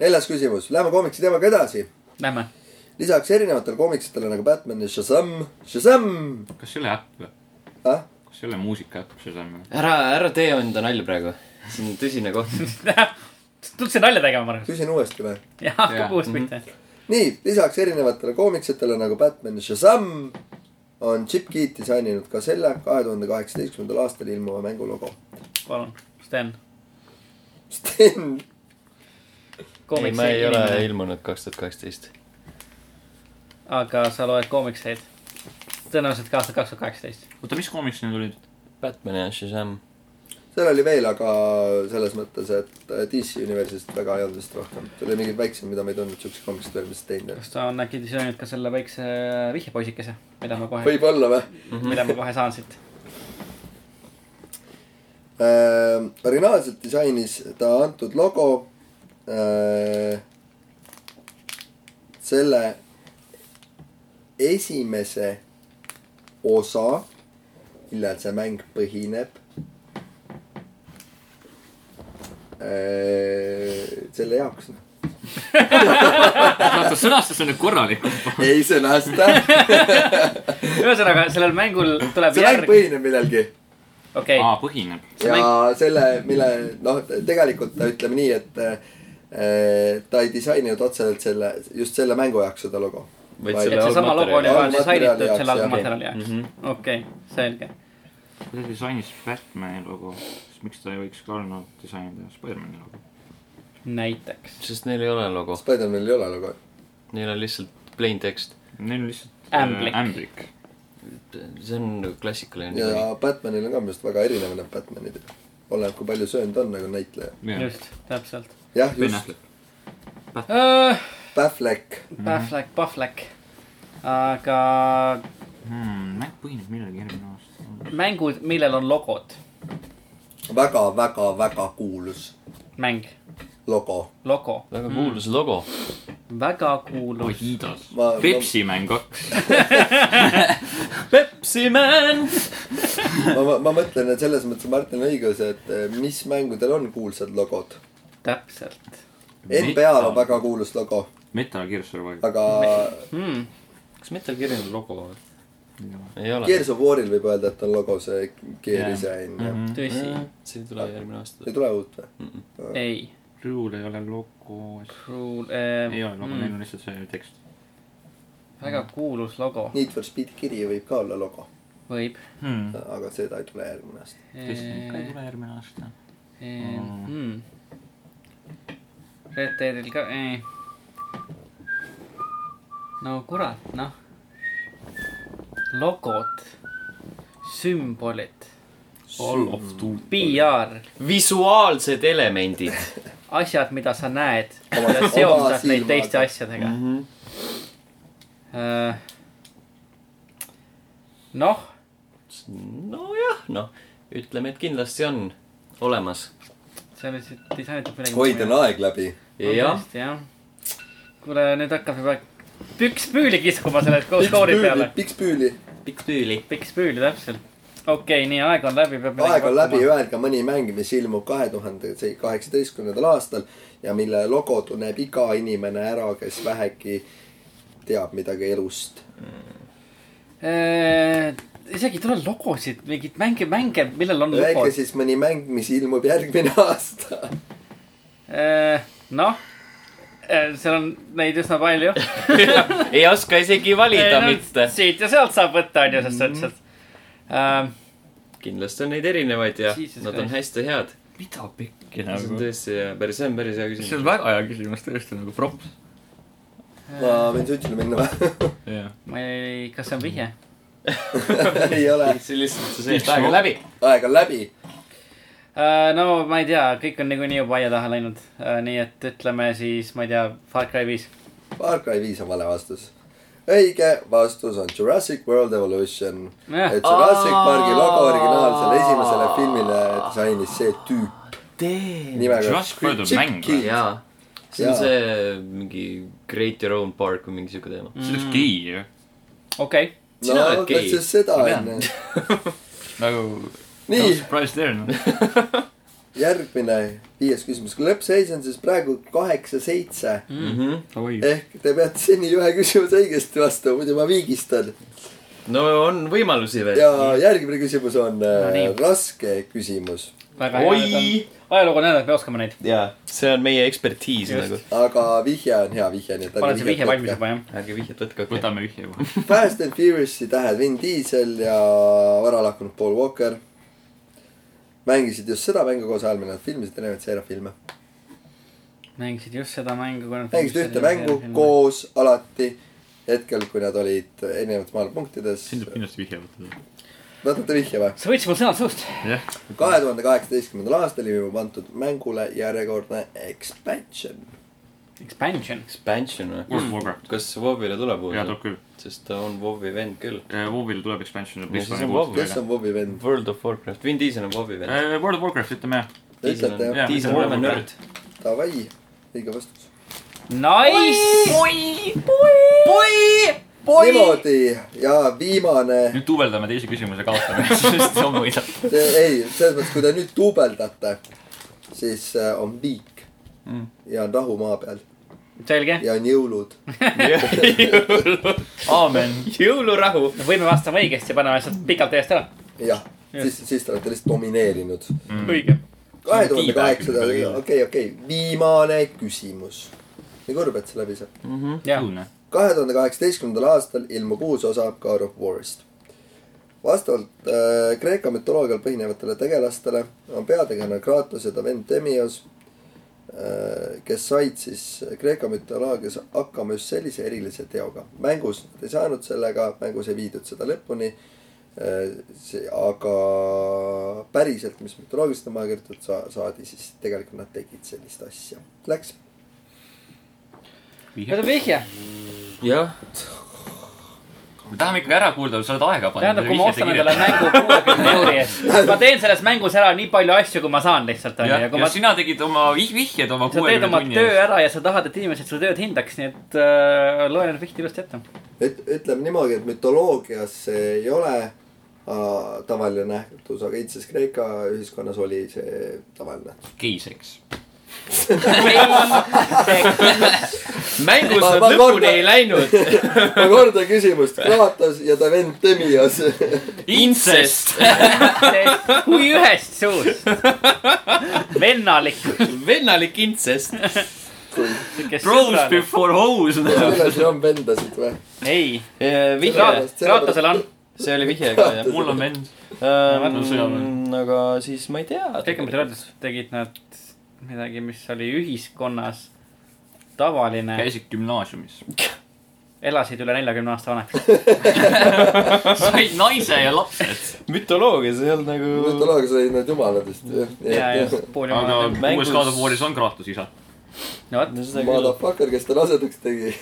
[SPEAKER 3] neljas küsimus , lähme koomiksi teemaga edasi .
[SPEAKER 2] Lähme .
[SPEAKER 3] lisaks erinevatele koomiksitele nagu Batman ja Shazam , Shazam
[SPEAKER 4] kas see ei ole äpp või ?
[SPEAKER 3] ah? .
[SPEAKER 4] kas see ei ole muusika äpp , see samm või ?
[SPEAKER 1] ära , ära tee enda nalja praegu . see on tõsine koht .
[SPEAKER 2] tulnud nalja tegema , ma arvan .
[SPEAKER 3] küsin uuesti või ?
[SPEAKER 2] jah , hakkab
[SPEAKER 4] Jaa.
[SPEAKER 1] Mhm.
[SPEAKER 2] uus pihta .
[SPEAKER 3] nii , lisaks erinevatele koomiksitele nagu Batman ja Shazam on Chip Keat disaininud ka selle kahe tuhande kaheksateistkümnendal aastal ilmuva mängu logo .
[SPEAKER 2] palun , Sten .
[SPEAKER 3] Sten ,
[SPEAKER 1] ei , ma ei ole . ilmunud kaks tuhat kaheksateist .
[SPEAKER 2] aga sa loed koomikseid . tõenäoliselt ka aastal kaks tuhat kaheksateist .
[SPEAKER 4] oota , mis koomiks need olid ?
[SPEAKER 1] Batman ja Shazam .
[SPEAKER 3] seal oli veel , aga selles mõttes , et DC Universe'ist väga ei olnud vist rohkem . seal oli mingeid väiksemaid , mida ma ei tundnud , siukseid komiksid veel , mis teinud ei
[SPEAKER 2] kas ta on äkki disaininud ka selle väikse vihjepoisikese , mida ma
[SPEAKER 3] ole .
[SPEAKER 2] kohe ,
[SPEAKER 3] võib-olla või ?
[SPEAKER 2] mida ma kohe saan siit ?
[SPEAKER 3] äh, . originaalselt disainis ta antud logo äh, selle esimese osa , millel see mäng põhineb äh, . selle jaoks .
[SPEAKER 4] oota , sõnastas see nüüd korralikult .
[SPEAKER 3] ei sõnasta ,
[SPEAKER 2] ühesõnaga , sellel mängul tuleb
[SPEAKER 3] see mäng
[SPEAKER 2] järg ,
[SPEAKER 3] põhineb millelgi
[SPEAKER 2] okei ,
[SPEAKER 4] aa , põhineb .
[SPEAKER 2] See
[SPEAKER 3] ja selle , mille noh , tegelikult ütleme nii , et eh, ta ei disaininud otseselt selle , just selle mängu jaoks seda logo .
[SPEAKER 1] Vaid
[SPEAKER 3] Vaid-
[SPEAKER 2] et
[SPEAKER 1] selle
[SPEAKER 2] seesama logo oli vaja
[SPEAKER 3] algmaterjali
[SPEAKER 2] disainitud
[SPEAKER 3] jaoks,
[SPEAKER 2] selle
[SPEAKER 3] jah.
[SPEAKER 2] algmaterjali jaoks . okei , selge .
[SPEAKER 4] kuidas disainis Batman'i logo , siis miks ta ei võiks ka olnud disainida Spider-man'i logo ?
[SPEAKER 2] näiteks .
[SPEAKER 1] sest neil ei ole logo ,
[SPEAKER 3] Spider-manil ei ole logo .
[SPEAKER 1] neil on lihtsalt plain tekst .
[SPEAKER 4] Neil on lihtsalt
[SPEAKER 2] Ämblik.
[SPEAKER 4] äh, ämblik .
[SPEAKER 1] see on nagu klassikaline nimi .
[SPEAKER 3] ja Batmanil on ka minu arust väga erinev need Batmanid . oleneb , kui palju söönud on nagu näitleja .
[SPEAKER 2] just , täpselt . Äh,
[SPEAKER 3] jah , just .
[SPEAKER 4] Benefit . Ah.
[SPEAKER 3] Pähflek .
[SPEAKER 4] Mhm.
[SPEAKER 2] Pahvlek , pahvlek . aga
[SPEAKER 4] mäng põhineb millegi järgmine aasta .
[SPEAKER 2] mängud , millel on logod ,
[SPEAKER 3] väga , väga , väga kuulus
[SPEAKER 2] mäng ,
[SPEAKER 3] logo .
[SPEAKER 2] logo ,
[SPEAKER 1] väga kuulus logo .
[SPEAKER 2] väga kuulus .
[SPEAKER 4] Adidas
[SPEAKER 3] Ma- .
[SPEAKER 4] Pepsi mäng kaks .
[SPEAKER 1] Pepsi man .
[SPEAKER 3] ma, ma , ma mõtlen , et selles mõttes Martin on õigus , et eh, mis mängudel on kuulsad logod .
[SPEAKER 2] täpselt
[SPEAKER 3] NBA-l on väga kuulus logo ,
[SPEAKER 4] Metal Gear Survive .
[SPEAKER 3] aga
[SPEAKER 2] hmm. .
[SPEAKER 1] kas Metal Gear'il on logo või ? ei ole .
[SPEAKER 3] Gears of War'il võib öelda , et on logo see gear
[SPEAKER 4] Jah.
[SPEAKER 3] disain jah
[SPEAKER 2] tõsi ,
[SPEAKER 4] Hmm.
[SPEAKER 1] see ei tule järgmine aasta .
[SPEAKER 3] ei tule uut või ?
[SPEAKER 2] ei ,
[SPEAKER 4] Crew'l ei ole logo ,
[SPEAKER 2] Cruel äh,
[SPEAKER 4] ei ole logo , neil on lihtsalt see tekst .
[SPEAKER 2] väga kuulus logo ,
[SPEAKER 3] Need for Speed kiri võib ka olla logo ,
[SPEAKER 2] võib
[SPEAKER 4] Hmm.
[SPEAKER 3] aga seda ei tule järgmine aasta .
[SPEAKER 4] tõesti , ka ei
[SPEAKER 2] äh, .
[SPEAKER 4] tule järgmine aasta . Mm.
[SPEAKER 2] Mm. Red Deadil ka , ei . no kurat , noh . logod , sümbolid ,
[SPEAKER 4] All of two .
[SPEAKER 2] PR ,
[SPEAKER 1] visuaalsed elemendid
[SPEAKER 2] asjad , mida sa näed
[SPEAKER 3] Oma-
[SPEAKER 2] ja
[SPEAKER 3] oma
[SPEAKER 2] seostad neid
[SPEAKER 3] silmaga.
[SPEAKER 2] teiste asjadega .
[SPEAKER 1] -hmm.
[SPEAKER 2] noh ,
[SPEAKER 1] nojah , noh , ütleme , et kindlasti on olemas .
[SPEAKER 2] see oli siit disainitud midagi .
[SPEAKER 3] hoid on aeg läbi .
[SPEAKER 1] jah ,
[SPEAKER 2] jah . kuule , nüüd hakkab juba püks püüli kiskuma selle skoori peale .
[SPEAKER 3] piks püüli ,
[SPEAKER 1] pikk tüüli .
[SPEAKER 2] piks püüli , täpselt . okei okay, , nii aeg on läbi , peab .
[SPEAKER 3] aeg on läbi , öelge mõni mäng , mis ilmub kahe tuhande kaheksateistkümnendal aastal ja mille logo tunneb iga inimene ära , kes vähegi teab midagi elust .
[SPEAKER 2] Eh, isegi ei tule logosid , mingeid mänge , mänge , millel on
[SPEAKER 3] Öelge
[SPEAKER 2] logod .
[SPEAKER 3] siis mõni mäng , mis ilmub järgmine aasta .
[SPEAKER 2] noh , seal on neid üsna palju .
[SPEAKER 1] ei oska isegi valida mitte .
[SPEAKER 2] siit ja sealt saab võtta , onju , sest Äh, sa
[SPEAKER 3] Mhm.
[SPEAKER 2] ütlesid .
[SPEAKER 1] kindlasti on neid erinevaid ja
[SPEAKER 2] Jesus
[SPEAKER 1] nad on
[SPEAKER 2] Christ.
[SPEAKER 1] hästi head .
[SPEAKER 4] mida pikki
[SPEAKER 1] see on
[SPEAKER 4] nagu .
[SPEAKER 1] tõesti hea , päris , see on päris hea
[SPEAKER 4] see on
[SPEAKER 1] küsimus .
[SPEAKER 4] väga hea küsimus tõesti nagu props .
[SPEAKER 3] ma võin suitsule minna või ?
[SPEAKER 4] jah .
[SPEAKER 2] ma ei , kas see on vihje ?
[SPEAKER 3] ei ole ,
[SPEAKER 1] see lihtsalt , see seeb aega läbi .
[SPEAKER 3] aeg on läbi .
[SPEAKER 2] Äh, no ma ei tea , kõik on niikuinii juba aia taha läinud . nii et ütleme siis , ma ei tea , Far Cry viis .
[SPEAKER 3] Far Cry viis on vale vastus . õige vastus on Jurassic World Evolution .
[SPEAKER 2] Jah.
[SPEAKER 3] et Jurassic
[SPEAKER 1] Aa.
[SPEAKER 3] Parki logo originaalsele esimesele filmile disainis see tüüp nimega .
[SPEAKER 4] Jurassic World on
[SPEAKER 3] Chip
[SPEAKER 4] mäng
[SPEAKER 3] Key.
[SPEAKER 4] või ?
[SPEAKER 1] jaa , see on
[SPEAKER 3] Jaa.
[SPEAKER 1] see mingi Create your own park või mingi siuke teema .
[SPEAKER 4] see oleks gei ju .
[SPEAKER 2] okei ,
[SPEAKER 1] sina oled gei.
[SPEAKER 3] ütles seda
[SPEAKER 4] Ma tean.
[SPEAKER 3] onju .
[SPEAKER 4] nagu . No
[SPEAKER 3] nii ,
[SPEAKER 4] surprise there noh .
[SPEAKER 3] järgmine viies küsimus . kui lõppseis on siis praegu kaheksa-seitse
[SPEAKER 1] Mhm. Mm. Mm-hmm.
[SPEAKER 4] Eh.
[SPEAKER 3] ehk te peate seni ühe küsimuse õigesti vastama , muidu ma viigistan .
[SPEAKER 1] no on võimalusi veel .
[SPEAKER 3] ja järgmine küsimus on äh,
[SPEAKER 2] nii.
[SPEAKER 3] raske küsimus .
[SPEAKER 2] väga hea .
[SPEAKER 1] oi ,
[SPEAKER 2] ajalugu on näidanud , me oskame neid .
[SPEAKER 1] jaa , see on meie ekspertiis
[SPEAKER 2] Just.
[SPEAKER 1] nagu .
[SPEAKER 3] aga vihje on hea vihje , nii et .
[SPEAKER 2] ma olen see vihje valmis juba , jah .
[SPEAKER 1] ärge vihjet võtke , okei .
[SPEAKER 4] võtame vihje kohe .
[SPEAKER 3] Fast and Furious'i tähed Vin Diesel ja varalahkunud Paul Walker mängisid just seda mängu koos ajal , mil nad filmisid erinevaid seeriafilme .
[SPEAKER 2] mängisid just seda mängu .
[SPEAKER 3] mängisid ühte mängu . koos alati hetkel , kui nad olid erinevates maailmapunktides .
[SPEAKER 4] siin tuleb kindlasti vihje võtta .
[SPEAKER 3] võtate vihje või ?
[SPEAKER 2] sa võtsid mul sõnad suust .
[SPEAKER 4] jah .
[SPEAKER 3] kahe tuhande kaheksateistkümnendal aastal ilmub antud mängule järjekordne expansion .
[SPEAKER 2] Expansion .
[SPEAKER 1] Expansion või ?
[SPEAKER 4] World of Warcraft .
[SPEAKER 1] kas Vovile tuleb uus
[SPEAKER 4] jaa ,? tuleb küll .
[SPEAKER 1] sest ta on Vovi vend küll .
[SPEAKER 4] WoW-ile tuleb expansion .
[SPEAKER 1] No siis on WoW.
[SPEAKER 3] kes on Bobi vend ?
[SPEAKER 1] World of Warcraft , Vin Diesel on Vovi vend .
[SPEAKER 4] Äh, World of Warcraft , ütleme jah .
[SPEAKER 3] Diesel on-
[SPEAKER 4] jah.
[SPEAKER 1] Diesel on
[SPEAKER 4] World of
[SPEAKER 1] väga nörd
[SPEAKER 4] Warcraft. .
[SPEAKER 3] Davai , õige vastus .
[SPEAKER 2] Nice .
[SPEAKER 1] oi , oi , oi .
[SPEAKER 3] niimoodi ja viimane
[SPEAKER 4] nüüd duubeldame teise küsimuse kaotame , sest see on võidab .
[SPEAKER 3] see, ei , selles mõttes , kui te nüüd duubeldate , siis äh, on viik
[SPEAKER 1] Mm.
[SPEAKER 3] ja on rahu maa peal
[SPEAKER 2] selge .
[SPEAKER 3] ja on jõulud .
[SPEAKER 4] aamen .
[SPEAKER 1] jõulurahu .
[SPEAKER 2] võime vastama õigesti ja paneme lihtsalt pikalt eest ära .
[SPEAKER 3] jah , siis , siis te olete lihtsalt domineerinud .
[SPEAKER 4] Mm.
[SPEAKER 2] õige .
[SPEAKER 3] kahe
[SPEAKER 4] See on
[SPEAKER 3] tuhande
[SPEAKER 4] tiibad
[SPEAKER 3] kaheksasada ,
[SPEAKER 4] küll,
[SPEAKER 3] okei
[SPEAKER 4] küll. ,
[SPEAKER 3] okei okay. , viimane küsimus . nii kurb , et see läbi saab .
[SPEAKER 1] Mhm.
[SPEAKER 2] jah .
[SPEAKER 4] õudne .
[SPEAKER 3] kahe tuhande kaheksateistkümnendal aastal ilmub uus osa God of War'ist . vastavalt äh, Kreeka mütoloogial põhinevatele tegelastele on peategelane Kratos ja ta vend Demios äh, kes said siis Kreeka mütoloogias hakkama just sellise erilise teoga . mängus nad ei saanud sellega , mängus ei viidud seda lõpuni . see , aga päriselt , mis mütoloogiliselt on maha kirjutatud , sa- , saadi siis tegelikult nad tegid sellist asja . Läks .
[SPEAKER 2] see on vihje .
[SPEAKER 1] jah ,
[SPEAKER 4] me tahame ikkagi ära kuulda , sa oled aega pannud .
[SPEAKER 2] tähendab , kui ma ostan endale mängu kuuekümne euri eest , siis ma teen selles mängus ära nii palju asju , kui ma saan lihtsalt , onju .
[SPEAKER 4] jah ,
[SPEAKER 2] ja kui
[SPEAKER 4] ja
[SPEAKER 2] ma ,
[SPEAKER 4] sina tegid oma vih- vihjed oma
[SPEAKER 2] sa teed
[SPEAKER 4] kuuekümne
[SPEAKER 2] oma
[SPEAKER 4] tunni
[SPEAKER 2] töö
[SPEAKER 4] eest .
[SPEAKER 2] ära ja sa tahad , et inimesed su tööd hindaks , nii et äh, loe need vihjed ilusti ette .
[SPEAKER 3] üt- , ütleme niimoodi , et mütoloogias see ei ole äh, tavaline nähtus , aga iidses Kreeka ühiskonnas oli see tavaline nähtus .
[SPEAKER 4] geiseks .
[SPEAKER 1] mängus
[SPEAKER 3] Ma-
[SPEAKER 1] nad
[SPEAKER 3] ma
[SPEAKER 1] lõpuni
[SPEAKER 3] kordan-
[SPEAKER 1] ei läinud .
[SPEAKER 3] ma kordan küsimust , Kratos ja ta vend Demios .
[SPEAKER 1] Incest ,
[SPEAKER 2] kui ühest suust . vennalik .
[SPEAKER 1] vennalik incest .
[SPEAKER 4] Bros . before hoes .
[SPEAKER 3] selles ei olnud vendasid või ?
[SPEAKER 2] ei ,
[SPEAKER 1] Eh, vihje ,
[SPEAKER 3] Sellepärast-
[SPEAKER 2] Kraatosel on .
[SPEAKER 1] see oli vihje ka jah .
[SPEAKER 4] mul on vend .
[SPEAKER 2] No
[SPEAKER 4] sõjaväe.
[SPEAKER 1] aga siis ma ei
[SPEAKER 2] kõik , mis
[SPEAKER 1] tea .
[SPEAKER 2] Kraatos tegid , nad midagi , mis oli ühiskonnas tavaline ,
[SPEAKER 4] käisid gümnaasiumis .
[SPEAKER 2] elasid üle neljakümne aasta vanaks .
[SPEAKER 4] said naise ja lapsed .
[SPEAKER 1] mütoloogias ei olnud nagu .
[SPEAKER 3] mütoloogias olid need jumalad vist
[SPEAKER 2] ja , ja
[SPEAKER 3] jah .
[SPEAKER 2] pool
[SPEAKER 4] aga
[SPEAKER 2] jumala .
[SPEAKER 1] Mängus-
[SPEAKER 4] uues God of War'is on Kratos isa .
[SPEAKER 2] no vot ,
[SPEAKER 1] no seda küll .
[SPEAKER 3] Motherfucker , kes ta rasedaks tegi .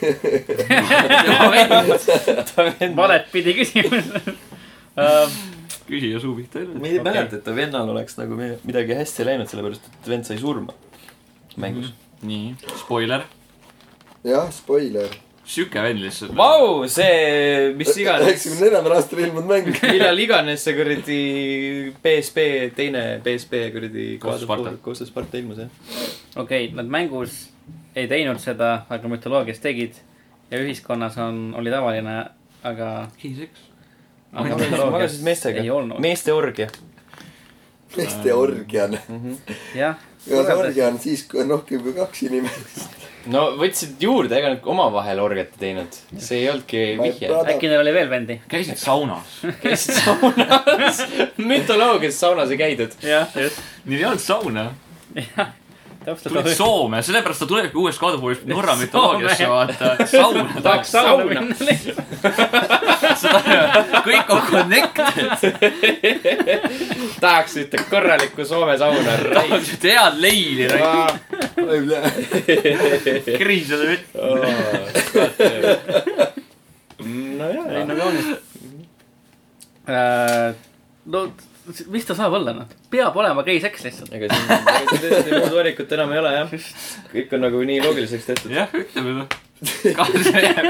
[SPEAKER 2] valet pidi küsimus . Äh,
[SPEAKER 4] küsija suu pihta ei löö .
[SPEAKER 1] ma ei
[SPEAKER 2] Okei.
[SPEAKER 1] mäleta , et ta vennal oleks nagu mi- midagi hästi läinud , sellepärast et vend sai surma mängus .
[SPEAKER 4] nii , spoiler .
[SPEAKER 3] jah , spoiler .
[SPEAKER 4] sihuke vend lihtsalt .
[SPEAKER 1] Vau , see , mis iganes ,
[SPEAKER 3] üheksakümne neljandal aastal ilmunud mäng .
[SPEAKER 1] millal iganes see kuradi PSP , teine PSP kuradi
[SPEAKER 4] Koostöös Sparta.
[SPEAKER 1] koostöös Sparta ilmus jah .
[SPEAKER 2] okei okay, , nad mängus ei teinud seda , aga mütoloogias tegid ja ühiskonnas on , oli tavaline , aga .
[SPEAKER 4] kiiseks .
[SPEAKER 1] ma magasin meestega
[SPEAKER 2] ei , olnud ,
[SPEAKER 1] meeste orgia .
[SPEAKER 3] meeste orgia on .
[SPEAKER 2] jah .
[SPEAKER 3] ja see orgia on siis , kui on rohkem kui kaks inimest .
[SPEAKER 1] no võtsid juurde , ega nad omavahel orgiat ei teinud , see ei olnudki
[SPEAKER 3] Ma ei
[SPEAKER 1] vihje .
[SPEAKER 3] praat-
[SPEAKER 2] äkki neil oli veel vendi ?
[SPEAKER 4] käisid saunas .
[SPEAKER 1] käisid saunas , mütoloogias saunas ei käidud .
[SPEAKER 2] jah , just .
[SPEAKER 4] Neil ei olnud sauna . tulid
[SPEAKER 2] täpselt .
[SPEAKER 4] Soome , sellepärast ta tulebki uues God of War'is Norra
[SPEAKER 2] Soome.
[SPEAKER 4] mütoloogiasse vaata . sauna
[SPEAKER 2] tahaks
[SPEAKER 4] tahaks .
[SPEAKER 2] sauna minna .
[SPEAKER 4] kõik on connected .
[SPEAKER 1] tahaks ühte korralikku Soome sauna .
[SPEAKER 4] tahad siukest head leili , kriisida vett .
[SPEAKER 1] nojah .
[SPEAKER 2] ei no kaunis . Äh, no mis ta saab olla noh , peab olema gei-seks lihtsalt .
[SPEAKER 1] ega siin , ega siin tõesti muud valikut enam ei ole jah . kõik on nagu nii loogiliseks tehtud .
[SPEAKER 4] jah , ütleme seda .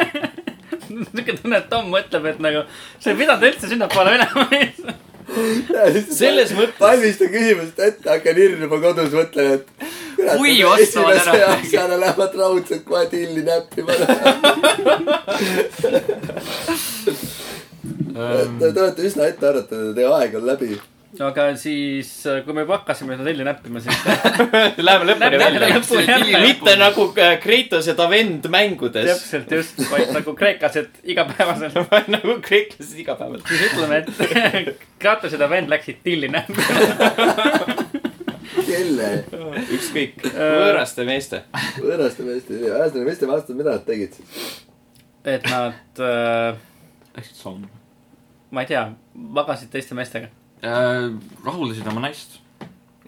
[SPEAKER 2] niuke tunne , et Tom mõtleb , et nagu see , mida ta üldse sinnapoole minema ei
[SPEAKER 1] selles mõttes ,
[SPEAKER 3] valmista küsimust ette , hakkan hirmuma kodus , mõtlen , et .
[SPEAKER 4] Kui ostavad ära.
[SPEAKER 3] asjana lähevad raudselt kohe tilli näppima .
[SPEAKER 4] Ähm.
[SPEAKER 3] Te te olete üsna ettearvatud , teie aeg on läbi .
[SPEAKER 2] aga siis , kui me juba hakkasime seda telli näppima , siis
[SPEAKER 1] läheme lõpuni
[SPEAKER 2] Lähme
[SPEAKER 1] välja .
[SPEAKER 2] lõpuni välja.
[SPEAKER 1] mitte nagu äh, Kratos ja ta vend mängudes ,
[SPEAKER 2] täpselt just , vaid nagu kreeklased igapäevaselt .
[SPEAKER 1] vaid nagu kreeklased igapäevaselt .
[SPEAKER 2] siis ütleme , et Kratos ja ta vend läksid tillina .
[SPEAKER 3] kelle ?
[SPEAKER 1] ükskõik , võõraste meeste .
[SPEAKER 3] võõraste meeste , ühesõnaga meeste vastas , mida nad tegid siis ?
[SPEAKER 2] et nad ,
[SPEAKER 4] Läksid sauna .
[SPEAKER 2] ma ei tea , magasid teiste meestega .
[SPEAKER 4] rahuldasid Äh, oma naist ,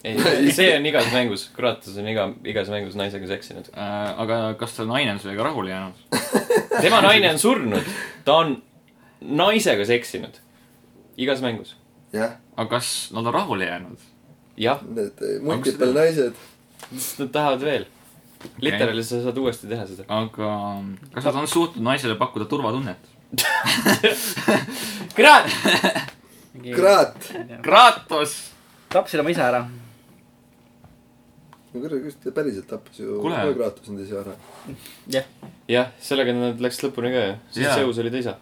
[SPEAKER 1] ei , see on igas mängus , Kratos on iga , igas mängus naisega seksinud .
[SPEAKER 4] Äh, aga kas ta naine on sellega rahule jäänud ?
[SPEAKER 1] tema naine on surnud , ta on naisega seksinud . igas mängus ,
[SPEAKER 3] jah ,
[SPEAKER 4] aga kas nad on rahule jäänud ?
[SPEAKER 1] jah ,
[SPEAKER 3] need eh, multiple naised .
[SPEAKER 1] sest nad tahavad veel . Literaalis sa saad uuesti teha seda .
[SPEAKER 4] aga kas nad on suutnud naisele pakkuda turvatunnet ?
[SPEAKER 1] Krat- ,
[SPEAKER 3] Kraat .
[SPEAKER 4] Kratos .
[SPEAKER 2] tapsid oma isa ära .
[SPEAKER 3] no kurat , kas ta päriselt tappas ju ?
[SPEAKER 4] Kuule.
[SPEAKER 3] Kraat on siis ju ära .
[SPEAKER 1] jah , sellega nad läks lõpuni ka ju , sest
[SPEAKER 4] Jaa.
[SPEAKER 1] Zeus oli ta isa .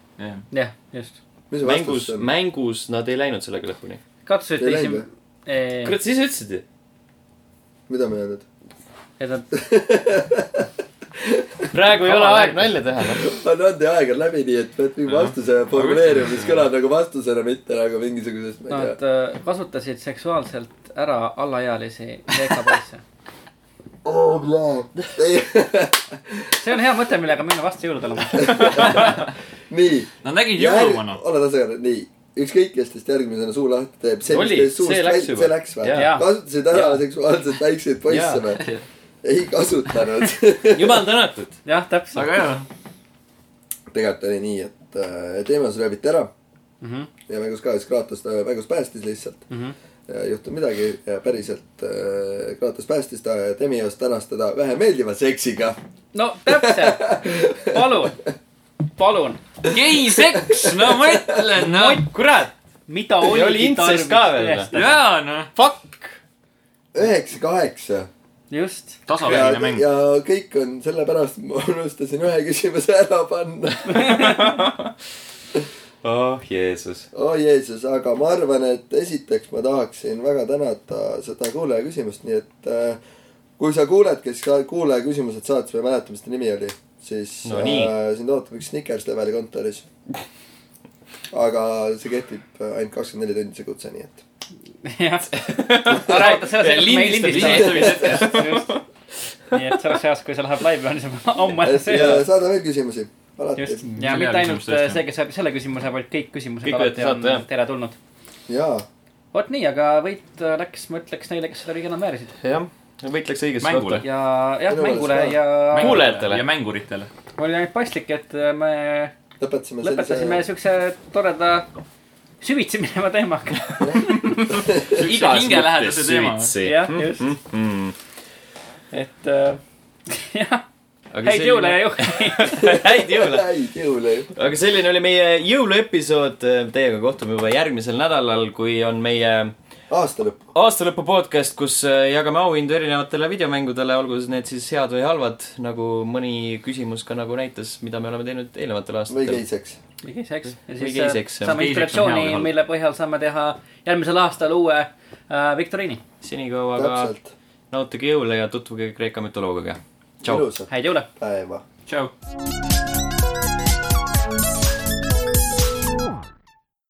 [SPEAKER 2] jah , just .
[SPEAKER 3] mis see vastus
[SPEAKER 1] mängus ,
[SPEAKER 3] on ?
[SPEAKER 1] mängus nad ei läinud sellega lõpuni .
[SPEAKER 2] Kratos
[SPEAKER 3] Ei
[SPEAKER 2] ütles
[SPEAKER 3] läinud
[SPEAKER 2] esim- , et
[SPEAKER 1] kurat , sa ise ütlesid ju .
[SPEAKER 3] mida me öelnud ?
[SPEAKER 2] nad ,
[SPEAKER 1] praegu ei ole
[SPEAKER 2] Kaval
[SPEAKER 1] aeg
[SPEAKER 2] aeg.
[SPEAKER 1] nalja teha . noh.
[SPEAKER 3] on , on teie aeg on läbi , nii et pead mingi
[SPEAKER 4] Jah.
[SPEAKER 3] vastuse formuleerima , mis kõlab nagu vastusena , mitte nagu mingisugusest , ma ei
[SPEAKER 2] nad
[SPEAKER 3] tea .
[SPEAKER 2] äh, kasutasid seksuaalselt ära alaealisi Kreeka poisse .
[SPEAKER 3] oo , Oh, jaa .
[SPEAKER 2] see on hea mõte , millega minna vastu jõulude lõpuks .
[SPEAKER 3] nii .
[SPEAKER 4] Nad nägid jõuluvana .
[SPEAKER 3] ole tasakaal , nii . ükskõik , kes teist järgmisena suu lahti teeb , see , mis
[SPEAKER 1] Oli,
[SPEAKER 3] teist suust
[SPEAKER 1] see läks
[SPEAKER 3] välja ,
[SPEAKER 1] juba.
[SPEAKER 3] see läks või
[SPEAKER 1] Jaa. ?
[SPEAKER 3] kasutasid ära
[SPEAKER 1] Jaa.
[SPEAKER 3] seksuaalselt väikseid poisse
[SPEAKER 1] Jaa.
[SPEAKER 3] või ? ei kasutanud .
[SPEAKER 1] jumal tänatud .
[SPEAKER 2] jah , täpselt .
[SPEAKER 4] väga hea .
[SPEAKER 3] tegelikult oli nii , et äh, teemas rööviti ära
[SPEAKER 2] Mhm.
[SPEAKER 3] ja mängus ka , siis Kratos ta mängus päästis lihtsalt
[SPEAKER 2] Mhm.
[SPEAKER 3] ja ei juhtunud midagi ja päriselt äh, Kratos päästis ta ja Demios tänas teda vähemeeldiva seksiga
[SPEAKER 2] no täpselt , palun , palun ,
[SPEAKER 4] gei seks , no ma ütlen , no .
[SPEAKER 1] kurat ,
[SPEAKER 2] mida
[SPEAKER 1] oli
[SPEAKER 2] oli
[SPEAKER 1] incest ka veel või? ?
[SPEAKER 4] jaa , noh .
[SPEAKER 1] fuck .
[SPEAKER 3] üheksa , kaheksa .
[SPEAKER 2] just .
[SPEAKER 3] ja
[SPEAKER 4] tasavägine , mäng .
[SPEAKER 3] ja kõik on sellepärast , ma unustasin ühe küsimuse ära panna .
[SPEAKER 1] oh Jeesus .
[SPEAKER 3] oh Jeesus , aga ma arvan , et esiteks ma tahaksin väga tänada seda kuulaja küsimust , nii et äh, kui sa kuuled , kes ka kuulaja küsimused saatis , ma ei mäleta , mis ta nimi oli , siis
[SPEAKER 1] No nii.
[SPEAKER 3] äh, sind ootab üks Snickers leveli kontoris . aga see kehtib äh, ainult kakskümmend neli tundi , see kutse , nii et .
[SPEAKER 2] jah . ma räägin sellest , et me ei
[SPEAKER 1] Lindistab-
[SPEAKER 2] lindista . just . nii et selleks ajaks , kui see läheb laivi , on see ammu ära
[SPEAKER 3] et ja
[SPEAKER 2] sees .
[SPEAKER 3] saada veel küsimusi , alati
[SPEAKER 2] just . ja
[SPEAKER 4] Selle
[SPEAKER 2] mitte ainult äh,
[SPEAKER 4] küsimuste eest,
[SPEAKER 2] see , kes saab selle küsimuse , vaid kõik küsimused
[SPEAKER 1] Kõik
[SPEAKER 2] alati
[SPEAKER 1] võite
[SPEAKER 2] on
[SPEAKER 1] saata, jah.
[SPEAKER 2] teretulnud .
[SPEAKER 3] jaa ,
[SPEAKER 2] vot nii , aga võit äh, läks , ma ütleks neile , kes seda kõige enam väärisid .
[SPEAKER 1] jah , võitleks õigesse
[SPEAKER 4] Mängule.
[SPEAKER 1] kohta .
[SPEAKER 2] ja jah ,
[SPEAKER 3] Minu meelest
[SPEAKER 2] mängule
[SPEAKER 3] ka.
[SPEAKER 2] ja
[SPEAKER 1] Kuulajatele.
[SPEAKER 4] ja mänguritele .
[SPEAKER 2] oli ainult paslik , et äh, me
[SPEAKER 3] lõpetasime
[SPEAKER 2] lõpetasime
[SPEAKER 3] sellise .
[SPEAKER 2] siukse toreda süvitsi mineva teemaga .
[SPEAKER 4] Igas hingelähedase teema.
[SPEAKER 2] jah , just ,
[SPEAKER 1] Mhm.
[SPEAKER 2] et äh, jah , häid jõule ja . juhti .
[SPEAKER 1] häid jõule .
[SPEAKER 3] häid jõule .
[SPEAKER 1] aga selline oli meie jõuluepisood . Teiega kohtume juba järgmisel nädalal , kui on meie
[SPEAKER 3] aasta lõpp .
[SPEAKER 1] aastalõpu podcast , kus äh, jagame auhindu erinevatele videomängudele , olgu need siis head või halvad , nagu mõni küsimus ka nagu näitas , mida me oleme teinud eelnevatel
[SPEAKER 3] või
[SPEAKER 1] aastatel .
[SPEAKER 3] geiseks .
[SPEAKER 2] või geiseks . ja
[SPEAKER 1] Või
[SPEAKER 2] siis
[SPEAKER 1] geiseks,
[SPEAKER 2] äh,
[SPEAKER 1] jah.
[SPEAKER 2] saame
[SPEAKER 4] Geiseks on hea või
[SPEAKER 2] inspiratsiooni ,
[SPEAKER 4] halb.
[SPEAKER 2] mille põhjal saame teha järgmisel aastal uue äh, viktoriini .
[SPEAKER 1] senikaua aga
[SPEAKER 3] täpselt .
[SPEAKER 1] nautige jõule ja tutvuge Kreeka mütoloogiaga . tšau .
[SPEAKER 3] ilusat
[SPEAKER 2] häid jõule .
[SPEAKER 3] päeva .
[SPEAKER 4] tšau .